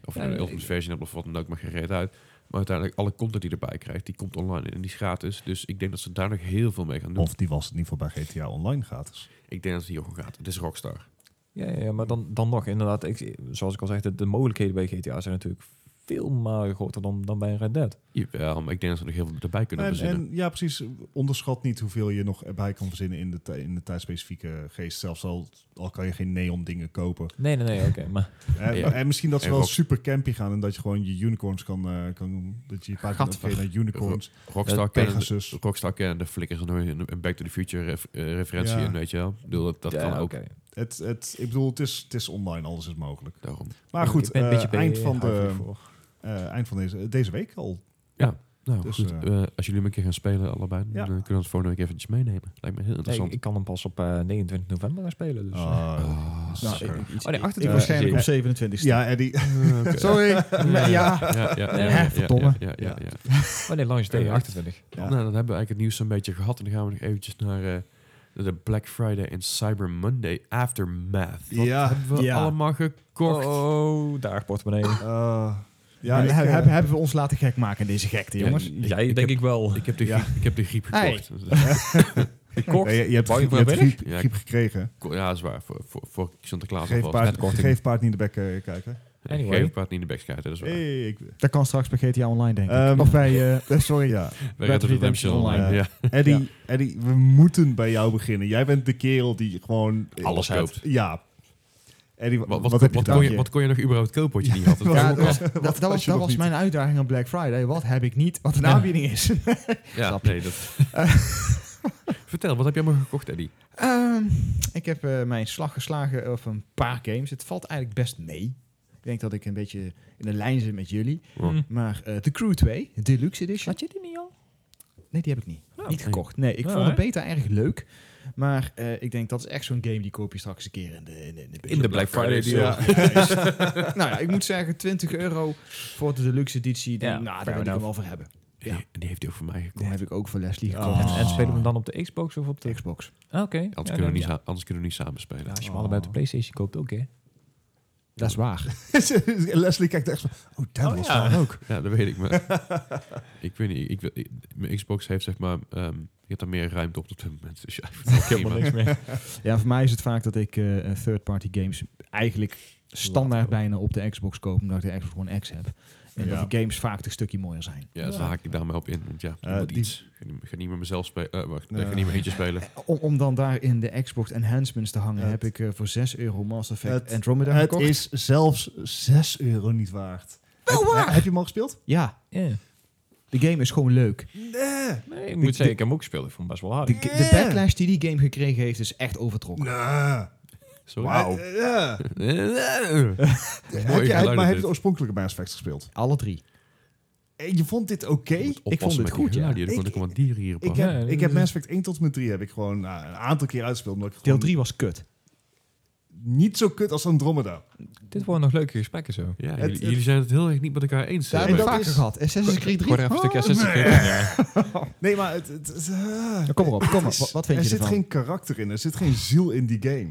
Speaker 2: Of je
Speaker 1: Ja,
Speaker 2: een
Speaker 1: ik-
Speaker 2: Ultimate version hebt of wat dan ook, maar gereed uit. Maar uiteindelijk, alle content die erbij krijgt, die komt online en die is gratis. Dus ik denk dat ze daar nog heel veel mee gaan doen.
Speaker 4: Of die was het niet voor bij GTA Online gratis.
Speaker 2: Ik denk dat het hier ook gaat. Het is Rockstar.
Speaker 1: Ja, ja, ja, maar dan, dan nog inderdaad, ik, zoals ik al zei, de, de mogelijkheden bij GTA zijn natuurlijk veel maar groter dan, dan bij Red Dead.
Speaker 2: Jawel, maar ik denk dat ze nog heel veel erbij kunnen
Speaker 4: En,
Speaker 2: verzinnen.
Speaker 4: en ja, precies. Onderschat niet hoeveel je nog erbij kan verzinnen in de, tij- in de tijdspecifieke geest. Zelfs al, al kan je geen neon dingen kopen.
Speaker 1: Nee, nee, nee, oké. maar
Speaker 4: En,
Speaker 2: Ja.
Speaker 4: en misschien dat ze
Speaker 2: En
Speaker 4: wel
Speaker 2: Rock-
Speaker 4: super campy gaan en dat je gewoon je unicorns kan... eh, kan dat je je paard kan
Speaker 1: Gadver.
Speaker 4: upgraden naar unicorns.
Speaker 2: Rockstar kennen de-
Speaker 4: Pegasus.
Speaker 2: Rockstar kennen de flikkers en een een Back to the Future ref- eh, referentie
Speaker 4: Ja.
Speaker 2: in, weet je wel. Ik bedoel, dat, dat
Speaker 1: Ja,
Speaker 2: kan ook.
Speaker 1: oké.
Speaker 4: Het, het, ik bedoel, het is, het is online. Alles is mogelijk.
Speaker 2: Daarom.
Speaker 4: Maar
Speaker 1: Ik
Speaker 4: goed,
Speaker 1: ben een beetje
Speaker 4: eh, eind, van
Speaker 1: huiverig
Speaker 4: de,
Speaker 1: voor.
Speaker 4: eh, eind van deze, deze week al.
Speaker 2: Nou,
Speaker 4: Dus,
Speaker 2: goed.
Speaker 4: eh,
Speaker 2: eh, als jullie hem een keer gaan spelen, allebei, dan
Speaker 4: Ja.
Speaker 2: eh, kunnen we het volgende week eventjes meenemen. Lijkt me heel
Speaker 1: Nee,
Speaker 2: interessant.
Speaker 1: ik, ik kan hem pas op eh, 29 november gaan spelen. Dus, eh.
Speaker 2: oh,
Speaker 4: Ah,
Speaker 3: Nou,
Speaker 4: sure.
Speaker 3: ik-
Speaker 1: oh nee,
Speaker 3: ik
Speaker 1: 28
Speaker 3: waarschijnlijk
Speaker 4: eh,
Speaker 3: op 27
Speaker 4: ja, Eddie.
Speaker 2: Oké.
Speaker 4: Sorry.
Speaker 3: Ja.
Speaker 2: Ja, ja, ja,
Speaker 1: Nee,
Speaker 2: ja,
Speaker 3: hè,
Speaker 2: ja,
Speaker 3: verdomme.
Speaker 2: ja, ja, ja, ja.
Speaker 1: Oh nee, Launch Day,
Speaker 2: Ja.
Speaker 1: 28.
Speaker 4: Ja.
Speaker 2: Nou, dan hebben we eigenlijk het nieuws een beetje gehad. En dan gaan we nog eventjes naar eh, de Black Friday en Cyber Monday Aftermath. Wat
Speaker 4: Ja.
Speaker 2: hebben we
Speaker 3: Ja.
Speaker 2: allemaal gekocht?
Speaker 1: Oh, daar portemonnee.
Speaker 4: Eh, ja,
Speaker 3: Ja,
Speaker 4: ik, eh,
Speaker 3: hebben, hebben we ons laten gek maken in deze gekte,
Speaker 2: Ja,
Speaker 3: jongens?
Speaker 1: Jij denk
Speaker 2: heb-
Speaker 1: ik wel.
Speaker 2: Ik heb de
Speaker 4: Ja.
Speaker 2: griep, ik heb de griep
Speaker 3: Hey.
Speaker 2: gekocht. Dus,
Speaker 1: Gekocht?
Speaker 4: nee, je, je hebt,
Speaker 1: Wou je
Speaker 4: griep, je
Speaker 1: voor werk?
Speaker 4: hebt griep,
Speaker 2: Ja,
Speaker 4: griep gekregen.
Speaker 2: ja, dat is waar. Voor, voor, voor Sinterklaas
Speaker 4: Geef
Speaker 2: alvast.
Speaker 4: paard,
Speaker 1: net korting.
Speaker 4: geef paard niet de bek eh, kijken.
Speaker 2: Nee,
Speaker 1: Anyway.
Speaker 2: Geef paard niet in de bek schijten, dat is waar.
Speaker 4: Hey, ik,
Speaker 3: Dat kan straks bij GTA Online, denk ik.
Speaker 4: Ehm,
Speaker 3: of bij... eh, sorry.
Speaker 4: ja.
Speaker 2: Wij hebben
Speaker 3: Redemption
Speaker 2: Redemption Online.
Speaker 4: Online.
Speaker 2: Ja.
Speaker 4: Eddie,
Speaker 3: Ja.
Speaker 4: Eddie, we moeten bij jou beginnen. Jij bent de kerel die gewoon...
Speaker 2: Alles koopt.
Speaker 4: Ja. Eddie,
Speaker 2: Wat,
Speaker 4: wat,
Speaker 2: wat,
Speaker 4: heb je
Speaker 2: wat
Speaker 4: gedaan?
Speaker 2: kon je, wat kon je nog überhaupt kopen wat je niet had? Dat
Speaker 3: Ja,
Speaker 2: was ook
Speaker 3: dat,
Speaker 2: al-
Speaker 3: was, dat, dat was, dat
Speaker 4: je nog
Speaker 3: was
Speaker 4: niet?
Speaker 3: mijn uitdaging aan Black Friday. Wat heb ik niet? Wat een aanbieding is.
Speaker 2: ja, nee, dat... Vertel, wat heb jij allemaal gekocht, Eddie?
Speaker 3: Ehm, ik heb eh, mijn slag geslagen over een paar games. Het valt eigenlijk best mee. Ik denk dat ik een beetje in de lijn zit met jullie.
Speaker 2: Oh,
Speaker 1: Hm.
Speaker 3: Maar eh The Crew 2, Deluxe Edition.
Speaker 1: Had je die niet al?
Speaker 3: Nee, die heb ik niet.
Speaker 1: Oh.
Speaker 3: niet gekocht. Nee, ik
Speaker 1: Oh,
Speaker 3: vond de
Speaker 1: hè?
Speaker 3: beta erg leuk. Maar eh, ik denk dat is echt zo'n game die koop je straks een keer in de, in de, in de
Speaker 1: In de Black Friday deal.
Speaker 2: Ja.
Speaker 3: nou ja, ik moet zeggen, 20 euro voor de deluxe editie. die-
Speaker 1: Ja,
Speaker 3: nou, daar
Speaker 1: fair
Speaker 3: wil ik
Speaker 1: enough.
Speaker 3: hem wel voor hebben. Oh.
Speaker 2: En die- en die heeft hij ook voor mij gekocht.
Speaker 3: Daar heb ik ook voor Leslie
Speaker 4: Ja.
Speaker 3: gekocht.
Speaker 1: En, en spelen we hem dan op de Xbox of op de...
Speaker 3: De Xbox.
Speaker 1: Ah, oké. Ja,
Speaker 2: Anders,
Speaker 1: dan-
Speaker 2: Oh. kunnen we niet
Speaker 1: ja.
Speaker 2: sa- anders kunnen we niet samen spelen.
Speaker 1: Ja, als je hem
Speaker 4: Oh.
Speaker 1: allebei op de Playstation koopt ook, hè?
Speaker 3: Dat is waar.
Speaker 4: Leslie kijkt echt van... Oh, dat was
Speaker 1: ja.
Speaker 4: wel ook.
Speaker 2: Ja, dat weet ik. Maar ik weet niet. Ik, wil- ik- mijn Xbox heeft zeg maar... ehm je hebt daar meer ruimte op op dit moment. Dus ja, ik vind het wel prima.
Speaker 1: meer.
Speaker 3: Ja, voor mij is het vaak dat ik eh, third-party games eigenlijk standaard bijna op de Xbox koop. Omdat ik de Xbox One X heb. En
Speaker 4: Ja.
Speaker 3: dat de games vaak een stukje mooier zijn.
Speaker 2: Ja, dus daar haak ik daarmee op in. Want ja,
Speaker 4: Eh,
Speaker 2: ik moet
Speaker 4: die-
Speaker 2: iets. Ik ga niet- ik ga niet meer mezelf spelen. Eh, wacht, nee, ik ga
Speaker 4: Nee.
Speaker 2: niet meer eentje spelen.
Speaker 3: Om, om dan daar in de Xbox Enhancements te hangen,
Speaker 4: Het-
Speaker 3: heb ik eh, voor 6 euro Mass Effect
Speaker 4: Het-
Speaker 3: Andromeda
Speaker 4: het
Speaker 3: gekocht.
Speaker 4: is zelfs 6 euro niet waard. Heb- heb, je hem al gespeeld?
Speaker 3: Ja,
Speaker 1: Ja.
Speaker 3: de game is gewoon leuk.
Speaker 4: Nee.
Speaker 1: Nee, ik moet zeggen, ik heb hem ook gespeeld. Ik vond hem best wel hard.
Speaker 3: De, de backlash die die game gekregen heeft is echt overtrokken.
Speaker 4: Nee.
Speaker 2: Sorry.
Speaker 4: Eh, ja.
Speaker 2: Mooi
Speaker 4: Heb je,
Speaker 2: geluiden
Speaker 4: maar heb
Speaker 2: dit.
Speaker 4: je het oorspronkelijke Mass Effect gespeeld?
Speaker 3: Alle drie.
Speaker 4: Eh, Je vond dit oké?
Speaker 2: Je moet
Speaker 3: vond
Speaker 2: oppassen
Speaker 3: het
Speaker 2: met die
Speaker 3: goed, ja.
Speaker 2: geluiden. Er
Speaker 4: Ik-
Speaker 2: komt- Er komen dieren hier op
Speaker 4: Ik
Speaker 2: af.
Speaker 1: Ja,
Speaker 4: heb, ik eh, heb
Speaker 1: eh,
Speaker 4: Mass Effect 1 tot en met 3 heb ik gewoon nou, een aantal keer uitgespeeld. Omdat ik
Speaker 3: Deel
Speaker 4: gewoon-
Speaker 3: 3 was kut.
Speaker 4: niet zo kut als Andromeda.
Speaker 1: Dit worden nog leuke gesprekken zo.
Speaker 2: Ja,
Speaker 4: Het-
Speaker 2: jullie,
Speaker 4: het-
Speaker 2: jullie zijn het heel erg niet met elkaar eens. eh,
Speaker 7: Daar
Speaker 2: hè,
Speaker 7: hebben we
Speaker 2: maar-
Speaker 4: dat
Speaker 7: vaker gehad.
Speaker 4: is-
Speaker 7: Assassin's Creed 3.
Speaker 1: Gewoon even een
Speaker 3: Oh,
Speaker 1: stuk Assassin's
Speaker 4: nee.
Speaker 1: Creed. Ja.
Speaker 4: Nee, maar het, het is, eh,
Speaker 3: Ja, kom maar op,
Speaker 4: het
Speaker 3: kom maar.
Speaker 4: is-
Speaker 3: Wat- wat vind
Speaker 4: er
Speaker 3: je
Speaker 4: zit
Speaker 3: ervan?
Speaker 4: geen karakter in, er zit geen ziel in die game.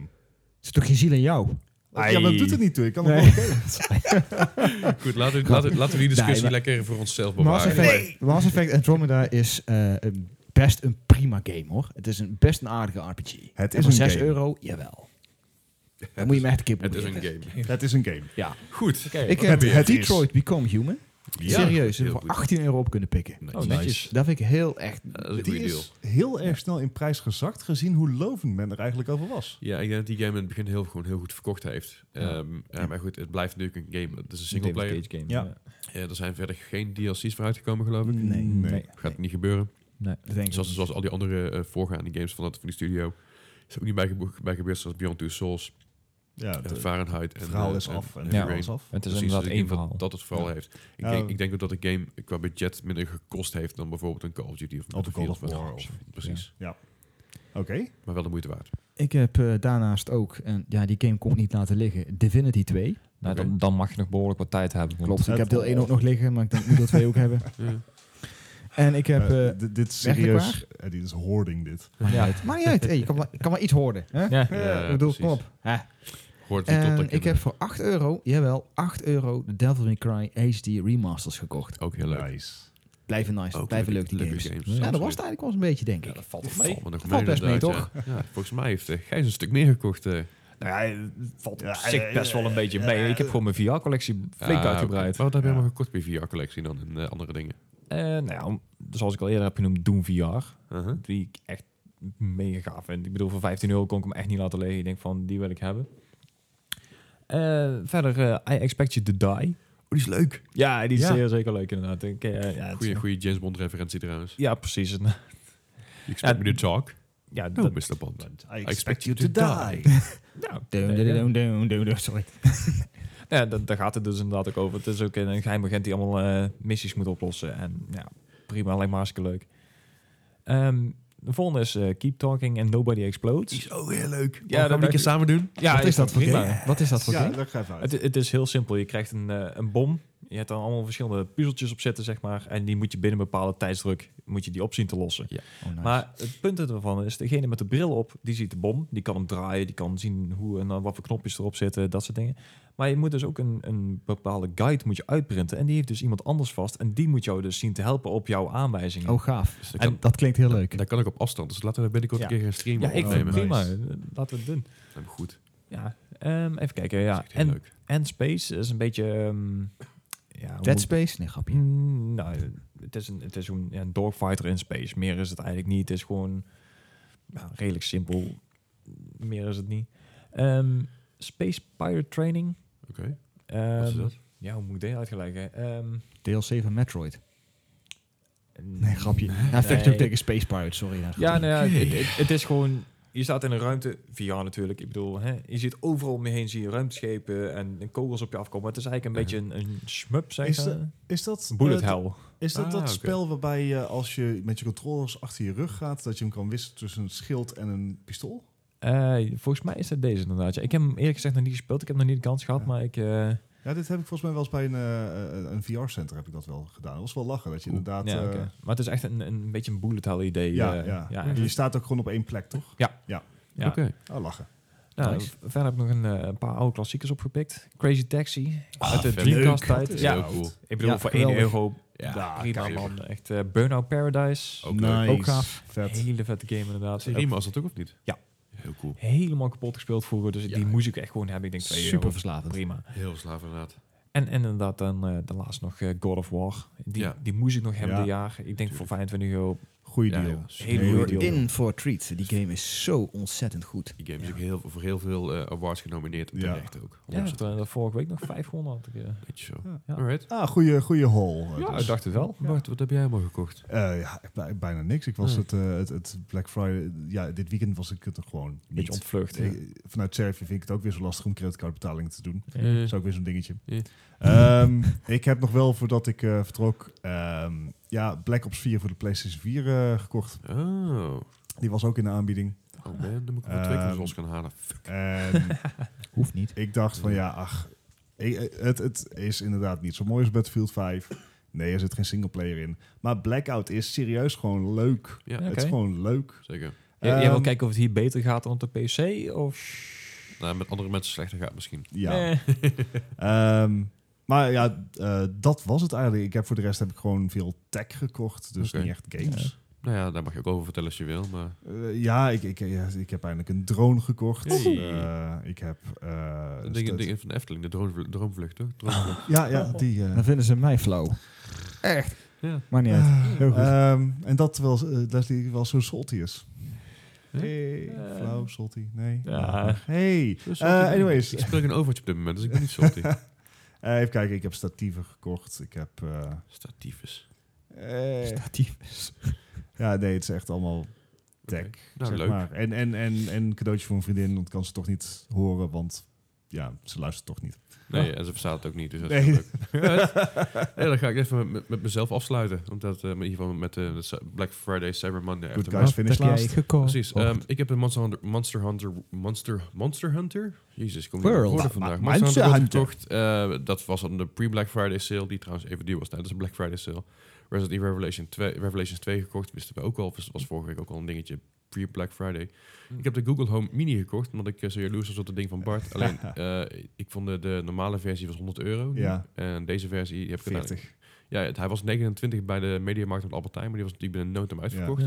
Speaker 3: Is toch geen ziel in jou?
Speaker 4: Ja,
Speaker 1: Ai.
Speaker 4: maar dat doet het niet toe. Ik kan het
Speaker 3: Nee.
Speaker 4: wel oké.
Speaker 2: Goed, laten we, laten, laten we die discussie
Speaker 3: Nee, maar-
Speaker 2: lekker voor onszelf
Speaker 3: Mass
Speaker 2: bewaren.
Speaker 3: Effect, Mass Effect Andromeda is eh, een- best een prima game hoor. Het is een, best een aardige RPG.
Speaker 4: Het
Speaker 3: En voor
Speaker 4: is een
Speaker 3: 6
Speaker 4: game.
Speaker 3: euro, jawel. Dan moet je me echt een keer
Speaker 2: Het is een
Speaker 3: proberen.
Speaker 2: game.
Speaker 4: Het is een game.
Speaker 2: Goed.
Speaker 3: Ik
Speaker 4: Het-
Speaker 3: heb
Speaker 4: het is.
Speaker 3: Detroit Become Human.
Speaker 2: Ja,
Speaker 3: Serieus,
Speaker 2: heel
Speaker 3: heb ik voor
Speaker 2: goed.
Speaker 3: 18 euro op kunnen pikken.
Speaker 2: Nice.
Speaker 1: Oh, netjes.
Speaker 3: Dat vind ik heel echt...
Speaker 2: Eh, Dat is een
Speaker 4: Die
Speaker 2: goede deal.
Speaker 4: is heel erg snel in prijs gezakt, gezien hoe lovend men er eigenlijk over was.
Speaker 2: Ja, ik denk dat die game in het begin heel, gewoon heel goed verkocht heeft.
Speaker 1: Ja.
Speaker 2: Ehm, ja, maar goed, het blijft natuurlijk een game. Het is een singleplayer.
Speaker 1: David Cage game.
Speaker 4: Ja.
Speaker 2: Eh er zijn verder geen DLC's voor uitgekomen, geloof ik.
Speaker 3: Nee, nee.
Speaker 2: Gaat niet gebeuren.
Speaker 1: Nee.
Speaker 3: Dat denk ik
Speaker 2: Zoals,
Speaker 3: niet.
Speaker 2: zoals al die andere eh, voorgaande games van, dat, van die studio. Is er ook niet bij, gebo- bij gebeurd, zoals Beyond Two Souls,
Speaker 4: Ja,
Speaker 2: en
Speaker 4: het
Speaker 2: Fahrenheit.
Speaker 4: het
Speaker 2: en,
Speaker 4: verhaal
Speaker 2: eh,
Speaker 4: is
Speaker 2: en
Speaker 4: af. En
Speaker 2: Heavy
Speaker 1: ja.
Speaker 4: het verhaal
Speaker 2: Rain.
Speaker 4: is af.
Speaker 1: Het is
Speaker 2: Precies,
Speaker 1: inderdaad
Speaker 2: dus ik
Speaker 1: één
Speaker 2: denk dat-
Speaker 1: verhaal.
Speaker 2: Dat het vooral
Speaker 4: Ja.
Speaker 2: heeft. Ik,
Speaker 4: Ja.
Speaker 2: denk, ik denk ook dat de game qua budget minder gekost heeft dan bijvoorbeeld een Call of Duty of
Speaker 4: Of een Call of
Speaker 2: Battlefield.
Speaker 4: War.
Speaker 2: Of- Precies.
Speaker 4: Oké.
Speaker 2: Maar wel de moeite waard.
Speaker 3: Ik heb eh, daarnaast ook, en ja, die game kon ik niet laten liggen, Divinity 2.
Speaker 1: Nou,
Speaker 2: Oké.
Speaker 1: dan, dan mag je nog behoorlijk wat tijd hebben. want-
Speaker 3: Klopt, ik
Speaker 4: Het-
Speaker 3: heb deel 1 ook nog liggen, maar ik denk moet deel 2 ook hebben.
Speaker 2: Ja.
Speaker 3: En ik heb...
Speaker 4: Eh,
Speaker 3: eh,
Speaker 4: dit- dit is
Speaker 3: werkelijk
Speaker 4: serieus. eh, dit is hoarding dit.
Speaker 1: Ja.
Speaker 3: Maakt niet uit. Hey, je kan maar, je kan maar iets horen. Hè?
Speaker 1: Ja.
Speaker 2: Ja,
Speaker 3: ik bedoel,
Speaker 2: precies.
Speaker 3: kom op. Hè?
Speaker 2: Hoort die tot
Speaker 3: En
Speaker 2: dat
Speaker 3: ik heb voor 8 euro, jawel, 8 euro de Devil May Cry HD remasters gekocht.
Speaker 2: Ook heel leuk.
Speaker 4: Nice.
Speaker 3: Blijven nice,
Speaker 2: Ook
Speaker 3: blijven leuk
Speaker 2: leuke-
Speaker 3: die
Speaker 2: leuke
Speaker 3: games.
Speaker 1: Ja,
Speaker 3: Ja,
Speaker 2: Absoluut.
Speaker 3: dat was het eigenlijk wel eens een beetje, denk ik.
Speaker 1: dat valt
Speaker 2: Valt me nog
Speaker 3: Dat valt
Speaker 2: mee,
Speaker 3: best mee,
Speaker 2: inderdaad, ja. Ja, volgens mij heeft eh, Gijs een stuk meer gekocht. eh.
Speaker 1: Nou ja, het valt op
Speaker 4: Ja,
Speaker 1: zich
Speaker 4: ja,
Speaker 1: best wel een
Speaker 4: ja,
Speaker 1: beetje
Speaker 4: ja,
Speaker 1: mee.
Speaker 4: ja.
Speaker 1: Ik heb gewoon mijn VR-collectie flink
Speaker 2: Ah,
Speaker 1: uitgebreid.
Speaker 2: oké. Wat heb je
Speaker 4: Ja.
Speaker 2: helemaal gekocht bij VR-collectie dan en eh, andere dingen?
Speaker 1: Eh, nou ja, zoals ik al eerder heb genoemd, Doom VR.
Speaker 2: Uh-huh.
Speaker 1: Die ik echt mega gaaf vind. Ik bedoel, voor 15 euro kon ik hem echt niet laten liggen. Ik denk van, die wil ik hebben. Eh, verder, eh, I Expect You To Die.
Speaker 2: Oh, die is leuk.
Speaker 1: Ja, die is
Speaker 4: Ja.
Speaker 1: zeer zeker leuk inderdaad. Ik, eh, ja, het-
Speaker 2: Goeie, Oh. goeie James Bond-referentie trouwens.
Speaker 1: ja, precies. En,
Speaker 2: You expect
Speaker 1: Ja,
Speaker 2: me to talk?
Speaker 1: ja,
Speaker 2: No,
Speaker 1: dat,
Speaker 2: Mr. Bond.
Speaker 4: I
Speaker 2: expect you to die.
Speaker 1: nou,
Speaker 3: Down,
Speaker 1: eh,
Speaker 3: down, down, down, down, Sorry.
Speaker 1: Ja, da- daar gaat het dus inderdaad ook over. Het is ook een, een geheim agent die allemaal eh, missies moet oplossen. En ja, prima, alleen maar hartstikke leuk. Ehm, de volgende is eh, Keep Talking and Nobody
Speaker 2: Die
Speaker 1: Explodes.
Speaker 2: is ook heel leuk.
Speaker 1: Ja,
Speaker 2: Ja,
Speaker 1: dat
Speaker 2: dat gaan we een
Speaker 1: denk ik-
Speaker 2: keer samen doen.
Speaker 1: Ja,
Speaker 3: Wat is dat voor
Speaker 1: prima.
Speaker 3: game? Wat is dat voor
Speaker 4: Ja,
Speaker 3: game?
Speaker 4: dat gaat uit.
Speaker 1: Het, het is heel simpel. Je krijgt een, eh, een bom. Je hebt er allemaal verschillende puzzeltjes op zitten, zeg maar. En die moet je binnen een bepaalde tijdsdruk moet je die op zien te lossen.
Speaker 3: Oh, nice.
Speaker 1: Maar het punt ervan is, degene met de bril op, die ziet de bom. Die kan hem draaien, die kan zien hoe en eh, wat voor knopjes erop zitten, dat soort dingen. Maar je moet dus ook een, een bepaalde guide moet je uitprinten. En die heeft dus iemand anders vast. En die moet jou dus zien te helpen op jouw aanwijzingen.
Speaker 3: Oh, gaaf.
Speaker 2: Dus dat,
Speaker 1: En-
Speaker 2: kan,
Speaker 3: Dat klinkt heel leuk.
Speaker 2: dat kan ik op afstand. Dus laten we binnenkort
Speaker 1: Ja.
Speaker 2: een keer gaan streamen.
Speaker 1: ja, ik
Speaker 4: oh,
Speaker 1: vind het
Speaker 2: opnemen.
Speaker 1: prima.
Speaker 4: nice.
Speaker 1: Eh, Laten we het doen.
Speaker 2: Ja, maar goed.
Speaker 1: Ja, ehm, even kijken.
Speaker 2: Ja,
Speaker 1: Ja.
Speaker 2: echt heel
Speaker 1: En,
Speaker 2: leuk.
Speaker 1: en Space is een beetje... ehm, ja, hoe
Speaker 3: Dead
Speaker 1: moet-
Speaker 3: Space? Nee, grapje.
Speaker 1: Mm, nou, het is, een, het is een, een dogfighter in space. Meer is het eigenlijk niet. Het is gewoon ja, redelijk simpel. Meer is het niet. Ehm, space Pirate Training.
Speaker 2: Oké.
Speaker 1: Ehm,
Speaker 2: Wat is dat?
Speaker 1: Ja, hoe moet ik dat uitleggen? Ehm,
Speaker 3: DLC van Metroid.
Speaker 1: mm,
Speaker 3: Nee, grapje. Hij vecht ook tegen Space Pirates, sorry.
Speaker 1: Ja, nou ja,
Speaker 2: Oké.
Speaker 1: het, het- het is gewoon... Je staat in een ruimte, VR natuurlijk. Ik bedoel, hè, je ziet overal om je heen zie je ruimteschepen en, en kogels op je afkomen. Het is eigenlijk een beetje een, een shmup, zeg
Speaker 4: Is
Speaker 1: maar.
Speaker 4: de- Is dat
Speaker 1: Bullet
Speaker 4: eh,
Speaker 1: hell.
Speaker 4: Is dat
Speaker 2: Ah,
Speaker 4: dat
Speaker 2: oké.
Speaker 4: spel waarbij je als je met je controllers achter je rug gaat, dat je hem kan wisselen tussen een schild en een pistool?
Speaker 1: Eh, volgens mij is dat deze inderdaad. Ja, ik heb hem eerlijk gezegd nog niet gespeeld. Ik heb nog niet de kans gehad,
Speaker 4: Ja.
Speaker 1: maar ik... eh,
Speaker 4: Ja, dit heb ik volgens mij wel eens bij een, eh, eh, een VR-center heb ik dat wel gedaan. Dat was wel lachen dat je
Speaker 2: Oeh,
Speaker 4: inderdaad...
Speaker 1: ja,
Speaker 4: eh,
Speaker 1: oké. Maar het is echt een, een beetje een bullet hell idee.
Speaker 4: ja,
Speaker 1: eh,
Speaker 4: ja.
Speaker 1: ja,
Speaker 4: je
Speaker 1: eigenlijk.
Speaker 4: staat ook gewoon op één plek, toch?
Speaker 1: Ja.
Speaker 2: Oké.
Speaker 4: Oh, lachen.
Speaker 1: Nou,
Speaker 3: Nice.
Speaker 1: v- Verder heb ik nog een, eh, een paar oude klassiekers opgepikt. Crazy Taxi. uit de
Speaker 2: Ah, vet.
Speaker 1: Dreamcast
Speaker 4: Leuk.
Speaker 1: tijd.
Speaker 4: Dat is
Speaker 1: Ja.
Speaker 2: Heel cool.
Speaker 1: Ik bedoel,
Speaker 3: Ja,
Speaker 1: voor 1
Speaker 3: geweldig.
Speaker 1: euro.
Speaker 2: Ja,
Speaker 1: Ja,
Speaker 2: kan
Speaker 1: prima
Speaker 2: je
Speaker 1: man. Echt eh, Burnout Paradise.
Speaker 2: Ook leuk.
Speaker 3: Ook gaaf.
Speaker 4: Vet.
Speaker 1: Hele vette game inderdaad.
Speaker 2: Is die Rima als dat ook of niet?
Speaker 1: Ja.
Speaker 2: Heel cool.
Speaker 1: Helemaal kapot gespeeld vroeger. Dus
Speaker 2: Ja.
Speaker 1: die moest ik echt gewoon hebben. Ik denk 2
Speaker 3: Super
Speaker 1: euro.
Speaker 3: verslavend.
Speaker 1: Prima.
Speaker 2: Heel verslaafd inderdaad.
Speaker 1: En, en inderdaad dan eh de laatste nog eh, God of War. Die,
Speaker 2: Ja.
Speaker 1: die moest ik nog hebben
Speaker 4: Ja.
Speaker 1: dit jaar. Ik denk voor 25 euro.
Speaker 4: Goeie
Speaker 2: Ja,
Speaker 4: deal.
Speaker 2: joh.
Speaker 1: Hele
Speaker 4: Heel
Speaker 1: goede
Speaker 4: goed.
Speaker 1: deal.
Speaker 3: In for a treat. Die game is zo ontzettend goed.
Speaker 2: Die game is ook heel, voor heel veel eh, awards genomineerd. En
Speaker 4: Ja.
Speaker 2: terecht ook.
Speaker 1: Ja,
Speaker 2: 100%
Speaker 1: dat, eh, dat vorige week nog 500 had ik. eh.
Speaker 2: Beetje zo.
Speaker 4: Ja.
Speaker 1: Ja.
Speaker 2: Alright.
Speaker 4: Ah, goede, goede haul. eh,
Speaker 1: Ja,
Speaker 4: dus.
Speaker 1: ik dacht het wel.
Speaker 2: Bart, wat heb jij allemaal gekocht?
Speaker 4: Eh, ja, bij- bijna niks. Ik was
Speaker 2: Nee.
Speaker 4: het, eh, het, het Black Friday... Ja, dit weekend was ik het er gewoon
Speaker 1: Beetje
Speaker 4: niet.
Speaker 1: ontvlucht. hè.
Speaker 4: Eh, Vanuit Servië vind ik het ook weer zo lastig om creditcardbetalingen te doen.
Speaker 1: Ja.
Speaker 2: Eh,
Speaker 4: Dat is ook weer zo'n dingetje.
Speaker 2: Ja.
Speaker 4: Ehm, ik heb nog wel, voordat ik eh, vertrok, ehm, ja, Black Ops 4 voor de PlayStation 4 eh, gekocht.
Speaker 2: Oh.
Speaker 4: Die was ook in de aanbieding.
Speaker 2: Oh man, dan moet ik wel twee
Speaker 4: Ehm,
Speaker 2: consoles gaan halen.
Speaker 4: En
Speaker 5: Hoeft niet.
Speaker 4: ik dacht van ja, ach, ik- het, het is inderdaad niet zo mooi als Battlefield 5. Nee, er zit geen singleplayer in. Maar Blackout is serieus gewoon leuk.
Speaker 2: Ja,
Speaker 1: Ja.
Speaker 4: Het is
Speaker 1: Oké.
Speaker 4: gewoon leuk.
Speaker 2: zeker.
Speaker 1: Jij- jij wil
Speaker 4: Ehm,
Speaker 1: kijken of het hier beter gaat dan op de PC? Of...
Speaker 2: Nou, met andere mensen slechter gaat misschien.
Speaker 4: Ja.
Speaker 1: Eh.
Speaker 4: Ehm, maar ja, eh, dat was het eigenlijk. Ik heb voor de rest heb ik gewoon veel tech gekocht, dus
Speaker 2: Oké.
Speaker 4: niet echt games.
Speaker 2: Nou ja, daar mag je ook over vertellen als je wil, maar...
Speaker 4: Eh, Ja, ik, ik, ja, ik heb eindelijk een drone gekocht.
Speaker 2: Hey.
Speaker 4: Eh, ik heb... eh,
Speaker 2: De
Speaker 4: een
Speaker 2: dingen,
Speaker 4: stuk-
Speaker 2: dingen Oh. van de Efteling, de droomvlucht, droomvlucht toch? Droomvlucht.
Speaker 4: Ja, ja, die... eh.
Speaker 5: Dan vinden ze mij flauw.
Speaker 2: ja.
Speaker 5: Maar niet uit. Heel goed.
Speaker 4: Ehm, en dat terwijl eh, Leslie wel zo salty is.
Speaker 2: Huh?
Speaker 4: Hey,
Speaker 1: Eh.
Speaker 4: flauw, salty, nee.
Speaker 1: Ja.
Speaker 4: Hey,
Speaker 2: Dus
Speaker 4: Eh,
Speaker 2: salty.
Speaker 4: anyways.
Speaker 2: Ik speel geen Overwatch op dit moment, dus ik ben niet salty.
Speaker 4: Eh, even kijken, ik heb statieven gekocht. Ik heb... eh,
Speaker 2: Statiefes.
Speaker 4: eh,
Speaker 5: Statief.
Speaker 4: ja, nee, het is echt allemaal
Speaker 2: Oké.
Speaker 4: tech.
Speaker 2: Nou,
Speaker 4: zeg
Speaker 2: leuk.
Speaker 4: maar. En, en, en, en een cadeautje voor een vriendin, want kan ze toch niet horen, want ja, ze luistert toch niet.
Speaker 2: Nee, en ze verstaat het ook niet, dus dat
Speaker 4: Nee.
Speaker 2: is heel leuk. nee, dan ga ik even met, met mezelf afsluiten. Omdat, eh, in ieder geval met eh, de Cy- Black Friday, Cyber Monday.
Speaker 4: Good
Speaker 2: aftermath.
Speaker 4: guys
Speaker 5: Wat
Speaker 4: finish
Speaker 5: heb jij
Speaker 4: last.
Speaker 5: gekocht?
Speaker 2: Precies. ehm, ik heb een Monster Hunter, Monster Hunter, Monster, Monster Hunter? Jezus, ik kom niet
Speaker 5: World.
Speaker 2: op woorden
Speaker 4: Ma- ma-
Speaker 2: vandaag.
Speaker 4: Monster
Speaker 2: Monster Hunter, World
Speaker 4: Hunter.
Speaker 2: gekocht. Eh, dat was aan de pre-Black Friday sale, die trouwens even duur was Nou, tijdens de Black Friday sale. Resident Evil Revelation 2, Revelations 2 gekocht, wisten we ook al. Was, was vorige week ook al een dingetje pre-Black Friday. Ik heb de Google Home Mini gekocht, omdat ik eh, zo jaloers was op het ding van Bart. Alleen, eh, ik vond de, de normale versie was 100 euro.
Speaker 4: Ja,
Speaker 2: En deze versie heb ik uiteindelijk-
Speaker 4: 40.
Speaker 2: Ja, het- hij was 29 bij de Mediamarkt op de Albertijn, maar die was natuurlijk binnen no time uitverkocht.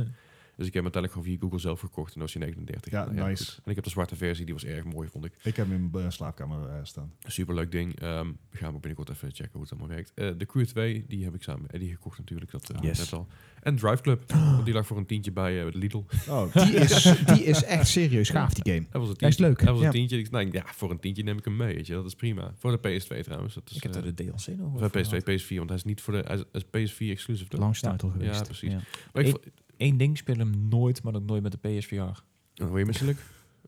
Speaker 2: Dus ik heb hem uiteindelijk gewoon via Google zelf gekocht en dat was die 39.
Speaker 4: Ja,
Speaker 2: Nou
Speaker 4: nice.
Speaker 2: goed. En ik heb de zwarte versie, die was erg mooi, vond ik.
Speaker 4: Ik heb hem in mijn eh, slaapkamer eh, staan.
Speaker 2: Superleuk ding. Ehm gaan we binnenkort even checken hoe het allemaal werkt. Eh, de Crew 2, die heb ik samen met Eddie gekocht natuurlijk, dat eh,
Speaker 5: Yes.
Speaker 2: net al. En Drive Club, want die lag voor een tientje bij eh Lidl.
Speaker 4: Oh,
Speaker 5: Die is, die is echt serieus gaaf, die game.
Speaker 2: Dat was een tientje.
Speaker 5: Hij is leuk,
Speaker 2: Dat was
Speaker 5: ja.
Speaker 2: een tientje. Ik, nou, ja, voor een tientje neem ik hem mee, weet je. Dat is prima. Voor de PS2 trouwens. Dat is,
Speaker 1: Ik heb
Speaker 2: eh,
Speaker 1: daar de DLC nog
Speaker 2: of
Speaker 1: over
Speaker 2: PS2,
Speaker 1: gehad.
Speaker 2: PS4, want hij is niet voor de hij is- hij is PS4 exclusive. toch?
Speaker 5: Launch title geweest.
Speaker 2: Ja, precies.
Speaker 5: Ja.
Speaker 2: Maar ik,
Speaker 1: Ik- Eén ding, speel hem nooit, maar ook nooit met de PSVR.
Speaker 2: oh, word je misselijk?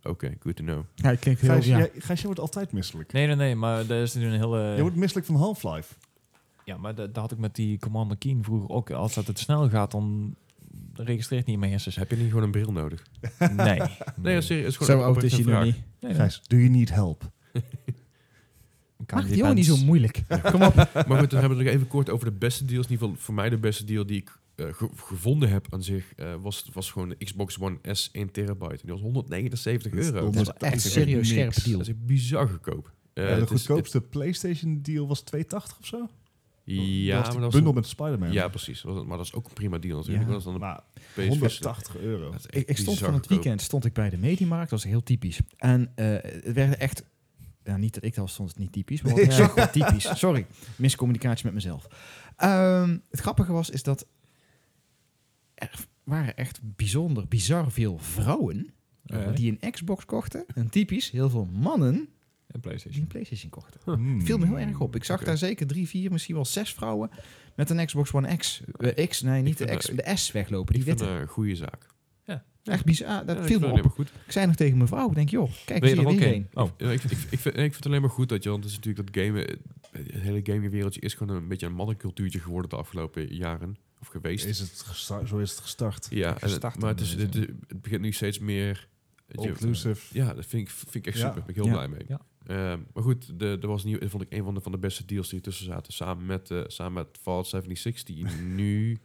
Speaker 2: Oké, good to know.
Speaker 5: Ja, ik kijk heel,
Speaker 4: Gijs,
Speaker 5: ja.
Speaker 4: jij, Gijs, jij wordt altijd misselijk.
Speaker 1: Nee, nee, nee, maar daar is nu een hele...
Speaker 4: Jij wordt misselijk van Half-Life.
Speaker 1: Ja, maar dat, dat had ik met die Commander Keen vroeger ook. Als dat het snel gaat, dan registreert niet mijn hersens.
Speaker 2: Dus heb je niet gewoon een bril nodig?
Speaker 1: Nee. Nee,
Speaker 2: Nee, dat is serieus. Het is
Speaker 5: Zo
Speaker 2: gewoon een
Speaker 5: oud is
Speaker 2: oprechte
Speaker 5: hij nog
Speaker 2: vraag.
Speaker 5: niet.
Speaker 1: Nee, nee.
Speaker 4: Gijs, do you need help?
Speaker 1: Kan
Speaker 5: Maak die
Speaker 1: die
Speaker 5: jongen niet
Speaker 1: bands-
Speaker 5: zo moeilijk. Kom op.
Speaker 2: Maar goed, dan hebben we het nog even kort over de beste deals. In ieder geval voor mij de beste deal die ik eh, ge- gevonden heb aan zich... eh, was, was gewoon de Xbox One S 1 terabyte. En die was 179
Speaker 4: Dat is
Speaker 2: euro.
Speaker 4: dom.
Speaker 5: Dat is echt een serieus
Speaker 4: niks.
Speaker 5: scherp deal.
Speaker 2: Dat is echt bizar goedkoop. Eh,
Speaker 4: Ja, de
Speaker 2: het is-
Speaker 4: goedkoopste PlayStation deal was 280 of zo?
Speaker 2: het- ja,
Speaker 4: dat was
Speaker 2: maar
Speaker 4: die
Speaker 2: dat
Speaker 4: bundel
Speaker 2: was
Speaker 4: met Spider-Man.
Speaker 2: een- ja, precies. Dat was- maar dat is ook een prima deal natuurlijk.
Speaker 5: Ja.
Speaker 2: Dat is dan
Speaker 4: maar
Speaker 2: een PS4.
Speaker 4: 180 euro.
Speaker 2: Dat is echt
Speaker 5: Ik, ik stond
Speaker 2: bizar
Speaker 5: van het
Speaker 2: goedkoop.
Speaker 5: weekend stond ik bij de Mediamarkt. Dat was heel typisch. En eh, het werd echt... Ja, niet dat ik dat stond, het niet typisch. Maar wat ik zag was typisch. Sorry. Miscommunicatie met mezelf. Ehm, het grappige was, is dat... Er waren echt bijzonder, bizar veel vrouwen...
Speaker 2: Eh?
Speaker 1: Oké.
Speaker 5: die een Xbox kochten. En typisch heel veel mannen
Speaker 1: En
Speaker 5: die
Speaker 1: PlayStation.
Speaker 5: een Playstation kochten.
Speaker 4: Hmm.
Speaker 5: viel me heel erg op. Ik zag
Speaker 2: Oké.
Speaker 5: daar zeker drie, vier, misschien wel zes vrouwen met een Xbox One X. eh, X, nee, niet
Speaker 2: vind
Speaker 5: de
Speaker 2: dat-
Speaker 5: X, de S weglopen.
Speaker 2: Ik
Speaker 5: Die
Speaker 2: vind
Speaker 5: witte.
Speaker 2: dat een goede zaak.
Speaker 5: Echt bizar. Dat
Speaker 2: Ja, ik
Speaker 5: viel
Speaker 2: vind
Speaker 5: me
Speaker 2: het
Speaker 5: op.
Speaker 2: helemaal goed.
Speaker 5: Ik zei nog tegen mijn vrouw, ik denk, joh, kijk, zie
Speaker 1: Ben je
Speaker 5: je
Speaker 1: er ook
Speaker 5: weer
Speaker 1: één?
Speaker 5: een.
Speaker 1: Oh,
Speaker 2: Ja, ik, vind- ik, ik, vind, nee, ik vind het alleen maar goed dat je, want het is natuurlijk dat gamen, het hele gamingwereldje is gewoon een beetje een mannencultuurtje geworden de afgelopen jaren. Of geweest.
Speaker 4: Is het gesta- zo is het gestart.
Speaker 2: ja, en het-
Speaker 1: gestart
Speaker 2: maar het, is,
Speaker 1: inderdaad,
Speaker 2: het, het begint nu steeds meer. weet je,
Speaker 4: Inclusive.
Speaker 2: ja, dat vind ik, vind ik echt
Speaker 4: Ja.
Speaker 2: super. Daar ben ik heel
Speaker 5: Ja.
Speaker 2: blij mee.
Speaker 1: Ja.
Speaker 2: Ehm, maar goed, de- er was nieuw, dat vond ik een van de, van de beste deals die ertussen zaten. Samen met, eh samen met Fallout 76, die nu,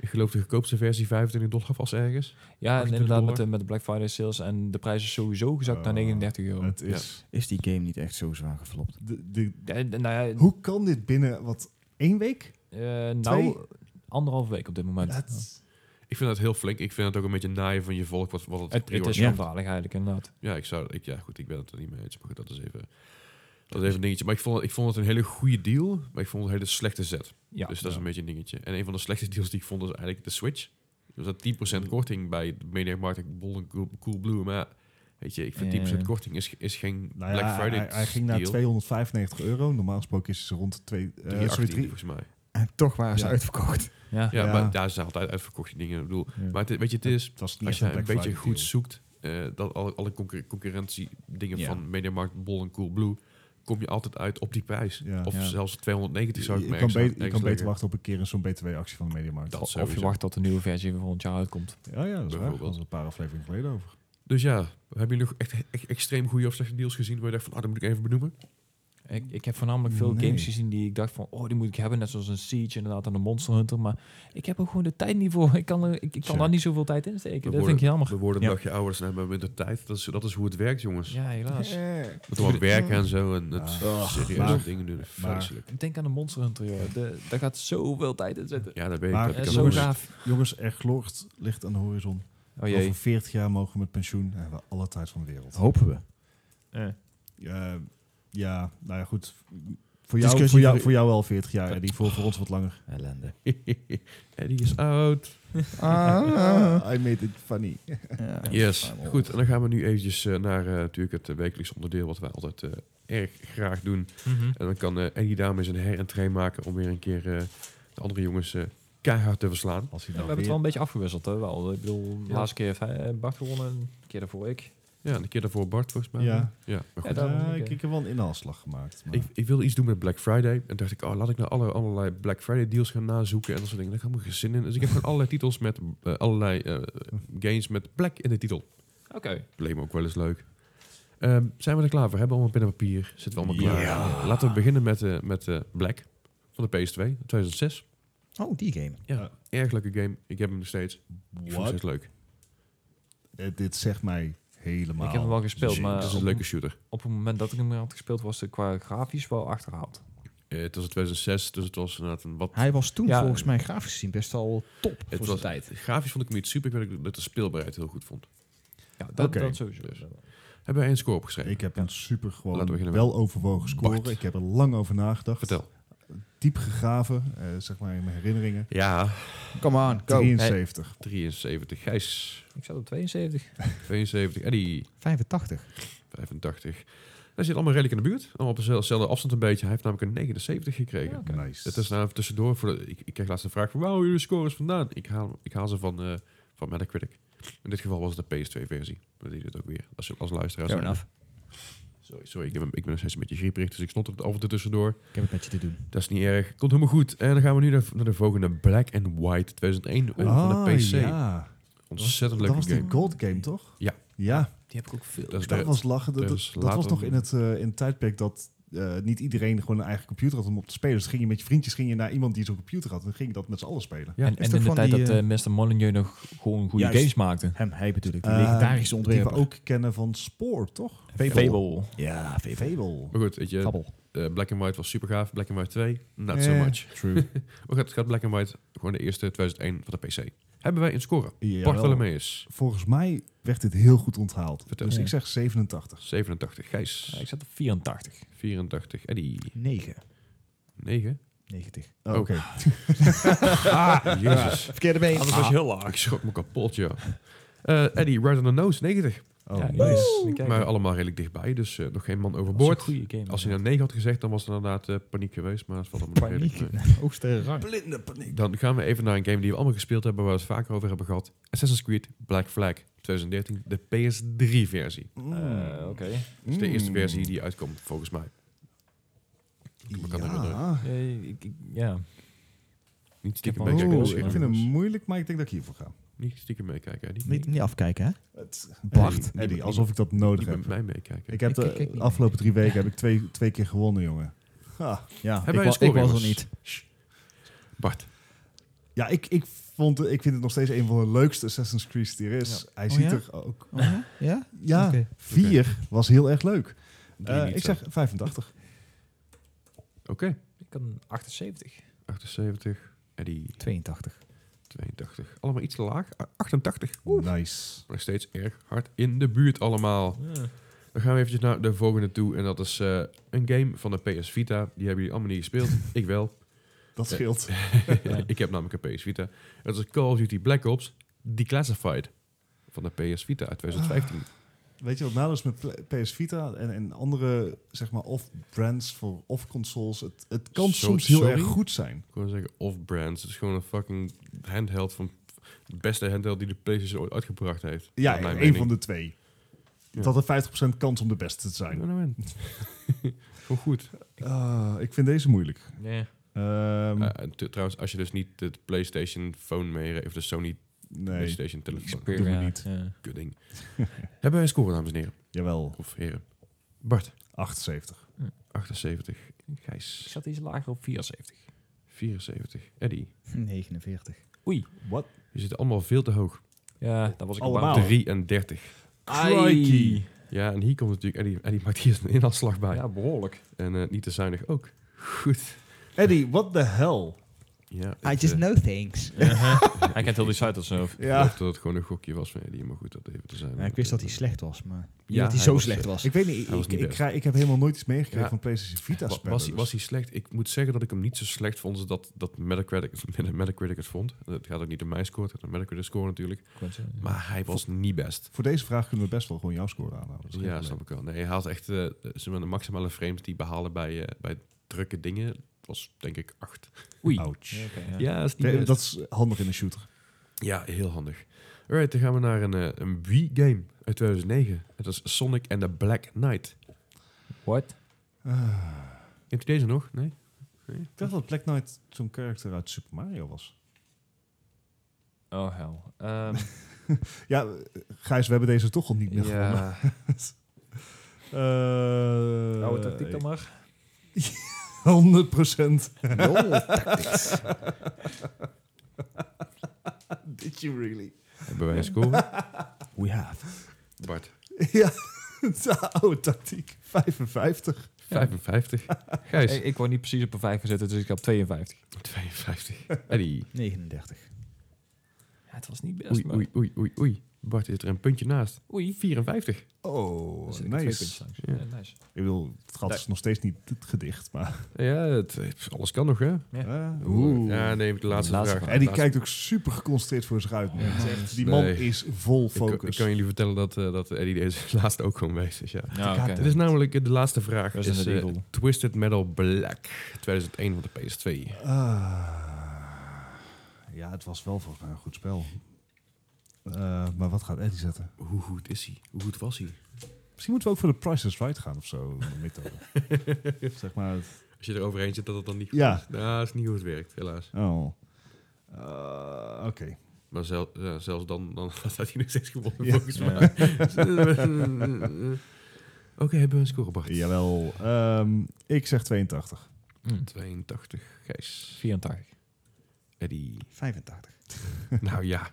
Speaker 2: ik geloof de goedkoopste versie 25 dollar was ergens.
Speaker 1: ja, en
Speaker 2: 28
Speaker 1: inderdaad met
Speaker 2: dollar.
Speaker 1: de, met de Black Friday sales. En de prijs is sowieso gezakt naar
Speaker 4: Eh,
Speaker 1: 39 euro.
Speaker 4: Het is...
Speaker 5: Is die game niet echt zo zwaar geflopt?
Speaker 4: De, de,
Speaker 1: Ja, d- nou ja,
Speaker 4: Hoe kan dit binnen, wat, één week?
Speaker 1: eh,
Speaker 4: Twee?
Speaker 1: nou, anderhalf week op dit moment.
Speaker 4: Dat-
Speaker 1: Ja.
Speaker 2: Ik vind dat heel flink. Ik vind het ook een beetje naaien van je volk wat, wat het,
Speaker 1: Het, het
Speaker 2: pre-order-
Speaker 1: is
Speaker 5: Ja.
Speaker 1: schandalig eigenlijk, inderdaad.
Speaker 2: Ja, ik zou, ik, ja, goed, ik ben het er niet mee eens. Maar goed, dat is even, dat is even een dingetje. Maar ik vond, het- ik vond het een hele goede deal, maar ik vond het een hele slechte zet.
Speaker 1: Ja.
Speaker 2: dus dat is een beetje een dingetje. En een van de slechtste deals die ik vond, is eigenlijk de Switch. Dus dat 10%
Speaker 4: Mm-hmm.
Speaker 2: korting bij de Media Markt, Bol en Cool- Coolblue. Maar weet je, ik vind 10%
Speaker 1: Eh.
Speaker 2: korting is, is geen
Speaker 4: Nou ja,
Speaker 2: Black Friday
Speaker 4: hij, hij ging naar
Speaker 2: deal.
Speaker 4: 295 euro. Normaal gesproken is hij rond de twee, eh,
Speaker 2: 3,18
Speaker 4: sorry, drie-
Speaker 2: volgens mij.
Speaker 5: En toch waren ze
Speaker 4: Ja.
Speaker 5: uitverkocht.
Speaker 1: ja.
Speaker 2: Ja,
Speaker 4: Ja.
Speaker 2: maar daar zijn altijd uitverkochte dingen. Ik bedoel, maar het, weet je, het is...
Speaker 4: Het was niet
Speaker 2: Als
Speaker 4: echt
Speaker 2: je
Speaker 4: een,
Speaker 2: een,
Speaker 4: Black
Speaker 2: beetje
Speaker 4: Friday
Speaker 2: goed
Speaker 4: deal.
Speaker 2: zoekt, eh, dat alle, alle concurrentie concurrentiedingen
Speaker 1: Ja.
Speaker 2: van Mediamarkt, Bol en Coolblue, kom je altijd uit op die prijs.
Speaker 4: Ja.
Speaker 2: Of
Speaker 1: Ja.
Speaker 2: zelfs 290 zou ik
Speaker 4: Je,
Speaker 2: me
Speaker 4: kan,
Speaker 2: ergens-
Speaker 4: beter- je
Speaker 2: ergens
Speaker 4: kan beter
Speaker 2: leggen.
Speaker 4: wachten op een keer in zo'n btw-actie van de Mediamarkt.
Speaker 2: Dat
Speaker 1: Of je
Speaker 2: sowieso.
Speaker 1: wacht tot de nieuwe versie van volgend jaar uitkomt.
Speaker 4: Ja, ja, dat is waar. Daar
Speaker 2: Bijvoorbeeld.
Speaker 4: was een paar afleveringen geleden over.
Speaker 2: Dus ja, hebben jullie nog echt, echt extreem goede of slechte deals gezien waar je dacht van, ah, dat moet ik even benoemen?
Speaker 1: Ik, ik heb voornamelijk veel
Speaker 4: Nee.
Speaker 1: games gezien die ik dacht van, oh, die moet ik hebben. Net zoals een Siege inderdaad en een Monster Hunter. Maar ik heb er gewoon de tijd niet voor. Ik kan, er, ik, ik kan
Speaker 4: Tja.
Speaker 1: daar niet zoveel tijd in steken. dat
Speaker 2: worden-
Speaker 1: vind ik jammer.
Speaker 2: We worden een
Speaker 5: Ja.
Speaker 2: dagje ouder en hebben minder tijd. Dat is, dat is hoe het werkt, jongens.
Speaker 1: Ja, helaas.
Speaker 2: Met allemaal werken en zo en het
Speaker 4: Ah,
Speaker 2: serieuze
Speaker 4: maar-
Speaker 2: dingen doen. Vreselijk.
Speaker 1: Ik denk aan de Monster Hunter, joh. De, daar gaat zoveel tijd in zitten.
Speaker 2: Ja, daar ben ik.
Speaker 4: Maar-
Speaker 2: dat
Speaker 1: Ja,
Speaker 2: heb ik
Speaker 1: zo
Speaker 2: ook
Speaker 4: jongens.
Speaker 2: gezien.
Speaker 1: gaaf.
Speaker 4: Jongens, er gloort licht aan de horizon.
Speaker 1: Oh jee.
Speaker 4: Over 40 jaar mogen we met pensioen. Dan hebben we alle tijd van de
Speaker 3: Oh.
Speaker 4: wereld.
Speaker 5: Hopen we.
Speaker 1: Eh.
Speaker 4: Eh, ja, nou ja, goed. Voor jou,
Speaker 5: Discussie
Speaker 4: voor jou,
Speaker 5: voor-
Speaker 4: voor jou wel 40 jaar, Eddie. Voor, voor ons wat langer.
Speaker 5: Ellende.
Speaker 2: Eddie is oud.
Speaker 5: Ah.
Speaker 3: Ah.
Speaker 4: I made it funny.
Speaker 2: Yes. Goed, en dan gaan we nu eventjes eh, naar eh, natuurlijk het eh, wekelijks onderdeel wat wij altijd eh, erg graag doen.
Speaker 1: Mhm.
Speaker 2: En dan kan eh Eddie daarmee zijn herentree maken om weer een keer eh, de andere jongens eh, keihard te verslaan.
Speaker 1: Ja,
Speaker 4: Als hij
Speaker 1: we
Speaker 4: nou
Speaker 1: hebben het wel
Speaker 4: weer...
Speaker 1: een beetje afgewisseld, hè? Wel, ik bedoel, de
Speaker 2: Ja.
Speaker 1: laatste keer heeft hij, eh, Bart gewonnen, een keer daarvoor ik.
Speaker 2: Ja, en een keer daarvoor Bart volgens mij.
Speaker 4: Ja.
Speaker 2: ja maar goed.
Speaker 1: Ja, daarom
Speaker 4: Ja,
Speaker 1: ook,
Speaker 4: eh, ik,
Speaker 1: ja.
Speaker 4: ik heb wel een inhaalslag gemaakt. Maar
Speaker 2: Ik, ik wilde iets doen met Black Friday. En dacht ik, oh, laat ik nou alle, allerlei Black Friday deals gaan nazoeken. En dat soort dingen. Daar heb ik helemaal geen zin in. Dus ik heb gewoon allerlei titels met eh, allerlei eh, games met Black in de titel.
Speaker 1: Oké.
Speaker 2: Dat leek me ook wel eens leuk. Ehm, zijn we er klaar voor? Hebben we allemaal pen en papier? Zitten we allemaal klaar?
Speaker 4: Ja.
Speaker 2: Laten we beginnen met, eh, met eh, Black van de PS2, 2006.
Speaker 5: Oh, die game.
Speaker 2: Erg leuke game. Ik heb hem nog steeds. Ik vond
Speaker 4: what?
Speaker 2: het steeds leuk.
Speaker 4: Eh, dit zegt mij helemaal.
Speaker 1: Ik heb hem wel gespeeld,
Speaker 4: shit.
Speaker 1: maar
Speaker 2: het is een
Speaker 5: Oh.
Speaker 1: op-
Speaker 2: leuke shooter.
Speaker 1: Op het moment dat ik hem had gespeeld, was ik qua grafisch wel achterhaald.
Speaker 2: Eh, het was in 2006, dus het was inderdaad een wat...
Speaker 5: Hij was toen
Speaker 1: Ja.
Speaker 5: volgens mij grafisch gezien best al top voor
Speaker 2: het
Speaker 5: zijn
Speaker 2: was,
Speaker 5: tijd.
Speaker 2: Grafisch vond ik hem niet super. Ik weet ook dat de speelbaarheid heel goed vond.
Speaker 1: Ja, dat,
Speaker 4: Oké.
Speaker 1: dat sowieso.
Speaker 2: Dus. Hebben wij een score opgeschreven?
Speaker 4: Ik heb een super
Speaker 2: Laten we
Speaker 4: gewoon
Speaker 2: beginnen met
Speaker 4: wel overwogen score.
Speaker 2: Bart.
Speaker 4: Ik heb er lang over nagedacht.
Speaker 2: Vertel.
Speaker 4: Diep gegraven, eh, zeg maar in mijn herinneringen.
Speaker 2: Ja,
Speaker 5: Come on, go.
Speaker 4: 73.
Speaker 2: 73. Gijs,
Speaker 1: Ik zat op 72.
Speaker 2: 72. Eddie,
Speaker 5: 85.
Speaker 2: 85. Hij zit allemaal redelijk in de buurt. Allemaal op dezelfde afstand een beetje. Hij heeft namelijk een 79 gekregen.
Speaker 1: Ja,
Speaker 4: Nice.
Speaker 2: Het is nou even tussendoor. Voor de- ik, ik kreeg laatst een vraag van... Waar halen jullie scores vandaan? Ik haal, ik haal ze van, eh, van Metacritic. In dit geval was het de PS2-versie. Dat deed het ook weer. Als, als luisteraar...
Speaker 5: Fair enough.
Speaker 2: Sorry, sorry ik, heb, ik ben nog steeds een beetje grieperig. Dus ik stond er af en toe tussendoor.
Speaker 5: Ik heb het met je te doen.
Speaker 2: Dat is niet erg. Komt helemaal goed. En dan gaan we nu naar, naar de volgende Black and White 2001 van de
Speaker 4: Ah,
Speaker 2: PC.
Speaker 4: ja.
Speaker 2: Ontzettend
Speaker 4: Dat
Speaker 2: leuke
Speaker 4: was
Speaker 2: game.
Speaker 4: die gold game, toch?
Speaker 2: Ja.
Speaker 4: Ja,
Speaker 1: Die heb ik ook veel.
Speaker 2: Dat is
Speaker 4: dat
Speaker 2: de-
Speaker 4: was lachen. Dat,
Speaker 2: dat
Speaker 4: dat,
Speaker 2: is
Speaker 4: dat
Speaker 2: later
Speaker 4: was nog
Speaker 2: dan-
Speaker 4: in het, eh, in het tijdperk dat eh, niet iedereen gewoon een eigen computer had om op te spelen. Dus ging je met je vriendjes ging je naar iemand die zo'n computer had en ging je dat met z'n allen spelen.
Speaker 2: Ja,
Speaker 1: en
Speaker 5: is
Speaker 1: en
Speaker 5: dat
Speaker 1: in de
Speaker 5: van
Speaker 1: tijd
Speaker 5: die,
Speaker 1: dat eh, Mr. Molyneux nog gewoon goede
Speaker 5: Juist.
Speaker 1: games maakte.
Speaker 5: Hem, hij bedoel ik. De
Speaker 4: Eh,
Speaker 5: legendarische
Speaker 4: Die
Speaker 5: ontwerper.
Speaker 4: we ook kennen van Spoor, toch?
Speaker 1: Fable.
Speaker 5: Ja, VV.
Speaker 4: Fable.
Speaker 2: Maar goed, weet je,
Speaker 5: Fable.
Speaker 2: eh, Black and White was super gaaf. Black and White 2, not so
Speaker 4: Eh,
Speaker 2: much.
Speaker 4: True.
Speaker 2: Maar gaat, gaat Black and White gewoon de eerste 2001 van de PC. Hebben wij een score? Bart
Speaker 4: ja,
Speaker 2: Wellemeus,
Speaker 4: Volgens mij werd dit heel goed onthaald.
Speaker 2: Vertel.
Speaker 4: Dus
Speaker 5: Ja.
Speaker 4: ik zeg 87.
Speaker 2: 87. Gijs,
Speaker 1: Ja, ik zat op 84.
Speaker 2: 84. Eddie,
Speaker 5: 9.
Speaker 2: 9.
Speaker 5: 90.
Speaker 4: Oh,
Speaker 2: Oh.
Speaker 4: Oké.
Speaker 2: Ah, jezus.
Speaker 5: Verkeerde been. Ah.
Speaker 1: dat was heel laag.
Speaker 2: Ik schrok me kapot, joh. Eh, Eddie, Right on the Nose, 90.
Speaker 4: Oh,
Speaker 1: ja,
Speaker 4: nice.
Speaker 2: Maar allemaal redelijk dichtbij, dus eh, nog geen man
Speaker 1: boord.
Speaker 2: overboord.
Speaker 1: goede game.
Speaker 2: Als hij nou 9 had gezegd, dan was er inderdaad eh, paniek geweest. Maar het valt allemaal redelijk
Speaker 5: Paniek.
Speaker 2: mee.
Speaker 5: Hoogste rang.
Speaker 4: Blinde paniek.
Speaker 2: Dan gaan we even naar een game die we allemaal gespeeld hebben, waar we het vaker over hebben gehad. Assassin's Creed Black Flag 2013, de PS3-versie.
Speaker 4: Mm.
Speaker 1: Eh, Oké.
Speaker 2: Dus de eerste versie die uitkomt, volgens mij. Ik me kan dus. herinneren.
Speaker 4: Mm. Ja.
Speaker 1: Eh, ik- ik- Ja.
Speaker 2: Niet stiekem
Speaker 1: Ik heb
Speaker 2: meekijken.
Speaker 1: al-
Speaker 2: dat is
Speaker 4: Oh, ik
Speaker 2: geen
Speaker 4: vind hem
Speaker 2: jongens.
Speaker 4: moeilijk, maar ik denk dat ik hiervoor ga.
Speaker 2: Niet stiekem meekijken, Eddie.
Speaker 5: Niet, niet afkijken, hè?
Speaker 4: Het,
Speaker 5: Bart.
Speaker 4: Eddie,
Speaker 2: Niet met-
Speaker 4: Eddie, alsof ik dat nodig
Speaker 2: Niet
Speaker 4: heb.
Speaker 2: met mij meekijken.
Speaker 4: Ik heb
Speaker 5: Ik- ik- ik
Speaker 4: de
Speaker 5: niet.
Speaker 4: afgelopen drie weken heb ik twee, twee keer gewonnen, jongen. Ha.
Speaker 5: Ja,
Speaker 2: Hebben
Speaker 5: ik,
Speaker 2: wij een
Speaker 5: wa-
Speaker 2: score,
Speaker 5: ik was
Speaker 2: jongens?
Speaker 5: er niet.
Speaker 2: Bart.
Speaker 4: Ja, ik, ik, vond, ik vind het nog steeds een van de leukste Assassin's Creed die er is.
Speaker 1: Ja.
Speaker 4: Hij
Speaker 5: Oh,
Speaker 4: ziet
Speaker 5: ja?
Speaker 4: er ook...
Speaker 5: Ja?
Speaker 4: Ja,
Speaker 5: Oké.
Speaker 4: vier was heel erg leuk.
Speaker 2: drie
Speaker 4: Eh,
Speaker 2: niet
Speaker 4: ik
Speaker 2: zo.
Speaker 4: zeg 85.
Speaker 2: Oké.
Speaker 1: Ik had een 78.
Speaker 2: 78. Eddie
Speaker 5: 82.
Speaker 2: 82. Allemaal iets te laag. Ah, 88.
Speaker 4: Nice.
Speaker 2: Nog steeds erg hard in de buurt allemaal. Dan gaan we eventjes naar de volgende toe. En dat is eh, een game van de PS Vita. Die hebben jullie allemaal niet gespeeld. ik wel.
Speaker 4: Dat
Speaker 2: Ja.
Speaker 4: scheelt.
Speaker 2: ik heb namelijk een PS Vita. Dat is Call of Duty Black Ops Declassified. Van de PS Vita uit 2015.
Speaker 4: Ah. Weet je wat nou is met pl- PS Vita en, en andere, zeg maar, off-brands voor off-consoles? Het, het kan
Speaker 2: Zo-
Speaker 4: soms heel
Speaker 2: sorry?
Speaker 4: erg goed zijn.
Speaker 2: Ik wil zeggen off-brands. Het is gewoon een fucking handheld van... de beste handheld die de PlayStation ooit uitgebracht heeft.
Speaker 4: Ja,
Speaker 2: Naar mijn
Speaker 4: één
Speaker 2: mening.
Speaker 4: van de twee.
Speaker 2: Ja.
Speaker 4: Dat er 50% kans om de beste te zijn.
Speaker 2: Nou, nou en. Gewoon goed.
Speaker 4: Ah, ik vind deze moeilijk.
Speaker 1: Nee.
Speaker 4: Ehm,
Speaker 2: Eh, en t- trouwens, als je dus niet de PlayStation Phone mee... of de Sony
Speaker 4: Nee,
Speaker 2: PlayStation, telefoon.
Speaker 4: Doen we niet.
Speaker 1: Ja.
Speaker 2: Kudding. Hebben wij een score, dames en heren?
Speaker 4: jawel,
Speaker 2: Of heren? Bart,
Speaker 4: 78.
Speaker 2: 78.
Speaker 1: Ik
Speaker 2: Gijs,
Speaker 1: zat iets lager op 74.
Speaker 2: 74. Eddie,
Speaker 5: 49.
Speaker 4: Wat?
Speaker 2: je zit allemaal veel te hoog.
Speaker 1: Ja, dat was ik
Speaker 4: Allemaal.
Speaker 1: al
Speaker 4: Au.
Speaker 2: 33.
Speaker 1: Crikey.
Speaker 2: Ja, en hier komt natuurlijk Eddie. Eddie maakt hier een inhaalslag bij.
Speaker 1: Ja, behoorlijk.
Speaker 2: En eh, niet te zuinig ook. Goed.
Speaker 4: Eddie, what the hell?
Speaker 2: Ja,
Speaker 5: I
Speaker 2: het,
Speaker 5: just
Speaker 2: eh,
Speaker 5: know things.
Speaker 1: Uh-huh. Hij kent heel die site als zijn hoofd.
Speaker 2: Ik geloof
Speaker 4: Ja,
Speaker 2: dat het gewoon een gokje was van Eddie, maar goed, dat even te Eh, zijn.
Speaker 5: Ja, ik wist dat hij slecht was, maar
Speaker 2: Ja,
Speaker 5: ja, dat hij
Speaker 2: hij
Speaker 5: zo
Speaker 2: was
Speaker 5: slecht was.
Speaker 4: ik weet niet,
Speaker 2: Hij was
Speaker 4: ik,
Speaker 2: niet
Speaker 4: ik,
Speaker 2: best.
Speaker 4: ga- ik heb helemaal nooit iets meegekregen
Speaker 2: Ja.
Speaker 4: van PlayStation Vita
Speaker 2: was,
Speaker 4: spelen.
Speaker 2: was, hij,
Speaker 4: dus.
Speaker 2: was hij slecht? Ik moet zeggen dat ik hem niet zo slecht vond dat, dat Metacritic, Metacritic het vond. Eh, Het gaat ook niet om mijn score, het gaat om Metacritic score natuurlijk.
Speaker 1: eh.
Speaker 2: Maar hij was niet best.
Speaker 4: Voor deze vraag kunnen we best wel gewoon jouw score aanhouden. Dat is geen
Speaker 2: Ja,
Speaker 4: probleem.
Speaker 2: snap ik wel. Nee, hij had echt eh, zeg maar, de maximale frames die behalen bij, eh, bij drukke dingen. Het was denk ik acht.
Speaker 1: Oei.
Speaker 4: Ouch.
Speaker 1: Ja, oké, ja.
Speaker 2: Ja, dat is niet
Speaker 4: Nee,
Speaker 2: best.
Speaker 4: Dat is handig in een shooter.
Speaker 2: Ja, heel handig. Alright, dan gaan we naar een, eh, een Wii-game uit 2009. Het is Sonic and the Black Knight.
Speaker 1: What?
Speaker 2: Kent u deze nog? Nee?
Speaker 4: Ik dacht dat Black Knight zo'n karakter uit Super Mario was.
Speaker 1: Oh, hell. Ehm,
Speaker 4: Ja, eh, Gijs, we hebben deze toch al niet meer gewonnen.
Speaker 2: ja.
Speaker 4: Eh,
Speaker 1: oude tactiek dan maar.
Speaker 4: 100 procent. Did you really?
Speaker 2: Hebben wij een score?
Speaker 5: We have.
Speaker 2: Bart,
Speaker 4: Ja, de oude tactiek. 55.
Speaker 2: 55. Gijs,
Speaker 1: Hey, ik word niet precies op een 5 gezet, dus ik heb 52.
Speaker 2: 52. Eddie.
Speaker 5: 39.
Speaker 1: Ja, het was niet best,
Speaker 2: Oei,
Speaker 1: maar...
Speaker 2: oei, oei, oei, oei. Bart zit er een puntje naast.
Speaker 1: Oei.
Speaker 2: 54.
Speaker 4: Oh,
Speaker 1: Dan zit ik er twee puntjes
Speaker 4: nice.
Speaker 1: langs.
Speaker 2: Ja.
Speaker 1: Ja, nice.
Speaker 4: Ik bedoel, het gat is nog steeds niet het gedicht, maar...
Speaker 2: Ja, het, alles kan nog, hè?
Speaker 4: eh, oeh.
Speaker 2: Ja, nou, nee, de laatste,
Speaker 1: De laatste
Speaker 2: vraag.
Speaker 1: vraag.
Speaker 4: En die
Speaker 2: Laatste-
Speaker 4: kijkt ook super geconcentreerd voor zich uit. man.
Speaker 1: Ja.
Speaker 4: Het is echt- Die man
Speaker 2: Nee.
Speaker 4: is vol
Speaker 2: Ik kan- Ik,
Speaker 4: focus.
Speaker 2: kan jullie vertellen dat, eh, dat Eddie deze laatste ook gewoon wees. Dus ja.
Speaker 1: Ja, oké.
Speaker 2: Dit is namelijk eh, de laatste vraag.
Speaker 1: Resident
Speaker 2: is, eh,
Speaker 1: Evil.
Speaker 2: Twisted Metal Black 2001 van de PS2.
Speaker 4: Ah. ja, het was wel volgens mij een goed spel. Eh, maar wat gaat Eddie zetten?
Speaker 2: Hoe goed is hij? Hoe goed was hij?
Speaker 4: Misschien moeten we ook voor de Price is Right gaan of zo. de methode. zeg maar. het-
Speaker 2: Als je er overheen zit, dat het dan niet goed
Speaker 4: Ja.
Speaker 2: is. Nou, dat is niet hoe het werkt, helaas.
Speaker 4: Oh. Eh, Oké.
Speaker 2: Maar zel- ja, zelfs dan, dan had hij nog steeds gewonnen,
Speaker 4: Ja.
Speaker 2: volgens mij. Oké, hebben we een score, Bart?
Speaker 4: Jawel. Ehm, ik zeg 82.
Speaker 1: Hm,
Speaker 2: 82, Gijs.
Speaker 1: 84.
Speaker 2: Eddie.
Speaker 5: 85.
Speaker 2: nou ja,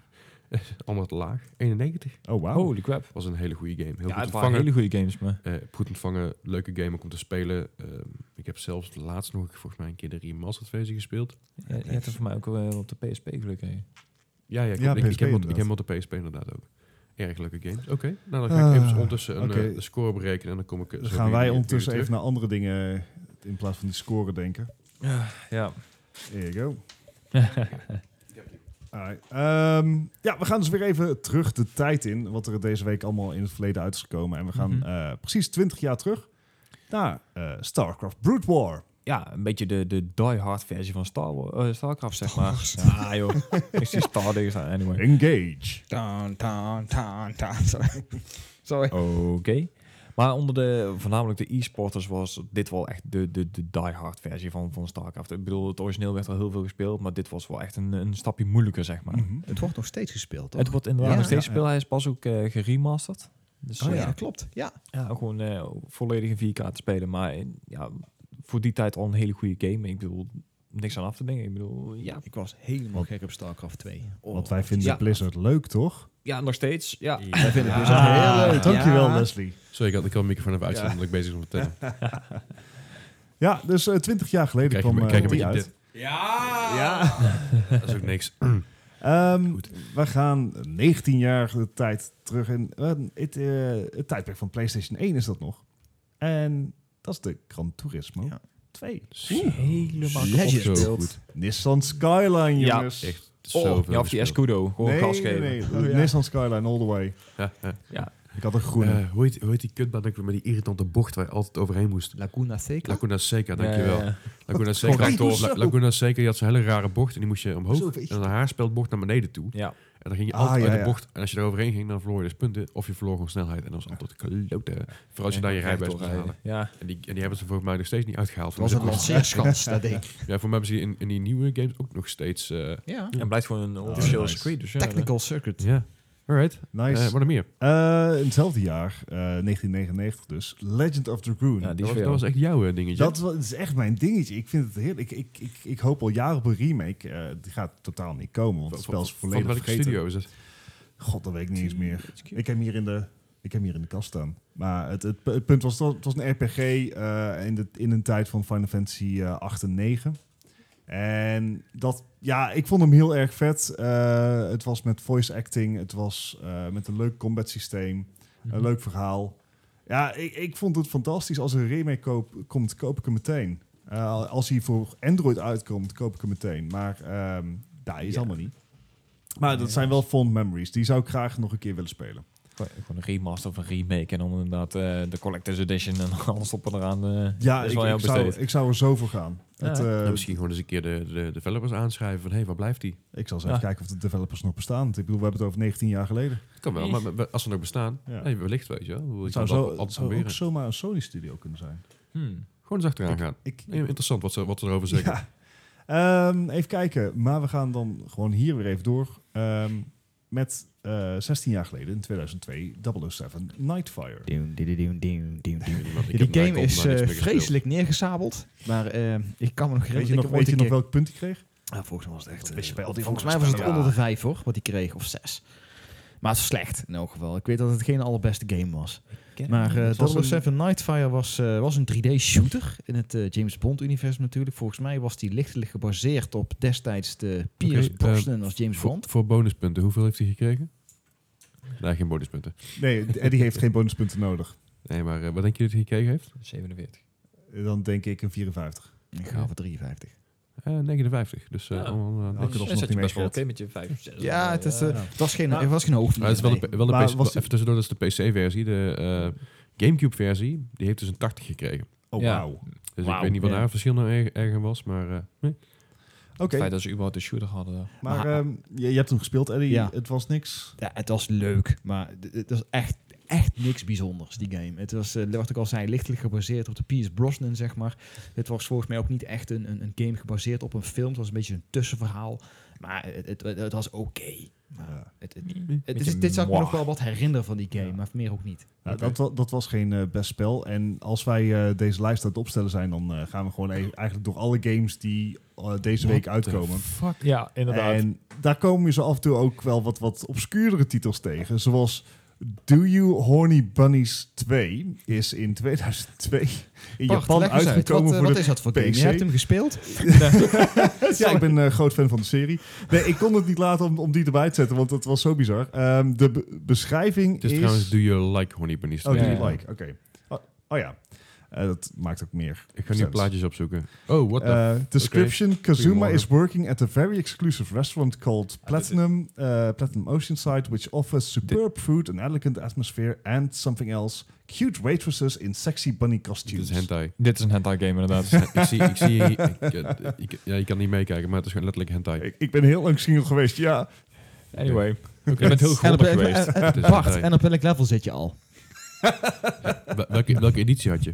Speaker 2: allemaal te laag. 91.
Speaker 4: Oh, wauw.
Speaker 1: Holy crap.
Speaker 2: Was een hele goede game. Heel
Speaker 1: Ja,
Speaker 2: goed
Speaker 1: het waren
Speaker 2: ontvangen.
Speaker 1: hele goede games, maar...
Speaker 2: Eh, goed ontvangen, leuke game ook om te spelen. Ehm, ik heb zelfs laatst nog volgens mij een keer de remastered versie gespeeld.
Speaker 1: Ja, je hebt het voor mij ook wel eh, op de PSP gelukkig. hè.
Speaker 2: Ja, ja, ik,
Speaker 4: Ja,
Speaker 2: heb- ik- ik,
Speaker 4: PSP
Speaker 2: heb, hem op- ik
Speaker 4: inderdaad.
Speaker 2: heb hem op de PSP inderdaad ook. Erg leuke games. Oké, nou dan ga ik
Speaker 4: Ah,
Speaker 2: even ondertussen een
Speaker 4: oké.
Speaker 2: eh, de score berekenen en dan kom ik... eh,
Speaker 4: Dan
Speaker 2: zo
Speaker 4: gaan
Speaker 2: bij
Speaker 4: wij
Speaker 2: jullie-
Speaker 4: ondertussen
Speaker 2: jullie
Speaker 4: even naar andere dingen eh, in plaats van die scoren denken.
Speaker 1: Ja.
Speaker 4: Here you go. Alright. Ehm, ja, we gaan dus weer even terug de tijd in. Wat er deze week allemaal in het verleden uit is gekomen. En we gaan
Speaker 1: Mhm.
Speaker 4: eh, precies 20 jaar terug naar eh, StarCraft Brood War.
Speaker 1: Ja, een beetje de, de die-hard versie van Star Wars, eh, StarCraft, zeg maar.
Speaker 5: Wars.
Speaker 1: Ja, joh. Ik zie Star Wars aan, anyway.
Speaker 4: Engage.
Speaker 5: Taan, taan, taan, taan. Sorry. Sorry.
Speaker 1: Oké. Maar onder de, voornamelijk de e-sporters was dit wel echt de, de, de die-hard versie van, van StarCraft. Ik bedoel, het origineel werd al heel veel gespeeld, maar dit was wel echt een, een stapje moeilijker, zeg maar.
Speaker 4: Mhm.
Speaker 5: Het wordt nog steeds gespeeld, toch?
Speaker 1: Het wordt inderdaad
Speaker 5: Ja.
Speaker 1: nog steeds
Speaker 4: Ja,
Speaker 1: gespeeld. Hij is pas ook eh, geremasterd. Dus
Speaker 5: Oh
Speaker 1: eh,
Speaker 5: ja, dat klopt. Ja.
Speaker 1: Ja, ook gewoon eh, volledig in 4K te spelen. Maar eh, ja, voor die tijd al een hele goede game. Ik bedoel, niks aan af te dingen. Ik bedoel, ja.
Speaker 5: Ik was helemaal gek op StarCraft 2. Oh.
Speaker 4: Want wij vinden
Speaker 1: Ja.
Speaker 4: Blizzard leuk, toch?
Speaker 1: Ja, nog steeds. Ja.
Speaker 2: terug.
Speaker 5: Wij vinden
Speaker 4: Dus
Speaker 5: Blizzard heel leuk.
Speaker 4: Dankjewel,
Speaker 5: Ja.
Speaker 4: Leslie.
Speaker 2: Sorry, ik had, ik had de microfoon even uitzetten omdat ik bezig was met tellen.
Speaker 4: Ja, dus eh, 20 jaar geleden
Speaker 2: Kijk,
Speaker 4: kwam
Speaker 2: maar-
Speaker 4: eh,
Speaker 2: kijk,
Speaker 4: die
Speaker 2: maar je
Speaker 4: uit.
Speaker 5: Ah.
Speaker 2: Dat is ook niks.
Speaker 4: Ehm, we gaan 19 jaar de tijd terug in. eh, het, eh, het tijdperk van PlayStation 1 is dat nog. En dat is de Gran Turismo
Speaker 5: Ja.
Speaker 4: 2.
Speaker 1: Helemaal
Speaker 5: Legend.
Speaker 1: kapot.
Speaker 2: Zo goed.
Speaker 4: Nissan Skyline,
Speaker 1: Ja.
Speaker 4: jongens.
Speaker 2: Echt
Speaker 1: Oh,
Speaker 2: zoveel
Speaker 1: ja, of die
Speaker 2: gespeeld.
Speaker 1: Escudo. Gewoon
Speaker 4: nee,
Speaker 1: gas
Speaker 4: nee,
Speaker 1: geven.
Speaker 4: nee.
Speaker 5: Oh, ja.
Speaker 4: Nissan Skyline all the way.
Speaker 1: Ja.
Speaker 4: Ik had een groene.
Speaker 2: Eh, hoe, heet, hoe heet die kutbaan ook weer met die irritante bocht waar je altijd overheen moest?
Speaker 5: Laguna Seca.
Speaker 2: Laguna Seca, dankjewel.
Speaker 1: Ja, ja,
Speaker 2: Laguna Seca,
Speaker 4: correct.
Speaker 2: La- Laguna Seca die had zo'n hele rare bocht en die moest je omhoog.
Speaker 5: Zo
Speaker 2: En
Speaker 5: weet je.
Speaker 2: een haarspeldbocht naar beneden toe.
Speaker 1: Ja.
Speaker 2: En dan ging je
Speaker 4: Ah,
Speaker 2: altijd uit
Speaker 4: ja,
Speaker 2: de
Speaker 4: ja.
Speaker 2: bocht. En als je er overheen ging, dan verloor je dus punten. Of je verloor gewoon snelheid. En dat was altijd klote. Vooral als je daar je rijbewijs moest halen.
Speaker 1: Ja,
Speaker 2: En die, en die hebben ze volgens mij nog steeds niet uitgehaald.
Speaker 3: Het was een
Speaker 2: Dus dat
Speaker 3: lanceerschans, dat ding.
Speaker 2: kost- ja, voor mij hebben ze die in, in die nieuwe games ook nog steeds... eh,
Speaker 3: Ja.
Speaker 1: en blijft gewoon een officieel
Speaker 4: nice.
Speaker 1: circuit. Dus ja,
Speaker 3: Technical circuit.
Speaker 2: ja, alright. Eh
Speaker 4: Nice.
Speaker 2: wat nog meer?
Speaker 4: Eh, in hetzelfde jaar, eh, 1999 dus, Legend of
Speaker 1: Ja,
Speaker 4: Dragoon.
Speaker 1: die
Speaker 2: Dat
Speaker 1: is
Speaker 2: was,
Speaker 1: weer.
Speaker 2: dat was echt jouw eh, dingetje.
Speaker 4: Dat wa- is echt mijn dingetje. Ik vind het heerlijk. Ik, ik, ik, ik hoop al jaren op een remake. Eh, die gaat totaal niet komen, want het spel is
Speaker 2: Van- van-
Speaker 4: volledig
Speaker 2: Van welke
Speaker 4: vergeten. Ehm.
Speaker 2: studio is het?
Speaker 4: God, dat weet ik niet eens meer.
Speaker 1: HQ.
Speaker 4: Ik heb hem hier in de, ik heb hem hier in de kast staan. Maar het, het, het punt was, dat het was een RPG eh, in, de, in een tijd van Final Fantasy eh 8 en 9. En dat, ja, ik vond hem heel erg vet. Eh, het was met voice acting, het was eh, met een leuk combat systeem, een leuk verhaal. Ja, ik, ik vond het fantastisch. Als er een remake koop, komt, koop ik hem meteen. Eh, als hij voor Android uitkomt, koop ik hem meteen. Maar ehm daar is
Speaker 1: Ja.
Speaker 4: allemaal niet. Maar dat zijn wel fond memories. Die zou ik graag nog een keer willen spelen.
Speaker 1: Gewoon gewoon een remaster of een remake. En dan inderdaad eh, de Collector's Edition en alles stoppen eraan. eh,
Speaker 4: Ja,
Speaker 1: is
Speaker 4: ik,
Speaker 1: wel jouw
Speaker 4: ik, zou,
Speaker 1: besteed.
Speaker 4: ik zou er zo voor gaan.
Speaker 1: Ja.
Speaker 4: Het, eh,
Speaker 2: Nou, misschien gewoon eens een keer de, de developers aanschrijven van... hé, hey, waar blijft die?
Speaker 4: ik zal eens even
Speaker 1: Ja.
Speaker 4: kijken of de developers nog bestaan. Want Ik bedoel, we hebben het over 19 jaar geleden.
Speaker 2: Kan wel, maar- maar als ze nog bestaan...
Speaker 4: Ja.
Speaker 2: Nee, wellicht, weet je wel. Ik bedoel,
Speaker 4: Het
Speaker 2: je
Speaker 4: zou,
Speaker 2: kan
Speaker 4: zo,
Speaker 2: altijd-
Speaker 4: het
Speaker 2: altijd
Speaker 4: zou ook
Speaker 2: proberen.
Speaker 4: zomaar een Sony-studio kunnen zijn.
Speaker 1: Hmm.
Speaker 2: Gewoon eens achteraan gaan.
Speaker 4: Ik,
Speaker 2: Nee, Interessant wat ze, wat ze erover zeggen.
Speaker 4: ja. Ehm, even kijken. Maar we gaan dan gewoon hier weer even door. Ehm, met eh, 16 jaar geleden, in 2002, 007 Nightfire.
Speaker 5: Doem, doem, doem, doem, doem, doem.
Speaker 2: Want ik
Speaker 5: Die game
Speaker 2: heb Nightcall
Speaker 5: is
Speaker 2: maar niks
Speaker 5: eh,
Speaker 2: meer gespeeld.
Speaker 5: vreselijk neergesabeld. Maar eh, ik kan me nog
Speaker 4: Weet
Speaker 5: herinneren.
Speaker 4: je, nog,
Speaker 5: dat ik hem
Speaker 4: weet je
Speaker 5: ooit
Speaker 4: nog
Speaker 5: een
Speaker 4: welk punt je kreeg?
Speaker 5: keer- Ah, volgens mij was het echt. eh,
Speaker 4: Wist je wel, die
Speaker 5: volgens mij
Speaker 4: andere
Speaker 5: was het
Speaker 4: spellen,
Speaker 5: onder de vijf hoor, wat hij kreeg, of zes. Maar het was slecht in elk geval. Ik weet dat het geen allerbeste game was. Maar eh
Speaker 4: Het was een-
Speaker 5: 007 Nightfire was, eh, was een 3D-shooter in het eh, James Bond-universum natuurlijk. Volgens mij was die lichtelijk gebaseerd op destijds de Pierce
Speaker 2: eh,
Speaker 5: Brosnan als James
Speaker 2: Voor,
Speaker 5: Bond.
Speaker 2: voor bonuspunten, hoeveel heeft hij gekregen? Nee, geen bonuspunten.
Speaker 4: Nee, Eddie heeft geen bonuspunten nodig.
Speaker 2: Nee, maar eh, wat denk je dat hij gekregen heeft?
Speaker 1: 47.
Speaker 4: Dan denk ik een 54.
Speaker 5: Ik ga voor 53.
Speaker 2: Eh 59. Dus eh
Speaker 1: Ja.
Speaker 2: allemaal, eh,
Speaker 4: Ja,
Speaker 2: niks.
Speaker 4: dat is nog
Speaker 1: Dan zat je
Speaker 4: niet
Speaker 1: best wel
Speaker 4: meegered.
Speaker 1: oké met je 5, 6.
Speaker 5: Ja, het is, eh,
Speaker 4: Ja.
Speaker 5: Het was geen,
Speaker 4: Maar-
Speaker 5: het was geen hoofdlied.
Speaker 2: Maar het is wel,
Speaker 5: nee.
Speaker 2: de, wel de
Speaker 4: Maar
Speaker 2: PC,
Speaker 4: was de-
Speaker 2: even tussendoor, dat is de PC-versie. De eh, GameCube-versie, die heeft dus een 80 gekregen.
Speaker 4: Oh,
Speaker 1: Ja.
Speaker 4: wauw.
Speaker 2: Dus
Speaker 1: Wauw,
Speaker 2: ik weet niet wat
Speaker 1: ja.
Speaker 2: daar het verschil nou erg- erger was, maar eh, nee.
Speaker 4: Oké,
Speaker 1: Het feit dat ze überhaupt een shooter hadden.
Speaker 4: maar
Speaker 5: Maar-
Speaker 4: ehm, je, je hebt hem gespeeld, Eddie.
Speaker 5: Ja.
Speaker 4: Het was niks.
Speaker 5: Ja, het was leuk, maar d- het was echt, echt niks bijzonders, die game. Het was, eh, wat ik al zei, lichtelijk gebaseerd op de Pierce Brosnan, zeg maar. Het was volgens mij ook niet echt een, een, een game gebaseerd op een film. Het was een beetje een tussenverhaal, maar het, het, het was oké. Maar
Speaker 4: Ja.
Speaker 5: het- het- het
Speaker 1: Beetje
Speaker 5: is- Dit zou ik me
Speaker 1: moi.
Speaker 5: nog wel wat herinneren van die game,
Speaker 4: Ja.
Speaker 5: maar meer ook niet.
Speaker 4: Nou,
Speaker 2: Oké.
Speaker 4: dat, wa- dat was geen eh, best spel. En als wij eh, deze lijst aan het opstellen zijn, dan eh, gaan we gewoon e- eigenlijk door alle games die eh, deze
Speaker 2: What
Speaker 4: week
Speaker 2: the
Speaker 4: uitkomen.
Speaker 2: Fuck.
Speaker 1: Ja, inderdaad.
Speaker 4: En daar komen je zo af en toe ook wel wat, wat obscuurdere titels tegen. Zoals Do You Horny Bunnies 2 is in 2002 in
Speaker 5: Bart,
Speaker 4: Japan
Speaker 5: leg eens uit.
Speaker 4: uitgekomen
Speaker 5: Wat, eh,
Speaker 4: voor
Speaker 5: wat
Speaker 4: de
Speaker 5: is dat voor game?
Speaker 4: PC?
Speaker 5: Je hebt hem gespeeld?
Speaker 4: ja, ik ben een groot fan van de serie. Nee, ik kon het niet laten om, om die erbij te zetten, want het was zo bizar. Ehm, de be- beschrijving
Speaker 2: Het is
Speaker 4: is...
Speaker 2: trouwens Do You Like Honey Bunnies?
Speaker 4: Oh,
Speaker 1: Ja,
Speaker 4: die
Speaker 1: ja.
Speaker 4: like, oké. Oh, oh ja, Eh, dat maakt ook meer
Speaker 2: Ik ga nu
Speaker 4: sense.
Speaker 2: plaatjes opzoeken. Oh, what the
Speaker 4: Uh, description: Kazuma
Speaker 2: Goedemorgen.
Speaker 4: is working at a very exclusive restaurant
Speaker 2: Ah,
Speaker 4: called Platinum, uh, Platinum Oceanside, which offers superb food, an elegant atmosphere, and something else: cute waitresses in sexy bunny
Speaker 2: Dit is
Speaker 4: costumes.
Speaker 2: hentai.
Speaker 1: Dit is een hentai game inderdaad.
Speaker 2: ik zie, ik zie, ik, eh, ik- ja, je kan niet meekijken, maar het is gewoon letterlijk hentai.
Speaker 4: ik, ik ben heel lang single geweest, ja.
Speaker 1: Anyway, je bent heel
Speaker 5: En op,
Speaker 1: grondig geweest.
Speaker 5: en- en-
Speaker 4: Dus
Speaker 2: Het is
Speaker 5: Bart,
Speaker 2: een-
Speaker 5: en op welk level zit je al?
Speaker 2: Wel- Welke, welke editie had je?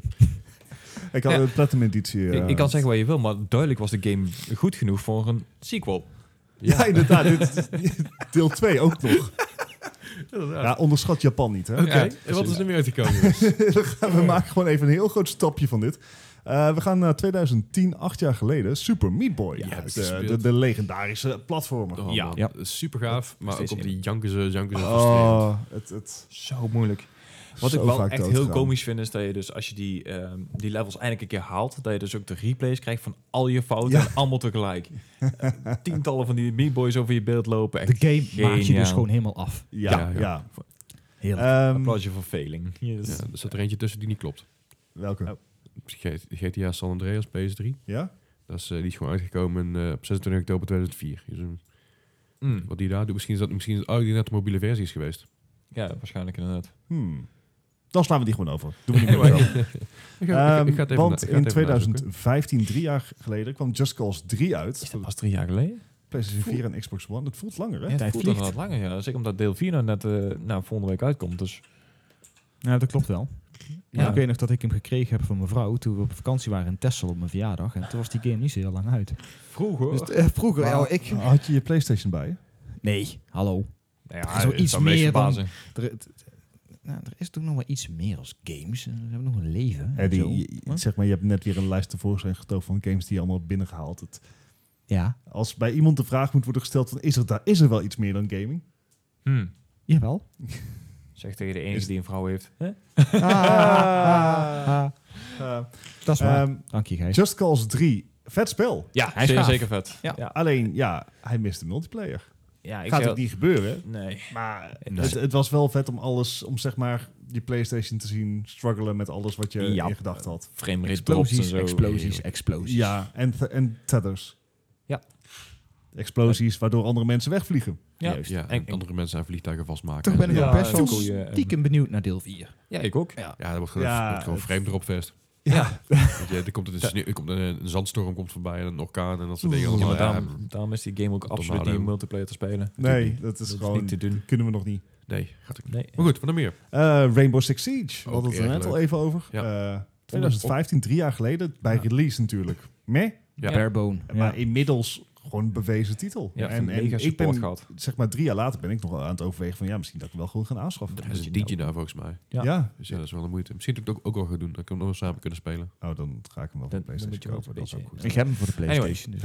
Speaker 4: Ik had
Speaker 1: Ja.
Speaker 4: een Platinum editie. eh.
Speaker 1: Ik, ik kan zeggen wat je wil, maar duidelijk was de game goed genoeg voor een sequel.
Speaker 4: Ja, inderdaad. dit is deel 2 ook nog. Ja, onderschat Japan niet, hè?
Speaker 2: Oké,
Speaker 1: Ja,
Speaker 2: en wat is er meer uitgekomen?
Speaker 4: We maken gewoon even een heel groot stapje van dit. Eh, we gaan naar 2010, acht jaar geleden, Super Meat Boy.
Speaker 2: Ja, heb ik
Speaker 4: de,
Speaker 2: gespeeld.
Speaker 4: de, de legendarische platformer.
Speaker 2: Oh,
Speaker 1: Ja.
Speaker 2: man.
Speaker 1: Ja.
Speaker 2: super gaaf, maar ook
Speaker 1: steeds
Speaker 2: op die jankense, jankense
Speaker 4: Oh, het, het,
Speaker 1: Zo moeilijk. Wat
Speaker 4: zo
Speaker 1: ik wel
Speaker 4: vaak
Speaker 1: echt heel
Speaker 4: doodgaan.
Speaker 1: komisch vind, is dat je dus als je die, ehm, die levels eindelijk een keer haalt, dat je dus ook de replays krijgt van al je fouten
Speaker 4: Ja.
Speaker 1: en allemaal tegelijk. Eh, Tientallen van die Meat Boys over je beeld lopen.
Speaker 5: De
Speaker 1: Echt
Speaker 5: game maakt je
Speaker 1: geniaal.
Speaker 5: dus gewoon helemaal af.
Speaker 4: Ja, ja.
Speaker 2: Ja, ja.
Speaker 5: Heerlijk.
Speaker 4: Ehm,
Speaker 1: applausje voor failing. Yes.
Speaker 2: Ja, er zat er eentje tussen die niet klopt.
Speaker 4: welke?
Speaker 1: Oh.
Speaker 2: G- GTA San Andreas, PS3.
Speaker 4: Ja?
Speaker 2: Dat is, eh, die is gewoon uitgekomen eh, op 26 oktober 2004. Dus, eh,
Speaker 1: Mm.
Speaker 2: wat die daar doet, misschien is dat misschien is, oh, die net de mobiele versie is geweest.
Speaker 1: Ja, waarschijnlijk inderdaad.
Speaker 4: Hmm. Dan slaan we die gewoon over. Doen we niet meer
Speaker 2: Anyway.
Speaker 4: over.
Speaker 2: Ik ga- ik-
Speaker 4: Ehm,
Speaker 2: ik ga het even na-
Speaker 4: want
Speaker 2: ik ga
Speaker 4: in
Speaker 2: het even nazoeken.
Speaker 4: 2015, drie jaar geleden, kwam Just Cause 3 uit.
Speaker 1: Is dat pas drie jaar geleden?
Speaker 4: PlayStation 4 en Xbox One. Dat voelt langer, hè?
Speaker 1: Ja, het
Speaker 5: Tijd
Speaker 1: voelt nog
Speaker 5: vliegt.
Speaker 1: wat langer, ja. Zeker omdat deel 4 nou net eh nou, volgende week uitkomt. Dus
Speaker 5: Nou, dat klopt wel.
Speaker 1: Ja.
Speaker 5: Ik weet nog dat ik hem gekregen heb van mijn vrouw toen we op vakantie waren in Texel op mijn verjaardag. En toen was die game niet zo heel lang uit.
Speaker 1: vroeger...
Speaker 5: Dus, eh, vroeger,
Speaker 4: Maar
Speaker 5: ja, ik...
Speaker 4: Had je je PlayStation bij je?
Speaker 5: Nee, hallo.
Speaker 1: nou
Speaker 5: er is wel
Speaker 1: het
Speaker 5: iets
Speaker 1: zou me niks
Speaker 5: meer dan-
Speaker 1: verbazen.
Speaker 5: Er, het- nou, er is toch nog wel iets meer als games. We hebben nog een leven. en
Speaker 4: Eddie,
Speaker 5: zo.
Speaker 4: je- je-
Speaker 5: Wat?
Speaker 4: zeg maar, je hebt net weer een lijst tevoorschijn getoond van games die je allemaal hebt binnengehaald. Het,
Speaker 5: Ja,
Speaker 4: als bij iemand de vraag moet worden gesteld van is er, daar, is er wel iets meer dan gaming?
Speaker 1: Hmm.
Speaker 5: jawel.
Speaker 1: Zeg tegen de enige
Speaker 4: Is-
Speaker 1: die een vrouw heeft. Hè?
Speaker 5: Ah, ah, ah.
Speaker 4: Eh,
Speaker 5: Dat is waar.
Speaker 4: ehm,
Speaker 5: Dank je, Gijs.
Speaker 4: Just Cause 3, vet spel.
Speaker 1: Ja,
Speaker 5: Hij is
Speaker 1: zeer
Speaker 5: gaaf.
Speaker 1: zeker vet.
Speaker 5: Ja.
Speaker 1: ja.
Speaker 4: Alleen, ja, hij mist de multiplayer.
Speaker 1: Ja, ik
Speaker 4: Gaat
Speaker 1: zei
Speaker 4: ook niet gebeuren,
Speaker 1: al- Nee.
Speaker 4: maar
Speaker 1: Nee.
Speaker 4: het, het was wel vet om alles, om zeg maar je PlayStation te zien struggelen met alles wat je
Speaker 1: Ja.
Speaker 4: in gedacht had.
Speaker 1: Frame rate drops en
Speaker 5: Explosies,
Speaker 1: zo.
Speaker 5: explosies, explosies.
Speaker 4: Ja, en, th- en tethers.
Speaker 1: Ja.
Speaker 4: Explosies waardoor andere mensen wegvliegen.
Speaker 1: Ja.
Speaker 5: Juist.
Speaker 2: Ja, en
Speaker 1: En-
Speaker 2: andere mensen aan vliegtuigen vastmaken.
Speaker 5: Toch ben ik
Speaker 1: Ja,
Speaker 5: ook best wel
Speaker 1: een goeie, eh,
Speaker 5: stiekem benieuwd naar deel 4.
Speaker 1: Ja, ik ook.
Speaker 2: Ja, dat wordt gewoon,
Speaker 4: Ja,
Speaker 2: dat wordt gewoon
Speaker 4: het-
Speaker 2: frame drop vest.
Speaker 1: Ja.
Speaker 2: Want je- er komt een, sneeuw- er komt een, een zandstorm komt voorbij en een orkaan en dat soort
Speaker 4: Oeh.
Speaker 2: dingen.
Speaker 1: Ja,
Speaker 2: allemaal.
Speaker 1: maar
Speaker 2: Ja,
Speaker 1: daarom, daarom is die game ook absoluut
Speaker 2: normaal
Speaker 1: niet om
Speaker 2: ook.
Speaker 1: multiplayer te spelen.
Speaker 4: Nee, dat is
Speaker 1: Dat is
Speaker 4: gewoon,
Speaker 1: niet te doen.
Speaker 4: kunnen we nog niet.
Speaker 2: nee, gaat ook niet.
Speaker 1: Nee.
Speaker 2: Maar goed, wat dan meer?
Speaker 4: Eh, Rainbow Six Siege. We
Speaker 2: Ook
Speaker 4: hadden het er
Speaker 2: erg
Speaker 4: net
Speaker 2: leuk.
Speaker 4: al even over. Eh, 2015, drie jaar geleden, bij
Speaker 2: Ja.
Speaker 4: release natuurlijk. Meh,
Speaker 2: Ja.
Speaker 5: Barebone. Ja.
Speaker 4: maar inmiddels gewoon een bewezen titel.
Speaker 1: Ja,
Speaker 4: en en
Speaker 1: mega
Speaker 4: ik
Speaker 1: support
Speaker 4: ben,
Speaker 1: gehad.
Speaker 4: zeg maar drie jaar later ben ik nog wel aan het overwegen van ja, misschien dat ik hem wel gewoon gaan aanschaffen. Dus-
Speaker 2: Dat is een DJ daar volgens mij.
Speaker 1: Ja.
Speaker 4: Ja,
Speaker 2: Dus ja, dat is wel een moeite. Misschien dat ik het ook, ook wel gaan doen. Dan kunnen we nog wel samen kunnen spelen.
Speaker 4: oh, dan ga ik hem wel
Speaker 1: Dan-
Speaker 4: op PlayStation
Speaker 1: dan moet je
Speaker 4: kopen.
Speaker 1: wel
Speaker 4: Dat is
Speaker 1: een
Speaker 4: ook goed.
Speaker 5: Ik heb hem voor de
Speaker 1: Anyway.
Speaker 5: PlayStation. Dus.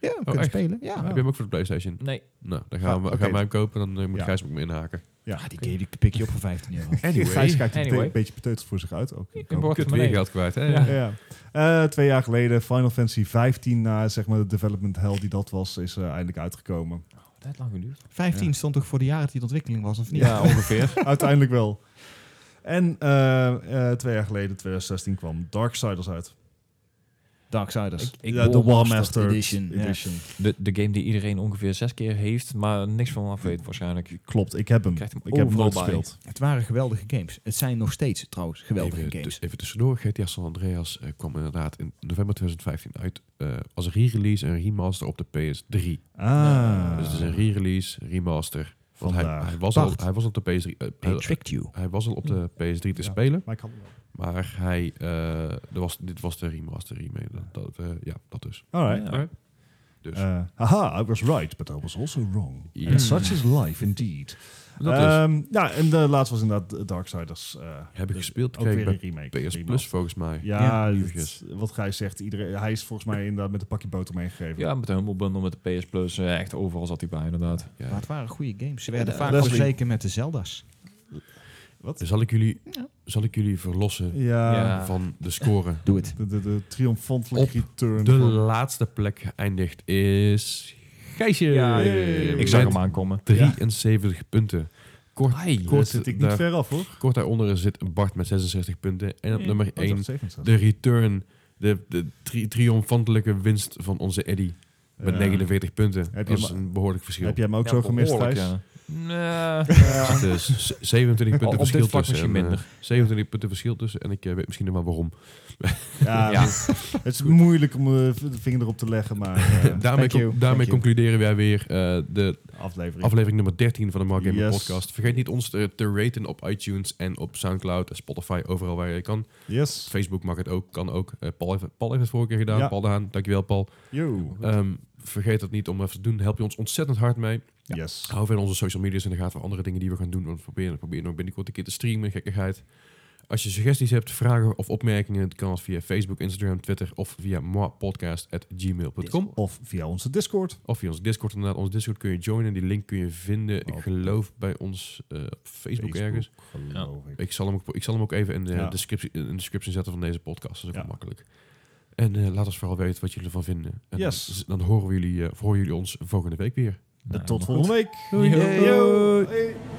Speaker 5: Ja, we
Speaker 2: Oh,
Speaker 5: kunnen
Speaker 2: echt?
Speaker 5: spelen. Ja.
Speaker 2: Heb je hem ook voor de Playstation?
Speaker 1: Nee.
Speaker 2: Nou, dan gaan
Speaker 4: Ah,
Speaker 2: we,
Speaker 4: oké.
Speaker 2: gaan wij hem kopen. Dan eh, moet
Speaker 4: Ja.
Speaker 2: Gijs hem ook mee inhaken.
Speaker 4: Ja.
Speaker 5: Ah, die game die pik je op voor 15 euro.
Speaker 4: Gijs kijkt een
Speaker 1: Anyway.
Speaker 4: be- beetje beteuterd voor zich uit ook.
Speaker 1: ben boord.
Speaker 2: Kut
Speaker 1: maar
Speaker 2: weer
Speaker 1: nee.
Speaker 2: geld kwijt. Hè?
Speaker 1: Ja.
Speaker 2: Ja.
Speaker 4: Ja. Eh, twee jaar geleden, Final Fantasy 15, na zeg maar de development hell die dat was, is eh, eindelijk uitgekomen.
Speaker 1: Dat heeft lang geduurd.
Speaker 5: 15 stond toch voor de jaren dat die in ontwikkeling was, of niet?
Speaker 1: Ja, ongeveer.
Speaker 4: Uiteindelijk wel. En eh, eh, twee jaar geleden, 2016, kwam Darksiders uit.
Speaker 5: Darksiders.
Speaker 1: Ik- ik-
Speaker 4: ja, de
Speaker 5: Warmaster
Speaker 4: Warmaster
Speaker 5: Edition, ja.
Speaker 1: de, de game die iedereen ongeveer zes keer heeft, maar niks van af weet waarschijnlijk.
Speaker 4: Klopt, ik heb hem.
Speaker 1: Krijgt hem
Speaker 4: ik heb hem
Speaker 1: overal
Speaker 4: nooit
Speaker 1: bij.
Speaker 4: gespeeld.
Speaker 5: Het waren geweldige games. Het zijn nog steeds trouwens geweldige
Speaker 2: Even,
Speaker 5: games.
Speaker 2: tu- even tussendoor, GTA San Andreas eh, kwam inderdaad in november 2015 uit eh, als een re-release en remaster op de PS3.
Speaker 4: Ah,
Speaker 2: Dus het is een re-release, remaster. Want hij,
Speaker 4: vandaar.
Speaker 2: hij, was al,
Speaker 5: Bart.
Speaker 2: hij was al op de PS3. eh,
Speaker 5: They
Speaker 2: hij-
Speaker 5: tricked you.
Speaker 2: hij was al op de PS3 te
Speaker 4: Ja.
Speaker 2: spelen,
Speaker 4: Maar ik had hem wel.
Speaker 2: maar hij, eh, er was, dit was de remaster remake. Dat, dat, eh, ja, dat dus.
Speaker 4: Alright.
Speaker 1: Ja.
Speaker 2: Dus.
Speaker 4: Eh, haha, I was right, but I was also wrong.
Speaker 2: Ja.
Speaker 4: And such is life indeed.
Speaker 2: Dat dus. is.
Speaker 4: Ehm, Ja, en de laatste was inderdaad Darksiders. eh,
Speaker 2: Heb ik
Speaker 4: dus
Speaker 2: gespeeld,
Speaker 4: Ook
Speaker 2: kreeg ik
Speaker 4: weer een
Speaker 2: bij
Speaker 4: remake.
Speaker 2: PS
Speaker 4: remake.
Speaker 2: Plus volgens mij.
Speaker 4: Ja,
Speaker 2: Ja.
Speaker 4: dat- wat Gijs zegt, iedereen, hij is volgens mij inderdaad met een pakje boter meegegeven.
Speaker 1: Ja, met de Humble Bundle, met de PS Plus, eh, echt overal zat hij bij inderdaad.
Speaker 2: Ja.
Speaker 5: Maar het waren goede games. Ze werden
Speaker 4: Ja,
Speaker 5: vaak
Speaker 4: Leslie.
Speaker 5: vergeleken met de Zelda's.
Speaker 2: Zal ik jullie, zal ik jullie verlossen
Speaker 4: Ja,
Speaker 1: Ja.
Speaker 2: van de score?
Speaker 5: Doe het.
Speaker 4: De, de, de triomfantelijke
Speaker 2: Op
Speaker 4: return.
Speaker 2: De
Speaker 4: van-
Speaker 2: laatste plek geëindigd is Gijsje.
Speaker 1: Ja,
Speaker 2: Ik
Speaker 1: Ik zag
Speaker 2: zag
Speaker 1: hem aankomen.
Speaker 2: 73 punten. Kort,
Speaker 4: Daar
Speaker 2: kort,
Speaker 4: zit ik niet
Speaker 2: daar-
Speaker 4: ver Oh, af hoor.
Speaker 2: kort daaronder zit Bart met 66 punten. En op
Speaker 1: Ja.
Speaker 2: nummer 1 de
Speaker 4: 1.
Speaker 2: return, de, de tri- triomfantelijke winst van onze Eddy met 49 punten.
Speaker 4: Heb je
Speaker 2: dat is
Speaker 4: hem-
Speaker 2: een behoorlijk verschil.
Speaker 4: Heb jij hem ook
Speaker 1: Ja,
Speaker 4: zo gemist,
Speaker 1: behoorlijk,
Speaker 4: Gijs?
Speaker 1: ja. Nee.
Speaker 2: Dus het is z- 27 punten
Speaker 1: Op dit
Speaker 2: verschil
Speaker 1: vlak
Speaker 2: tussen.
Speaker 1: misschien
Speaker 2: en, eh, 27 punten verschil tussen. En ik eh, weet misschien nog maar waarom.
Speaker 4: Ja,
Speaker 1: Ja.
Speaker 4: dus het is moeilijk om eh, de vinger erop te leggen, maar eh,
Speaker 2: daarmee
Speaker 4: thank you,
Speaker 2: con-
Speaker 4: thank
Speaker 2: daarmee
Speaker 4: you.
Speaker 2: concluderen wij weer eh, de
Speaker 4: aflevering.
Speaker 2: aflevering nummer 13 van de Mark Gamer
Speaker 4: Yes.
Speaker 2: Podcast. Vergeet niet ons te, te raten op iTunes en op Soundcloud en Spotify, overal waar je kan.
Speaker 4: Yes.
Speaker 2: Facebook mag het ook, kan ook. Eh, Paul, heeft, Paul heeft het vorige keer gedaan.
Speaker 4: Ja.
Speaker 2: Paul de Haan, dankjewel Paul.
Speaker 4: Yo.
Speaker 2: Ehm, vergeet dat niet om even te doen. Help je ons ontzettend hard mee.
Speaker 4: Yes.
Speaker 2: Hou verder onze social media's in de gaten voor andere dingen die we gaan doen. Want we proberen, proberen nog binnenkort een keer te streamen, gekkigheid. Als je suggesties hebt, vragen of opmerkingen, het kan dat via Facebook, Instagram, Twitter of via moapodcast.gmail.com.
Speaker 4: Of via onze Discord.
Speaker 2: Of via ons Discord inderdaad. Ons Discord kun je joinen. Die link kun je vinden, ik
Speaker 4: Op-
Speaker 2: geloof, bij ons eh, op Facebook, ergens.
Speaker 4: geloof ik.
Speaker 2: Ik zal hem ook, ik zal hem ook even in de,
Speaker 4: Ja.
Speaker 2: descriptie, in de description zetten van deze podcast. Dat is ook
Speaker 4: Ja.
Speaker 2: wel makkelijk. En eh, laat ons vooral weten wat jullie ervan vinden. En
Speaker 4: Yes.
Speaker 2: z-
Speaker 4: Nou,
Speaker 2: Dan horen we jullie, eh, of horen jullie ons volgende week weer.
Speaker 4: En tot volgende week.
Speaker 1: Doei.
Speaker 4: Yo. Hey.